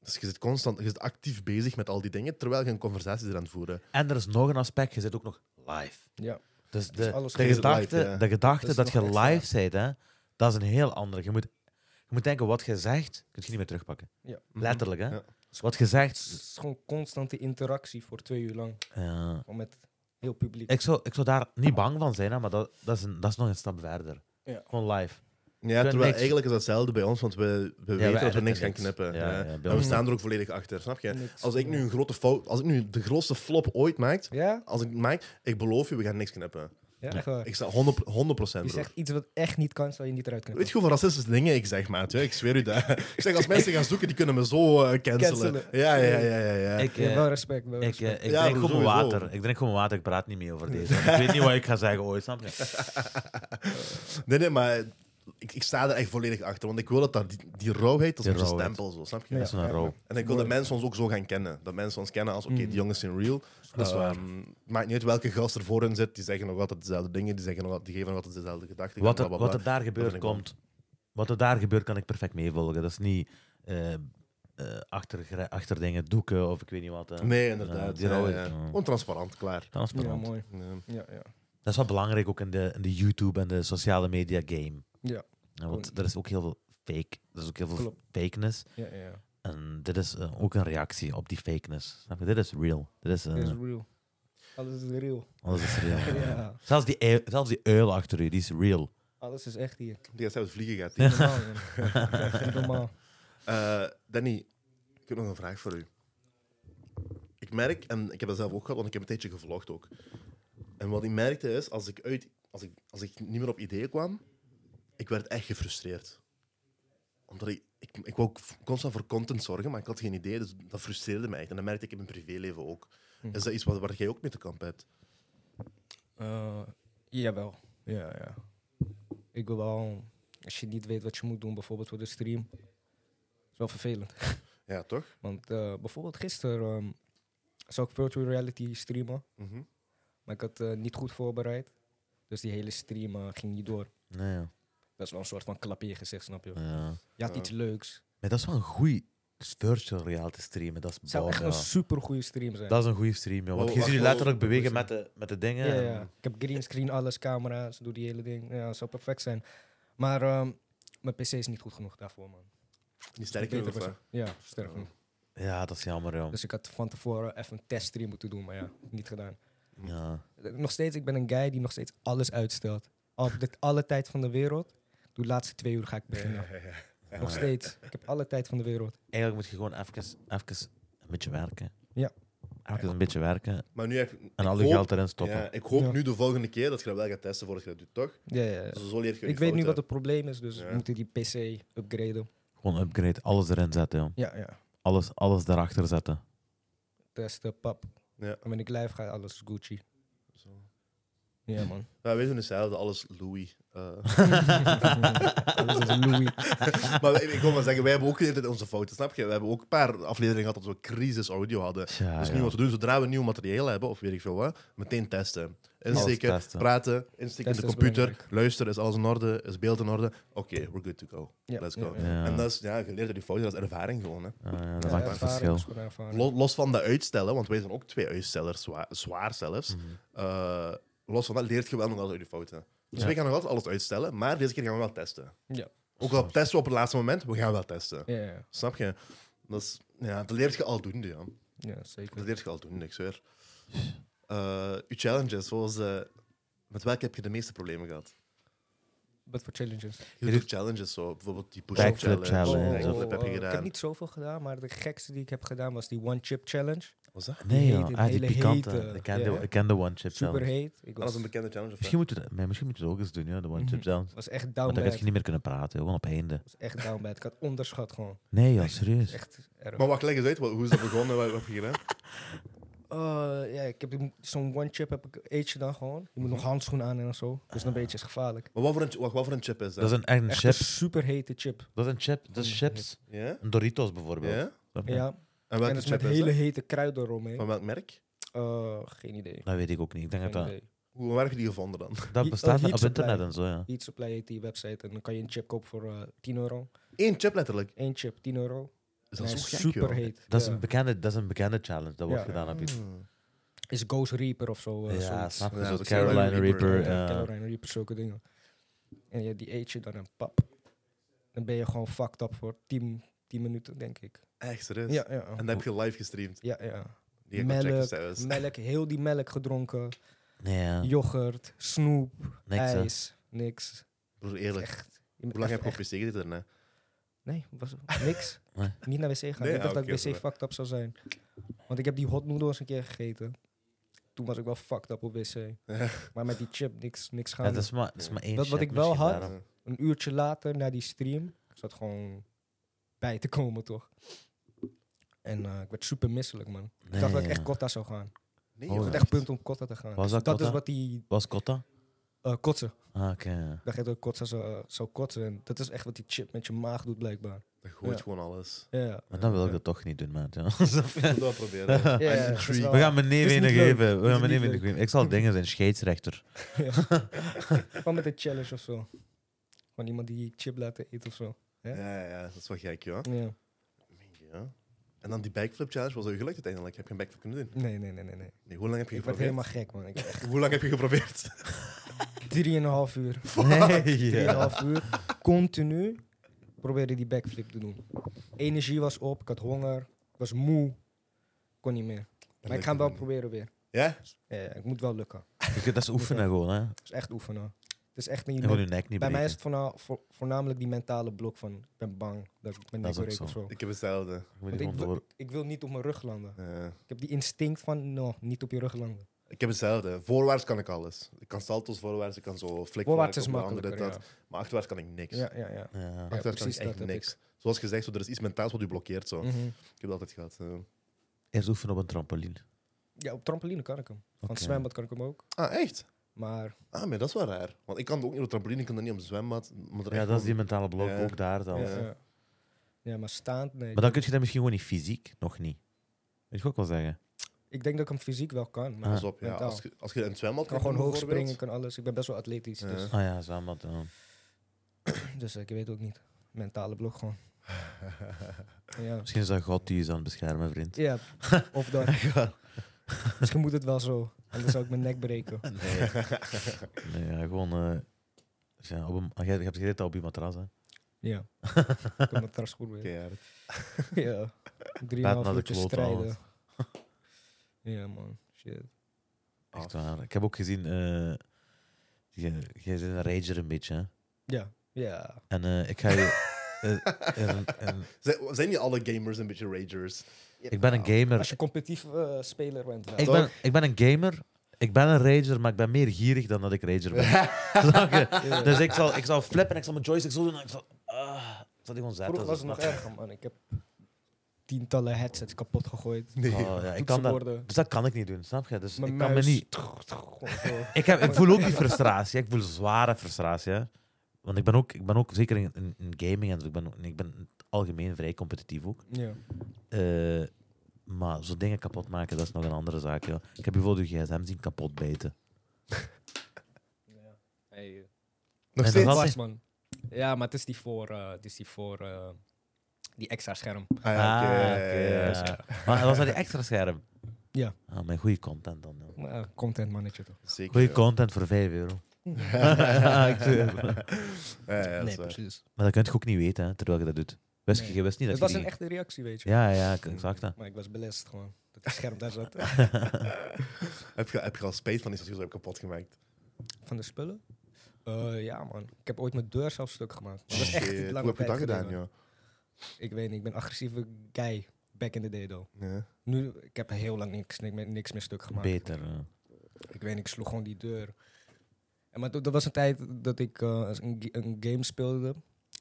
dus je zit constant, je zit actief bezig met al die dingen, terwijl je een conversatie zit aan het voeren.
En er is nog een aspect, je zit ook nog live.
ja.
Dus de,
alles
de
gebeurt
gedachte,
live, ja.
de gedachte
Dat is
dat, je
nog extra.
live bent, hè, dat is een heel andere. Je moet, je moet denken, wat je zegt, kun je niet meer terugpakken.
ja.
Mhm.
Letterlijk, hè.
Ja.
Wat je zegt...
Het is gewoon constante interactie voor twee uur lang.
ja.
Gewoon met heel publiek.
ik, zou, ik zou daar niet bang van zijn, hè, maar dat, dat, is een, dat is nog een stap verder.
Ja.
Gewoon live.
Ja,
niks.
terwijl eigenlijk is dat hetzelfde bij ons, want we, we weten dat we
editen
niks gaan
niks.
knippen.
Ja,
hè.
ja, bij
en we
ons-
staan er ook volledig achter, snap je?
Niks.
Als ik nu een grote fout, als ik nu de grootste flop ooit maak,
Ja?
als ik het maak, ik beloof je, we gaan niks knippen.
Ja, echt waar.
Ik sta 100, 100
Je
broer.
zegt iets wat echt niet kan, zal je niet eruit kunnen.
Weet je hoeveel racistische dingen ik zeg, maat? Ja, ik zweer u dat. Ik zeg, als mensen gaan zoeken, die kunnen me zo eh, cancelen.
Cancelen.
Ja, ja, ja, ja. ja.
Ik,
Ja,
eh,
wel respect, wel
ik, eh,
respect.
ik
Ja,
drink
maar
gewoon
sowieso.
water. Ik drink gewoon water. Ik praat niet meer over deze. want ik weet niet wat ik ga zeggen ooit. Snap je?
Nee, nee, maar ik, ik sta er echt volledig achter. Want ik wil dat, dat die, die rauwheid, dat is
Die
onze
rauwheid.
stempel, zo, snap je?
Dat is een
ja.
rol.
En ik wil dat mensen ons ook zo gaan kennen. Dat mensen ons kennen als, oké,
Mhm.
die jongens zijn real.
Dat is waar.
Ehm, maakt niet uit welke gast er voor hen zit. Die zeggen nog altijd dezelfde dingen. Die, zeggen nog, altijd- die geven nog altijd dezelfde gedachten.
Wat er,
blablabla.
wat er daar gebeurt,
vind ik wel.
komt. Wat er daar gebeurt, kan ik perfect meevolgen. Dat is niet eh, eh, achter, gra- achter dingen, doeken of ik weet niet wat. eh.
Nee, inderdaad.
Ja, die
ja,
rauwheid,
ja.
ja.
Gewoon transparant, klaar.
Ja,
Transparant.
mooi.
Ja.
Ja, ja.
dat is wel belangrijk ook in de, in de YouTube en de sociale media game.
Ja,
Ja, want
Goed.
er is ook heel veel fake. Er is ook heel veel
Klopt.
fakeness.
ja, ja.
En dit is eh, ook een reactie op die fakeness. Snap je? Dit is real. Dit is, eh,
Dit is real. Alles is real.
alles is real.
Ja.
Zelfs, die ui- zelfs die uil achter u, die is real.
Alles is echt hier.
Die gaat zelfs vliegen, gaat die.
Niet normaal, man. Niet normaal.
Eh, Danny, ik heb nog een vraag voor u. Ik merk, en ik heb dat zelf ook gehad, want ik heb een tijdje gevlogd ook. En wat ik merkte is, als ik, uit, als ik, als ik niet meer op ideeën kwam, ik werd echt gefrustreerd. Omdat ik, ik, ik wou ook constant voor content zorgen, maar ik had geen idee. Dus dat frustreerde mij echt. En dat merkte ik in mijn privéleven ook.
Hm.
Is dat iets waar, waar jij ook mee te kampen hebt?
Eh, jawel. Ja, ja. Ik wil wel... Als je niet weet wat je moet doen, bijvoorbeeld voor de stream... is wel vervelend.
Ja, toch?
Want eh, bijvoorbeeld gisteren ehm zou ik virtual reality streamen.
Mhm.
Maar ik had eh, niet goed voorbereid. Dus die hele stream eh, ging niet door.
Nee, ja.
Dat is wel een soort van klap in je gezicht, snap je?
ja.
Je had
Ja.
iets leuks.
Maar dat is wel een goede virtual reality streamen. Dat
Het
is
zou echt
Barbara.
een supergoeie stream zijn.
Dat is een goede stream, joh. Want
Wow,
je ziet je
wacht,
letterlijk
wow.
bewegen met de, met de dingen.
Ja,
en-
ja. Ik heb greenscreen, alles, camera's, doe die hele ding. Ja, dat zou perfect zijn. Maar ehm, mijn PC is niet goed genoeg daarvoor, man.
Niet
Beter
sterk genoeg,
was-
hè?
Ja, sterk genoeg.
Ja, dat is jammer, joh.
Dus ik had van tevoren even een teststream moeten doen, maar ja, niet gedaan.
Ja.
Nog steeds, ik ben een guy die nog steeds alles uitstelt. Al, de, alle tijd van de wereld. De laatste twee uur ga ik beginnen. Nog steeds. Ik heb alle tijd van de wereld.
Eigenlijk moet je gewoon even, even een beetje werken.
Ja.
Even een beetje werken
Maar nu heb ik
en al
ik
je
hoop-
geld erin stoppen.
Ja, ik hoop
Ja.
nu de volgende keer dat je dat wel gaat testen voordat je dat doet, toch?
Ja, ja, ja.
Dus zo leer je je
Ik weet nu wat
fouten.
het probleem is, dus
Ja.
we moeten die PC upgraden.
Gewoon upgrade, alles erin zetten, joh.
Ja, ja.
Alles, alles daarachter zetten.
Testen, pap.
Ja.
En wanneer ik live ga, alles is Gucci.
Zo.
Ja, man.
Ja, wij doen hetzelfde, alles Louis. eh.
alles is Louis.
maar ik, ik wil maar zeggen, wij hebben ook de hele tijd onze fouten, snap je? We hebben ook een paar afleveringen gehad dat we crisis audio hadden.
Tja,
dus nu
joh.
wat we doen, zodra we nieuw materiaal hebben, of weet ik veel wat, meteen testen. Insteken,
Alles testen.
praten, insteken in de
Testen is
computer,
belangrijk.
luisteren, is alles in orde, is beeld in orde? Oké, we're good to go.
Ja,
Let's go.
ja,
ja.
En dat is, ja, je leert uit die fouten, dat is ervaring gewoon. Hè.
Ja, ja, Eh, dat
Ja,
maakt een
ervaring
verschil.
is gewoon ervaring.
Lo- Los van de uitstellen, want wij zijn ook twee uitstellers, zwaar, zwaar zelfs.
Mhm.
Eh, los van dat leert je wel nog wel uit je fouten. Dus
Ja.
wij gaan nog altijd alles uitstellen, maar deze keer gaan we wel testen.
Ja.
Ook al testen we op het laatste moment, we gaan wel testen.
Ja, ja,
Snap je? Dat, is, ja, dat leert je aldoende, ja.
ja,
Dat
zeker.
leert je aldoende, ik zweer. Eh uw challenges, zoals, eh, met welke heb je de meeste problemen gehad?
Wat voor challenges?
Je doet challenges zo, bijvoorbeeld die push-up
Backflip
challenge.
challenge.
Backflip heb
Oh,
je
eh, Ik heb
gedaan.
niet zoveel gedaan, maar de gekste die ik heb gedaan was die One Chip Challenge.
Was dat?
Nee,
Die
joh.
heet-
Ah, die
hele
pikante.
hete.
Ik ken de-
Ja.
Ik ken de One Chip
Super
Challenge.
heet. Ik
Dat was
was,
een bekende challenge of
Misschien moeten we dat- nee, misschien moeten we het ook eens doen, ja, de One Chip
Mhm.
Challenge.
was echt
Want
down
dan
bad.
had je niet meer kunnen praten, gewoon op einde.
was echt down bad. Ik had onderschat gewoon.
Nee, joh, serieus.
Echt erg.
Maar wacht, leg eens uit, wa- hoe is dat begonnen? wat, wat heb je gedaan?
Eh, ja, ik heb die- zo'n one chip heb ik eet je dan gewoon. Je moet nog handschoenen aan en zo. Dus dan weet je, is gevaarlijk.
Maar wat voor een, wacht, wat voor een chip is
Dat is
dat?
een, echt een
eh, Echt
chip.
een super hete chip.
Dat is een chip. Dat is chips.
Ja?
Een Doritos bijvoorbeeld.
Ja?
Snap je?
Ja.
En
En
welke
dat is
chip
met
is
hele
dat?
hete kruiden eromheen.
Van welk merk?
Eh, geen idee.
Dat weet ik ook niet. Ik denk dat
Geen
dat,
idee.
Hoe waar heb je die gevonden dan?
dat
Heat-
bestaat
oh, heat
op
supply.
internet en zo, ja.
Heat Supply heet die website. En dan kan je een chip kopen voor eh, 10 euro.
Eén chip letterlijk.
Eén chip, 10 euro.
Is
En
dat
hij
zo
is
gek,
super
joh?
heet.
Dat is,
Ja.
een bekende, dat is een bekende challenge dat wordt
Ja.
gedaan op iets.
Hmm.
Is Ghost Reaper of zo.
Ja,
eh, zoiets.
snap je?
Ja,
Zo'n
dat is
Carolina
Carolina
Reaper. eh,
Reaper,
ja.
Carolina Reaper, zulke dingen. En ja, die eet je dan een pap. Dan ben je gewoon fucked up voor 10, 10 minuten, denk ik.
Echt, serieus?
Ja, ja.
En dan heb je live gestreamd.
ja, ja.
Die heb ik wel
Melk,
checken zelfs.
Melk, heel die melk gedronken.
Nee, ja.
Yoghurt, snoep,
Niks, hè.
ijs, niks.
Broer, eerlijk.
Echt.
Hoe lang heb je op wc gezeten daarna?
Nee, was niks.
Nee.
Niet naar wc gaan.
Nee,
ik dacht
ah, oké,
dat ik wc
oké.
fucked up zou zijn. Want ik heb die hot noodles een keer gegeten. Toen was ik wel fucked up op wc.
Ja.
Maar met die chip niks, niks
Ja,
gaan.
dat is maar, dat is maar één
Wat- wat
chip
ik wel
misschien
had-
daarom.
Een uurtje later na die stream. Ik zat gewoon bij te komen, toch? En eh, ik werd super misselijk, man. Ik
Nee,
dacht dat ik
ja.
echt kotta zou gaan.
Nee,
Oh,
joh.
ja.
Het was echt punt om kotta te gaan.
Was dat
dat is
kotta?
wat die
Was Kotta?
eh, kotsen.
Ah, oké. ja.
Ik dacht echt dat ik kotsen zou, eh, zou kotsen. En dat is echt wat die chip met je maag doet, blijkbaar.
Dat gooit
Ja.
gewoon alles.
Ja, ja.
Maar dan wil ik
Ja.
dat toch niet doen, maat. ja.
Ik wil dat proberen.
Ja, ja,
I'm
dat is
intrigued.
wel-
We gaan mijn neef
Het is
een
niet leuk.
geven. We
Het
gaan
is
mijn neef
niet
een geven. Ik zal dingen zijn, scheidsrechter.
Gewoon met een challenge of zo. Gewoon iemand die chip laten eten of zo.
Ja, ja, ja, dat is wel gek, joh.
Ja.
Ja. En dan die backflip challenge, was ook gelukt uiteindelijk. Heb je een backflip kunnen doen?
Nee, nee, nee, nee. nee.
Nee, hoe lang heb je
Ik werd
geprobeerd?
helemaal gek, man. Ik heb echt
Hoe lang heb je geprobeerd?
drieënhalf uur.
Nee, ja.
Drieënhalf uur. Continu probeerde die backflip te doen. Energie was op, ik had honger, ik was moe. Kon niet meer. Maar ik ga hem wel proberen weer.
Ja?
Ja, ja, ik moet wel lukken.
Je kunt dat is oefenen gewoon, hè.
Het is echt oefenen. Het is echt niet.
En gewoon je nek niet
Bij mij is
breken.
het voorna- voor- voornamelijk die mentale blok van ik ben bang dat ik
Dat
mijn nek
is ook
breek
zo.
of zo.
Ik heb hetzelfde.
Je moet
Want
die
ik
gewoon
wil-
door-
Ik wil niet op mijn rug landen.
Ja.
Ik heb die instinct van, no, niet op je rug landen.
Ik heb hetzelfde. Voorwaarts kan ik alles. Ik kan salto's voorwaarts, ik kan zo flikken.
Voorwaarts is
op mijn handen,
makkelijker,
dit, dat. Maar achterwaarts kan ik niks.
ja. Ja, ja, ja.
Ja.
Achterwaarts kan ik
precies, dat
echt
heb
niks.
ik.
Zoals gezegd, zo, er is iets mentaals wat u blokkeert. Zo.
Mhm.
Ik heb dat altijd gehad. eh.
Eerst oefenen op een trampoline.
Ja, op trampoline kan ik hem. Van het
Oké.
zwembad kan ik hem ook.
Ah, echt?
Maar
Ah, maar dat is wel raar. Want ik kan ook niet op de trampoline, ik kan dat niet op het zwembad. Maar er
Ja,
echt
dat is die
gewoon-
mentale blok
Ja.
ook daar dan. eh,
ja,
Ja.
ja. Ja, maar staand, nee.
Maar dan kun je dat misschien gewoon niet fysiek, nog niet. Weet je wat ik wil zeggen?
Ik denk dat ik hem fysiek wel kan. Maar
Ah.
Pas op, ja.
Mentaal.
Als, je, als je in het zwembad
ik kan gewoon hoog springen, ik kan alles. Ik ben best wel atletisch.
Ja.
Dus,
Ah ja, zwembad. ja.
dus ik weet ook niet. Mentale blok gewoon. Ja,
Misschien is dat God die je is aan het beschermen, vriend.
ja of dat. Misschien moet het wel zo. Anders zou ik mijn nek breken.
Nee, nee ja, gewoon. eh, ja, op een, ah, jij, je hebt gereden op je matras, hè?
Ja. ik heb mijn tras goed weer.
Oké, ja.
Ja.
Laat naar
Drieënhalf
de
uurtjes
klote
strijden. ja, man. Shit.
Echt
Oh.
waar. Ik heb ook gezien. eh, je- Jij bent een rager een beetje, hè?
Ja. Ja.
En eh, ik ga je. eh, en- en-
Zijn, zijn niet alle gamers een beetje ragers?
ik ben een
Als
gamer.
je competitief eh, speler bent. wel.
Ik ben, ik ben een gamer. Ik ben een rager, maar ik ben meer gierig dan dat ik rager ben. Snap je?
Ja.
Dus ik zal, ik zal flippen en ik zal mijn joystick zo doen. En ik zal, ah, ik zal die gewoon zetten. Dus
Vroeger was het
zo.
nog erger, man. Ik heb tientallen headsets kapot gegooid.
Nee.
Oh, ja, ik kan dat,
Toetsenborden.
dus dat kan ik niet doen, snap je? Dus
Mijn
ik kan me
muis.
niet
Gewoon zo.
ik, heb, ik voel ook die frustratie. hè. Ik voel zware frustratie. Hè. Want ik ben ook, ik ben ook zeker in, in- in gaming en zo, ik ben, ook- ik ben in het algemeen vrij competitief ook.
Ja.
Eh, maar zo dingen kapot maken, dat is nog een andere zaak. Ja. Ik heb bijvoorbeeld je gsm zien kapot bijten.
Hey,
Nog
En
steeds?
dat
Ah,
had-
was, man. Ja, maar het is die voor, eh, het is die, voor eh, die extra scherm.
ja, oké,
Ah,
ja,
oké,
ja, ja.
ja. Maar was dat die extra scherm?
Ja.
Ah, mijn goede content dan. Ja.
Maar, eh, content manager toch?
Zeker.
Goede
ja.
content voor 5 euro. Ik zweer
Ja,
het.
ja, dat
nee,
is waar.
precies.
maar dat kun je ook niet weten, hè, terwijl je dat doet. Wist je-
Nee.
je wist niet dat
Het was
je
een
die-
echte reactie, weet je.
Ja, ja, ik ik zag dat.
Maar ik was belest gewoon. Dat die scherm daar zat.
heb, je, heb je al spijt van iets dat je zo hebt kapot gemaakt?
Van de spullen? Eh, ja, man. Ik heb ooit mijn deur zelf stuk gemaakt. Maar Dat is echt
Shit,
lang
Hoe heb je dat gedaan, joh?
Ik weet niet, ik ben een agressieve guy. Back in the day, though.
Ja.
Nu, ik heb heel lang niks, niks meer- niks meer stuk gemaakt.
Beter. eh, ja.
Ik weet niet, ik sloeg gewoon die deur. En maar dat dat was een tijd dat ik eh, een, ga- een game speelde.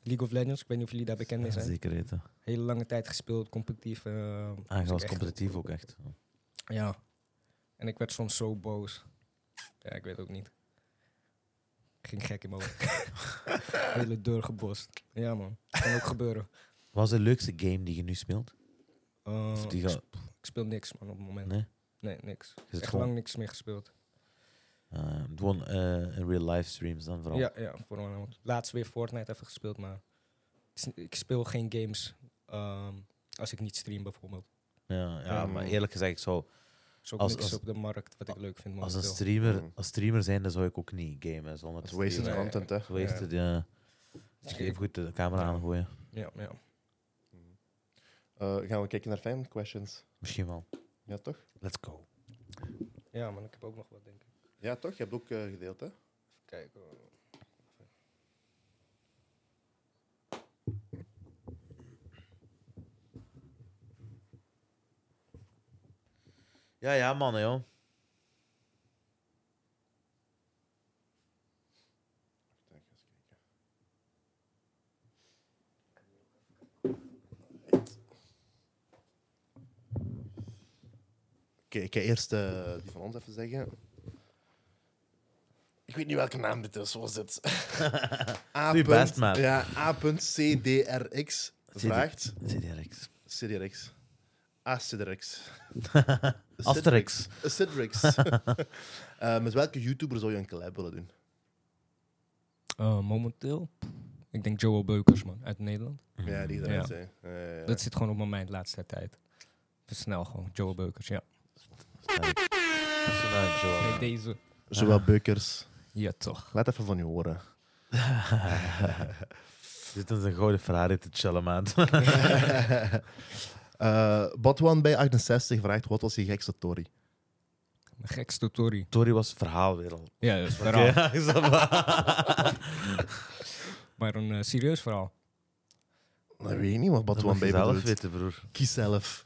League of Legends, ik weet niet of jullie daar bekend mee
Ja,
zijn.
zeker weten.
Hele lange tijd gespeeld, competitief. eh,
Ah, je
was
was
echt-
competitief ook echt.
Ja. En ik werd soms zo boos. Ja, ik weet ook niet. Ik ging gek in mijn hoofd. Hele deur gebost. Ja man, kan ook gebeuren.
Wat is de leukste game die je nu speelt?
Eh,
Of die
ik,
ga...
sp- ik speel niks man op het moment.
Nee?
Nee, niks.
het
Echt
gewoon-
lang niks meer gespeeld.
Eh, gewoon eh, in real life streams dan vooral.
Ja, ja, vooral. Laatst weer Fortnite even gespeeld, maar het is- ik speel geen games ehm, als ik niet stream bijvoorbeeld.
ja, ja,
Mm.
maar eerlijk gezegd, ik zou,
Er is ook
Als-
niks
als-
op de markt wat ik leuk vind
als, een
momenteel.
streamer,
Mm.
als streamer zijn, dan zou ik ook niet gamen zonder
Dat
te
is wasted
streamen.
Nee.
content, hè?
Dat is wasted, ja. Dus
Ja,
even goed de camera
Ja.
aangooien.
Ja, ja.
Eh, gaan we kijken naar fan questions?
Misschien wel.
Ja, toch?
Let's go.
ja, man, ik heb ook nog wat denk ik.
Ja, toch? Je hebt ook eh, gedeeld, hè?
Even kijken. hoor.
Ja, ja, mannen, joh.
Oké, ik ga eerst eh, die van ons even zeggen. Ik weet niet welke naam dit is, zoals dit. A.
Doe je best, man.
Ja, A.CDRX vraagt.
CDRX.
CDRX. Asterix.
Asterix.
Asterix. Eh, met welke YouTuber zou je een collab willen doen?
Eh, momenteel, ik denk Joel Beukers, man, uit Nederland.
Ja, die
Ja.
eruit zijn. Eh, Ja, ja, ja.
Dat zit gewoon op mijn mind de laatste tijd. Versnel gewoon, Joel Beukers, ja.
Sterk. Personage, joh.
Met deze.
Zowel Beukers.
Ja, toch.
Laat even van je horen.
Zit in zijn gouden Ferrari te chillen, man.
Eh Botwan bij 68 vraagt: wat was je gekste story?
Mijn gekste Tory.
Tori was verhaalwereld.
Ja, dat is verhaal.
Ja, is dat waar?
Maar een eh, serieus verhaal.
Dat weet ik niet wat
Dat moet
Botwan
je
bij
zelf
bedoelt.
weten, broer.
Kies zelf.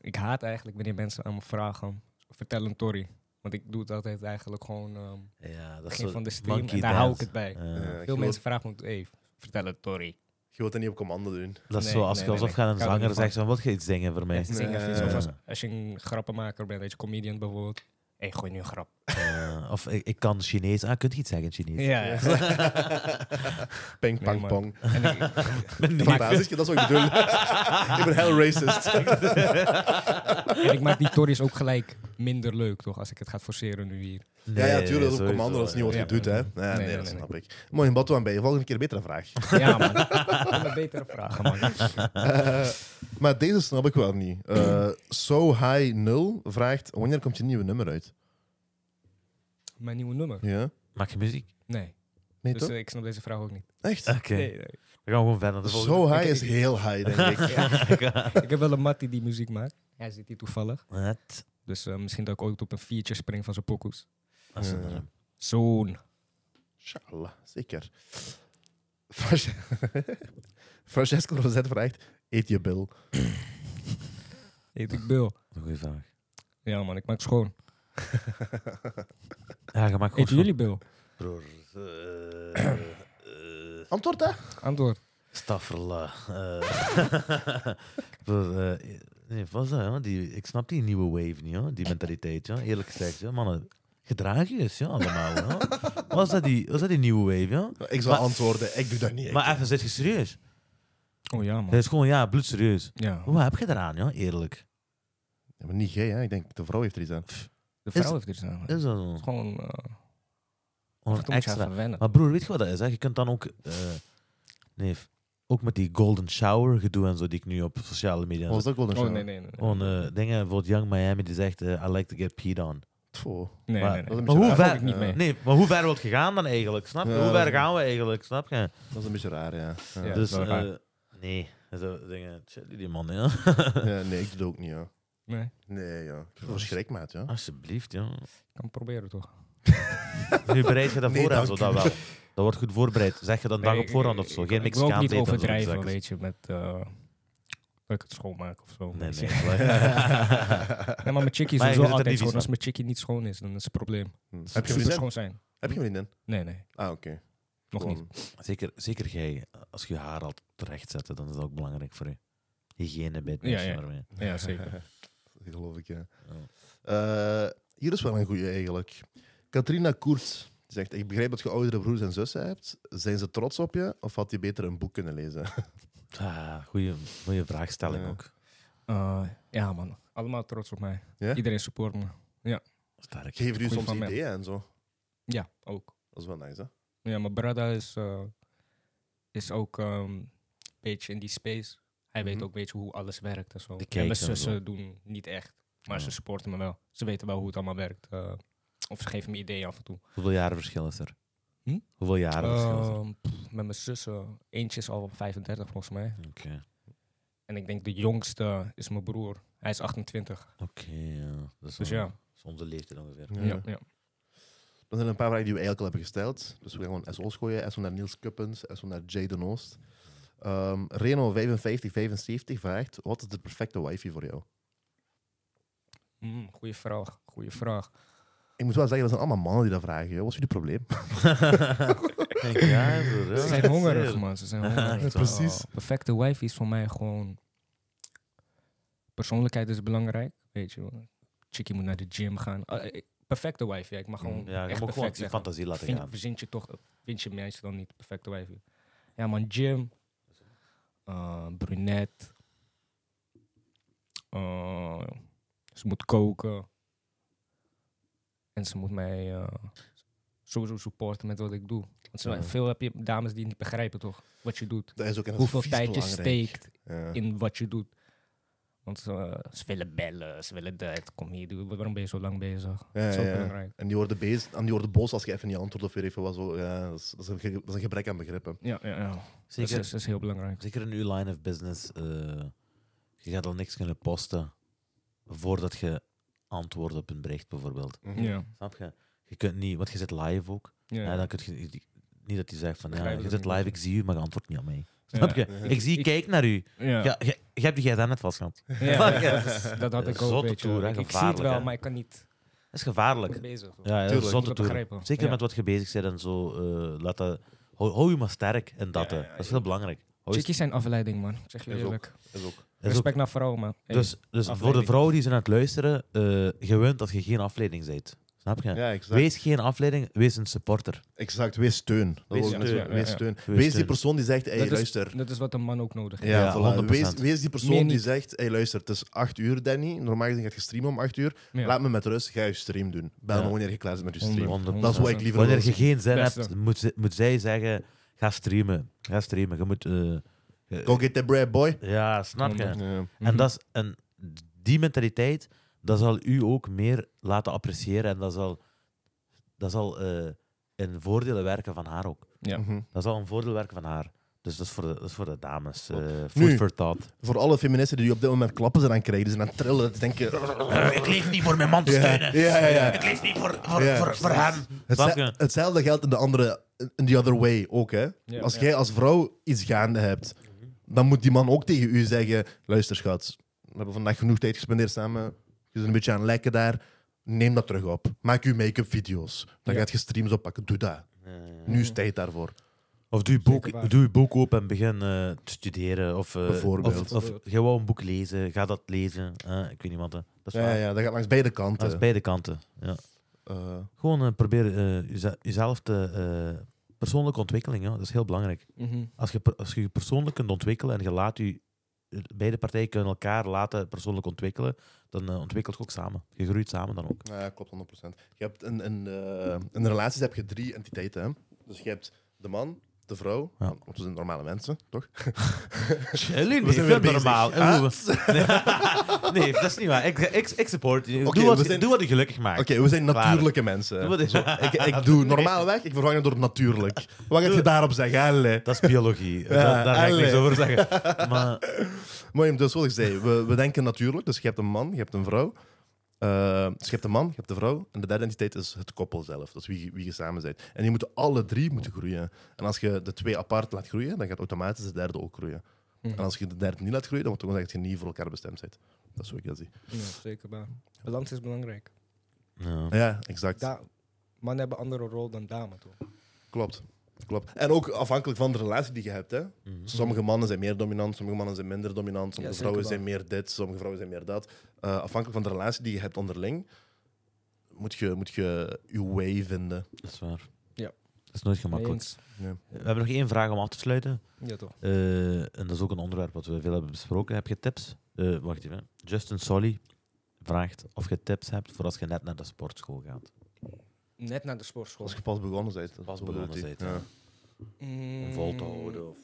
Ik haat eigenlijk wanneer mensen aan me vragen vertel een Tory. Want ik doe het altijd eigenlijk gewoon ehm
Ja, dat is
begin
zo
van de stream.
monkey
En daar hou ik
dance.
het bij.
Ja.
Ja, ik
Veel
geloof-
mensen vragen me, hey, vertel een Tory.
Je wilt dat niet op commando doen.
Dat is
Nee,
zo als
nee,
je
nee,
alsof je aan een
nee. Ik hou er
zanger
niet van.
zegt: van, Wilt je iets zingen voor mij?
Echt zingen
Nee.
of iets. Of als,
Ja.
als je een grappenmaker bent, als je comedian bijvoorbeeld. hey, gooi nu een grap.
Eh, of ik, ik kan Chinees. Ah, kunt je iets zeggen in Chinees?
Ja, ja.
Ping, pang,
man.
pong.
En ik-
Met
Maar-
Fantastisch, dat is wat ik bedoel. ik ben heel racist.
En ik maak die Tories ook gelijk minder leuk, toch? Als ik het ga forceren nu hier.
ja,
Nee,
ja, tuurlijk, dat is
sowieso,
op commando, dat is niet wat
ja.
je doet, hè. Nee, nee,
nee,
dat
nee.
snap ik. Mooi, Batuan, ben je volgende keer een betere vraag.
Ja, man. Dat zijn de betere vragen, man.
Eh, maar deze snap ik wel niet. Eh, so High 0 vraagt, wanneer komt je nieuwe nummer uit?
Mijn nieuwe nummer?
Ja?
Maak je muziek?
Nee.
Nee,
Dus
toch?
eh, ik snap deze vraag ook niet.
Echt?
Oké,
Nee, nee.
we gaan gewoon verder. De volgende.
So High
Ik-
is
ik-
heel high, denk ik.
eh.
Ik heb wel een mattie die muziek maakt. Hij zit hier toevallig.
Wat?
Dus eh, misschien dat ik ooit op een viertje spring van zijn pokoes.
Dat is
Ja.
een- eh,
Zo'n.
Inshallah, zeker. Fras- Francesco Rosette vraagt, eet je bil?
Heet ik Bill.
een goede vraag.
Ja, man. Ik maak schoon.
Ja, je maakt gewoon
Heet jullie Bill?
Broer. eh, eh,
Antwoord, hè?
Antwoord.
Stafferla. eh. Broer, eh, nee, wat is dat, joh? Die, ik snap die nieuwe wave niet, hoor. die mentaliteit. Joh. Eerlijk gezegd, joh. mannen, gedraag je eens joh, allemaal. Joh. Wat, is dat die, wat is dat die nieuwe wave? Joh?
Ik zou
Maar-
antwoorden, ik doe dat niet.
Maar even, zit je serieus?
Oh ja,
Dat
man.
is gewoon, ja, bloedserieus.
Ja.
Wat heb je eraan, joh? eerlijk?
Ja, maar niet gay, hè? Ik denk, de vrouw heeft er iets aan.
De vrouw heeft dit aan. Het
Is dat zo?
is gewoon... eh,
Gewoon
moet je
extra.
even wennen.
Maar broer, weet je wat dat is? Hè? Je kunt dan ook... eh, nee, f- ook met die golden shower gedoe en zo die ik nu op sociale media...
Was dat Golden
Oh,
Shower?
nee, nee, nee. nee.
Gewoon eh, dingen, bijvoorbeeld Young Miami die zegt eh, I like to get peed on.
Tfoh.
Nee,
Maar-
nee,
Dat is
nee.
een
Maar
beetje
hoe
raar.
ver,
ik niet mee.
Ja,
nee, maar hoe ver wil je gaan dan eigenlijk, snap je?
Ja,
hoe ver
dat-
gaan we eigenlijk, snap je?
Dat is een beetje raar, ja. Ja.
Ja.
Dus-
dus,
dat is wel
eh,
raar.
nee, zo dingen, chill die man, ja.
ja, nee, ik doe dat ook niet, ja.
Nee.
Nee, ja. Ik vind het Verschrik, maat, ja.
Alsjeblieft, joh.
Ik kan het proberen, toch?
Nu bereid je dat
Nee,
voor aan, zo
dank
dat
u.
wel. Dat wordt goed voorbereid. Zeg je dan dag
Nee,
op voorhand of
ik-
zo.
ik-
Geen
Ik wil ook
Mexicaan
niet
eten of zo,
overdrijven,
zakken.
weet je, met... eh, dat ik het schoonmaak of zo.
Nee,
weet
nee.
je. Nee, maar mijn chickie is
Maar je
sowieso
zit er
altijd
niet
schoon.
van.
Als mijn chickie niet schoon is, dan is het een probleem.
Hm. Heb
Heb je
je
super
vriendin?
schoon zijn?
Heb je vriendin?
Nee, nee,
Ah, oké.
nog niet.
Gewoon-
Zeker, zeker jij, als je je haar al terecht zet, dan is dat ook belangrijk voor je. Hygiëne bij het
Ja,
meisje
ja.
waarmee.
Ja, zeker.
Dat geloof ik, ja.
Ja.
Eh, hier is wel een goeie eigenlijk. Katrina Koerts zegt: Ik begrijp dat je oudere broers en zussen hebt. Zijn ze trots op je of had je beter een boek kunnen lezen?
Ah, goeie, goeie vraagstelling
Ja.
ook.
Eh, ja, man. Allemaal trots op mij.
Ja?
Iedereen support me.
Sterk.
Geven jullie
Goeie
soms
van mij.
ideeën en zo?
Ja, ook.
Dat is wel nice, hè?
Ja, mijn brada is, eh, is ook ehm, een beetje in die space. Hij weet
Mhm.
ook een beetje hoe alles werkt en zo.
Die
En mijn
kijkt en zo.
zussen doen niet echt, maar
Ja.
ze supporten me wel. Ze weten wel hoe het allemaal werkt. eh, of ze geven me ideeën af en toe.
Hoeveel jaren verschil is er?
Hm?
Hoeveel jaren verschil is er?
Ehm, pff, met mijn zussen, eentje is al 35 volgens mij.
Oké.
En ik denk de jongste is mijn broer. Hij is 28.
Oké, ja. Dat is
Dus
wel-
ja.
dat is onze leeftijd ongeveer.
Ja.
Ja, ja.
Dan zijn er een paar vragen die we eigenlijk al hebben gesteld. Dus we gaan gewoon SO's gooien. SO naar Niels Kuppens, SO naar Jaden Oost. Ehm Reno 5575 vraagt: Wat is de perfecte wifi voor jou?
Mm, goeie vraag, goeie vraag.
Ik moet wel zeggen, dat zijn allemaal mannen die dat vragen. joh. Wat is jullie probleem?
ja, broer, ja.
Ze zijn hongerig, man. Ze zijn hongerig.
Ja, precies.
Oh, perfecte wife is voor mij gewoon... Persoonlijkheid is belangrijk, weet je wel. Chickie moet naar de gym gaan. Ah, eh, perfecte wife, Mm. ja. Ik mag
Ja,
gewoon
je
Hm, echt
moet gewoon
perfect
je
zeggen.
fantasie laten gaan.
Vind, vind je toch... Vind je meestal dan niet perfecte wife? Ja, man. Gym. eh, brunet. eh, ze moet koken. En ze moet mij eh, sowieso supporten met wat ik doe. Want zo
Ja.
veel heb je dames die niet begrijpen toch wat je doet.
Dat is ook een
Hoeveel tijd je steekt
Ja.
in wat je doet. Want ze, eh, ze willen bellen, ze willen dat. Kom hier, doe, waarom ben je zo lang bezig?
Ja,
dat is ook
ja.
belangrijk.
En die worden, bezig, en die worden boos als je even niet antwoordt of weer even wat zo. Ja, dat, is, dat, is een, ge- dat is een gebrek aan begrippen.
Ja, ja, ja. Dat, is,
Zeker,
dat is heel belangrijk.
zeker in uw line of business. eh, je gaat al niks kunnen posten voordat je antwoordt op een bericht, bijvoorbeeld.
Mhm.
Ja,
Snap je? Je kunt niet, want je zit live ook.
ja.
Ja, dan kun je niet- niet dat hij zegt van ja,
Begrijp
je
het
zit
ook niet.
live, ik zie u, maar je antwoordt niet op mij. Snap
Ja.
je? Ik zie,
Ik-
ik kijk naar u.
Ja.
Ja, jij jij hebt die gsm net vastgehad.
Ja,
Ja.
dat is- dat had ik ook.
Zotte
weet je
toer,
wel.
hè,
Ik- ik zie het
gevaarlijk,
wel,
hè.
maar ik kan niet
Dat is gevaarlijk.
bezig.
Ja, ja dat
Tuurlijk.
is
Ik moet
zotte
dat
toeren.
begrijpen.
Zeker
Ja.
met wat je bezig bent en zo. eh, laat dat, hou, hou je maar sterk en dat.
Ja,
hè.
ja,
dat is
ja.
heel belangrijk. Hou je-
Chickies zijn afleiding, man. Ik zeg je
Is ook.
eerlijk.
Dat is ook.
dat is ook-
Respect naar vrouwen, man. Hey.
Dus, dus voor de
afleiding.
vrouwen die zijn aan het luisteren, eh je wint dat je geen afleiding bent. Snap je?
Ja, exact.
Wees geen afleiding, wees een supporter.
Exact, wees steun. Dat
Wees
wil ik net
steun,
zeggen.
ja,
Wees
ja.
steun.
Wees
Wees, die
steun.
persoon die zegt, hey,
Dat is-
luister.
Dat is wat een man ook nodig heeft.
Ja,
Ja,
voilà.
100%.
Wees, wees die
Meer
persoon
niet.
die zegt, hey, luister, het is 8 uur, Danny. Normaal gezien gaat je streamen om 8 uur.
Ja.
Laat me met rust, ga je stream doen. Bel
Ja.
me wanneer je klaar bent met je stream.
Honderd.
Dat is wat ik liever wil.
Wanneer je geen zin
Beste.
hebt, moet, ze- moet zij zeggen: ga streamen. Ga streamen. Je moet. eh, eh,
Go get the bread, boy.
ja, snap je?
Honderd.
Ja.
En, dat is, en die mentaliteit, dat zal u ook meer laten appreciëren. En dat zal, dat zal eh, in voordelen werken van haar ook.
Ja.
Mhm.
Dat zal een voordeel werken van haar. Dus dat is voor de, dat is voor de dames. eh food
Nu.
for thought.
Voor alle feministen die op dit moment klappen ze aan krijgen, die zijn aan het trillen, die denken...
ik leef niet voor mijn man te
Ja, ja, ja, ja.
Ik leef niet voor, voor,
Ja. voor- voor
hem.
Hetze- Hetzelfde geldt in de andere, in the other way ook. Hè?
Ja,
als
ja.
jij als vrouw iets gaande hebt, dan moet die man ook tegen u zeggen: luister, schat, we hebben vandaag genoeg tijd gespendeerd samen. Je bent een beetje aan het lekken daar. Neem dat terug op. Maak je make-up video's. Dan
Ja.
gaat je streams oppakken. Doe dat. Nu is tijd daarvoor.
Of doe je
Zeker
boek,
waar.
doe je boek open en begin eh, te studeren. Of, eh,
Bijvoorbeeld.
Of, of jij wou een boek lezen, ga dat lezen. Eh, ik weet niet wat. hè. Dat is
Ja,
waar.
ja, dat gaat langs beide
Dat
kanten.
is beide kanten. Ja.
Eh,
Gewoon eh, probeer eh, jeze- jezelf te... eh, persoonlijke ontwikkeling, ja, dat is heel belangrijk.
Mhm.
Als je, per- als je je persoonlijk kunt ontwikkelen en je laat je... Beide partijen kunnen elkaar laten persoonlijk ontwikkelen, dan eh, ontwikkelt je ook samen. Je groeit samen dan ook.
Ja, klopt 100%. Je hebt in, in, eh, in relaties heb je drie entiteiten. Hè? Dus je hebt de man, de vrouw,
Ja.
want we zijn normale mensen, toch?
Jullie
We zijn weer bezig. Ah.
Nee, nee, dat is niet waar. Ik, ik, ik support je.
Oké,
doe, wat,
we
je-
zijn-
doe wat je gelukkig maakt.
Oké, we zijn
Klaar.
natuurlijke mensen.
Doe wat je-
Zo, ik, ik doe normaal weg, ik vervang het door natuurlijk. Wat gaat je daarop zeggen? Allee.
Dat is biologie.
Ja,
daar daar ga ik
allee.
niks over zeggen. Maar
Maar dus wat ik zei, we, we denken natuurlijk. Dus je hebt een man, je hebt een vrouw. Eh, dus je hebt een man, je hebt de vrouw. En de derde entiteit is het koppel zelf. Dat is wie, je- wie je samen bent. En die moeten alle drie moeten groeien. En als je de twee apart laat groeien, dan gaat automatisch de derde ook groeien.
Mhm.
En als je de derde niet laat groeien, dan wordt het gewoon dat je niet voor elkaar bestemd bent. Dat is hoe ik dat zie.
Ja, zeker waar. Balans is belangrijk.
ja.
Ja, exact.
Da mannen hebben een andere rol dan dames, toch?
Klopt. Klopt. En ook afhankelijk van de relatie die je hebt. Hè?
Mhm.
Sommige mannen zijn meer dominant, sommige mannen zijn minder dominant, sommige
zeker
vrouwen
wel.
zijn meer dit, sommige vrouwen zijn meer dat. Eh, afhankelijk van de relatie die je hebt onderling, moet je moet je, je way vinden.
dat is waar.
Ja.
Dat is nooit gemakkelijk.
Eens.
We hebben nog één vraag om af te sluiten.
Ja, toch?
Eh, en dat is ook een onderwerp wat we veel hebben besproken. Heb je tips? Eh, wacht even. hè. Justin Solly vraagt of je tips hebt voor als je net naar de sportschool gaat.
Net naar de sportschool.
Als je pas begonnen bent. dat
Pas
bedoelt
begonnen
hij.
bent, ja. Om vol te
Mm.
houden. Of...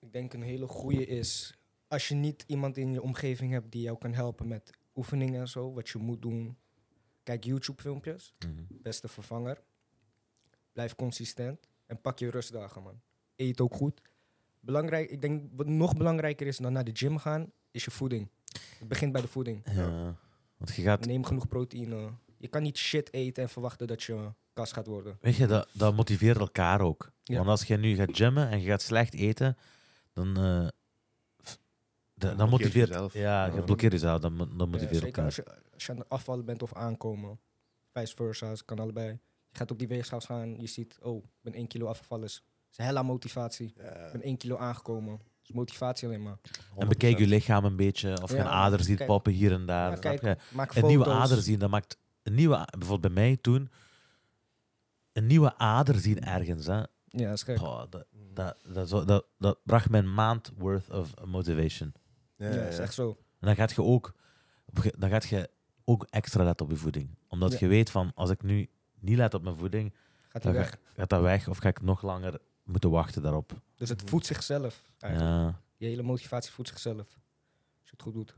Ik denk een hele goede is als je niet iemand in je omgeving hebt die jou kan helpen met oefeningen en zo, wat je moet doen. Kijk YouTube-filmpjes,
Mhm.
beste vervanger. Blijf consistent en pak je rustdagen, man. Eet ook goed. Belangrijk, ik denk wat nog belangrijker is dan naar de gym gaan, is je voeding. Het begint bij de voeding.
Ja. Want je gaat...
Neem genoeg proteïne. Je kan niet shit eten en verwachten dat je kas gaat worden.
Weet je, dat, dat motiveert elkaar ook.
Ja.
Want als je nu gaat gymmen en je gaat slecht eten, dan... eh, f- dat, dat
blokkeert
motiveert...
jezelf.
Ja, je
Ja.
blokkeert jezelf. Dat, mo- dat
Ja,
motiveert
zeker
elkaar.
als je, als je aan het afvallen bent of aankomen. Vice versa, het kan allebei. Je gaat op die weegschaal gaan, je ziet, oh, ik ben 1 kilo afgevallen. Dat is hella motivatie. Ik ben 1 kilo aangekomen. Dat is motivatie alleen maar.
En bekijk je lichaam een beetje. Of je
Ja,
een ader ziet
kijk.
poppen hier en daar.
Maar
snap
kijk,
je?
maak
een
foto's.
nieuwe ader zien, dat maakt een nieuwe, a- bijvoorbeeld bij mij toen, een nieuwe ader zien ergens. Hè.
Ja, dat is gek.
Pah, dat, dat, dat, zo- dat, dat bracht mij een maand worth of motivation.
Ja,
Ja,
ja,
dat is
ja.
echt zo.
En dan gaat je ook, op ge- dan gaat je ook extra letten op je voeding. Omdat
Ja.
je weet van, als ik nu niet let op mijn voeding,
Gaat hij
dan
weg.
ga- gaat dat weg of ga ik nog langer moeten wachten daarop.
Dus het voedt zichzelf. Eigenlijk.
Ja.
Je hele motivatie voedt zichzelf. Als je het goed doet.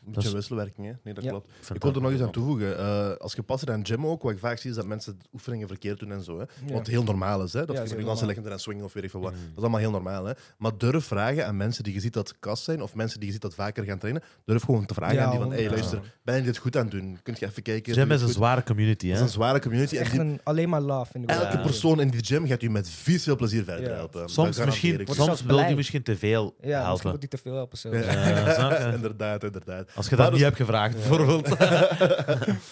Een
Dat
beetje
is-
een wisselwerking, hè? Nee, dat
Ja.
klopt.
Ik vind
Ik wil er
dat-
nog iets aan toevoegen. Eh, als je past aan een gym ook, wat ik vaak zie, is dat mensen de oefeningen verkeerd doen en zo. Hè? Wat heel normaal is, hè?
Ja,
dat
is
je met je
heel normaal.
dansen liggend en swingen of weet ik veel wat.
Mm.
Dat is allemaal heel normaal. Hè? Maar durf vragen aan mensen die je ziet dat kast zijn, of mensen die je ziet dat vaker gaan trainen, durf gewoon te vragen
Ja,
aan die van, hey,
100%.
luister, ben je dit goed aan het doen? Kun je even kijken?
Gym
Doe je
is een
het goed?
zware community,
Het
hè?
is een zware community. En
Echt
die-
een, alleen maar love in de
elke
Ja.
persoon in die gym gaat u met vies veel plezier verder
Ja.
helpen.
Soms, misschien,
Wordt
soms
zelfs
wil je
blij.
misschien te veel
Ja, misschien
helpen.
moet die te veel helpen zelfs.
Eh, snap je?
Ja, inderdaad, inderdaad.
Als je
Maar
dat
dus-
niet hebt gevraagd, bijvoorbeeld.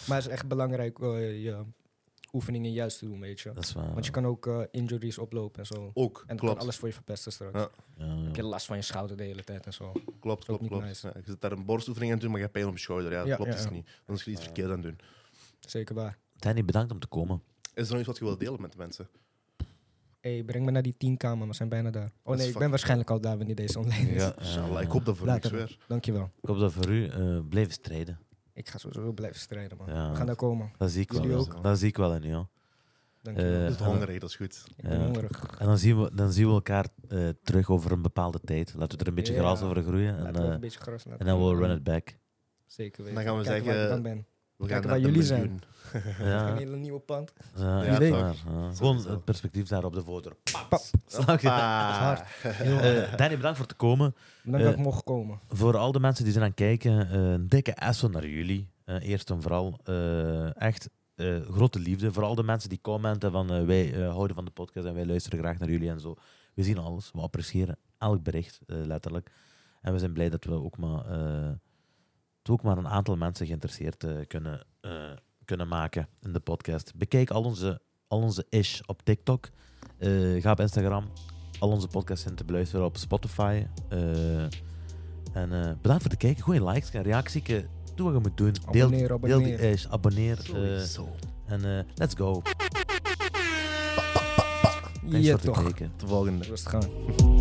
Maar het is echt belangrijk eh, je oefeningen juist te doen, weet je.
Dat is waar.
Want je kan ook eh, injuries oplopen en zo.
Ook,
En dat kan
klopt.
alles voor je verpesten straks.
Ja.
Ja, ja.
Ik heb last van je schouder de hele tijd en zo.
Klopt,
Ook
klopt,
niet
klopt.
nice.
Ja, je zit daar een borstoefening aan te doen, maar je hebt pijn op je schouder. Ja, dat
Ja,
klopt
ja,
dus
ja.
niet. Dan is je iets verkeerd aan het doen.
Zeker waar.
Danny, bedankt om te komen.
Is er nog iets wat je wilt delen met de mensen?
hey, breng me naar die tienkamer, we zijn bijna daar.
Dat
Oh
is
nee, ik ben
fucking-
waarschijnlijk al daar wanneer deze online is.
eh,
Inshallah, ik hoop dat voor niks
Later.
weer.
Dankjewel.
ik hoop dat voor u eh blijven strijden.
Ik ga sowieso blijven strijden, man.
Ja.
We gaan daar komen.
Dat zie ik wel.
Jullie
ook.
Dat zie ik wel in jou.
Dankjewel.
Dat
Eh,
is de hongerheid, dat is goed.
ik ben
ja.
hongerig.
En dan zien we, dan zien we elkaar eh, terug over een bepaalde tijd. Laten we er een beetje
Ja.
gras over groeien. En,
Laten we even
eh,
een beetje gras laten.
en dan we'll run it back.
Zeker weten.
Dan gaan we
Kijken
zeggen-
waar ik dan ben.
We
Kijken
naar
waar
de
jullie zijn.
miljoen.
Ja,
Een hele nieuwe pand.
ja,
Ja,
echt
weet.
waar, ja. Gewoon
Sowieso.
het perspectief daar op de foto.
Pap.
Snap je?
Ah.
Eh, Danny, bedankt voor te komen.
Bedankt
Eh,
dat ik mocht komen.
Voor al de mensen die zijn aan het kijken, eh, een dikke esso naar jullie. Eh, eerst en vooral eh, echt eh, grote liefde. Voor al de mensen die commenten van eh, wij eh, houden van de podcast en wij luisteren graag naar jullie en zo. We zien alles. We appreciëren elk bericht, eh, letterlijk. En we zijn blij dat we ook maar, eh, het ook maar een aantal mensen geïnteresseerd eh, kunnen, eh, kunnen maken in de podcast. Bekijk al onze, al onze ish op TikTok. Eh, ga op Instagram. Al onze podcasts zijn te beluisteren op Spotify. Eh, en eh, bedankt voor het kijken. Gooi likes en reacties. Eh, Doe wat je moet doen. Deel,
Abonneer,
deel die
abonneer.
ish. Abonneer. eh,
Sowieso.
en eh, let's go.
Ja,
voor het
toch.
kijken.
Tot de volgende.
Rustig aan.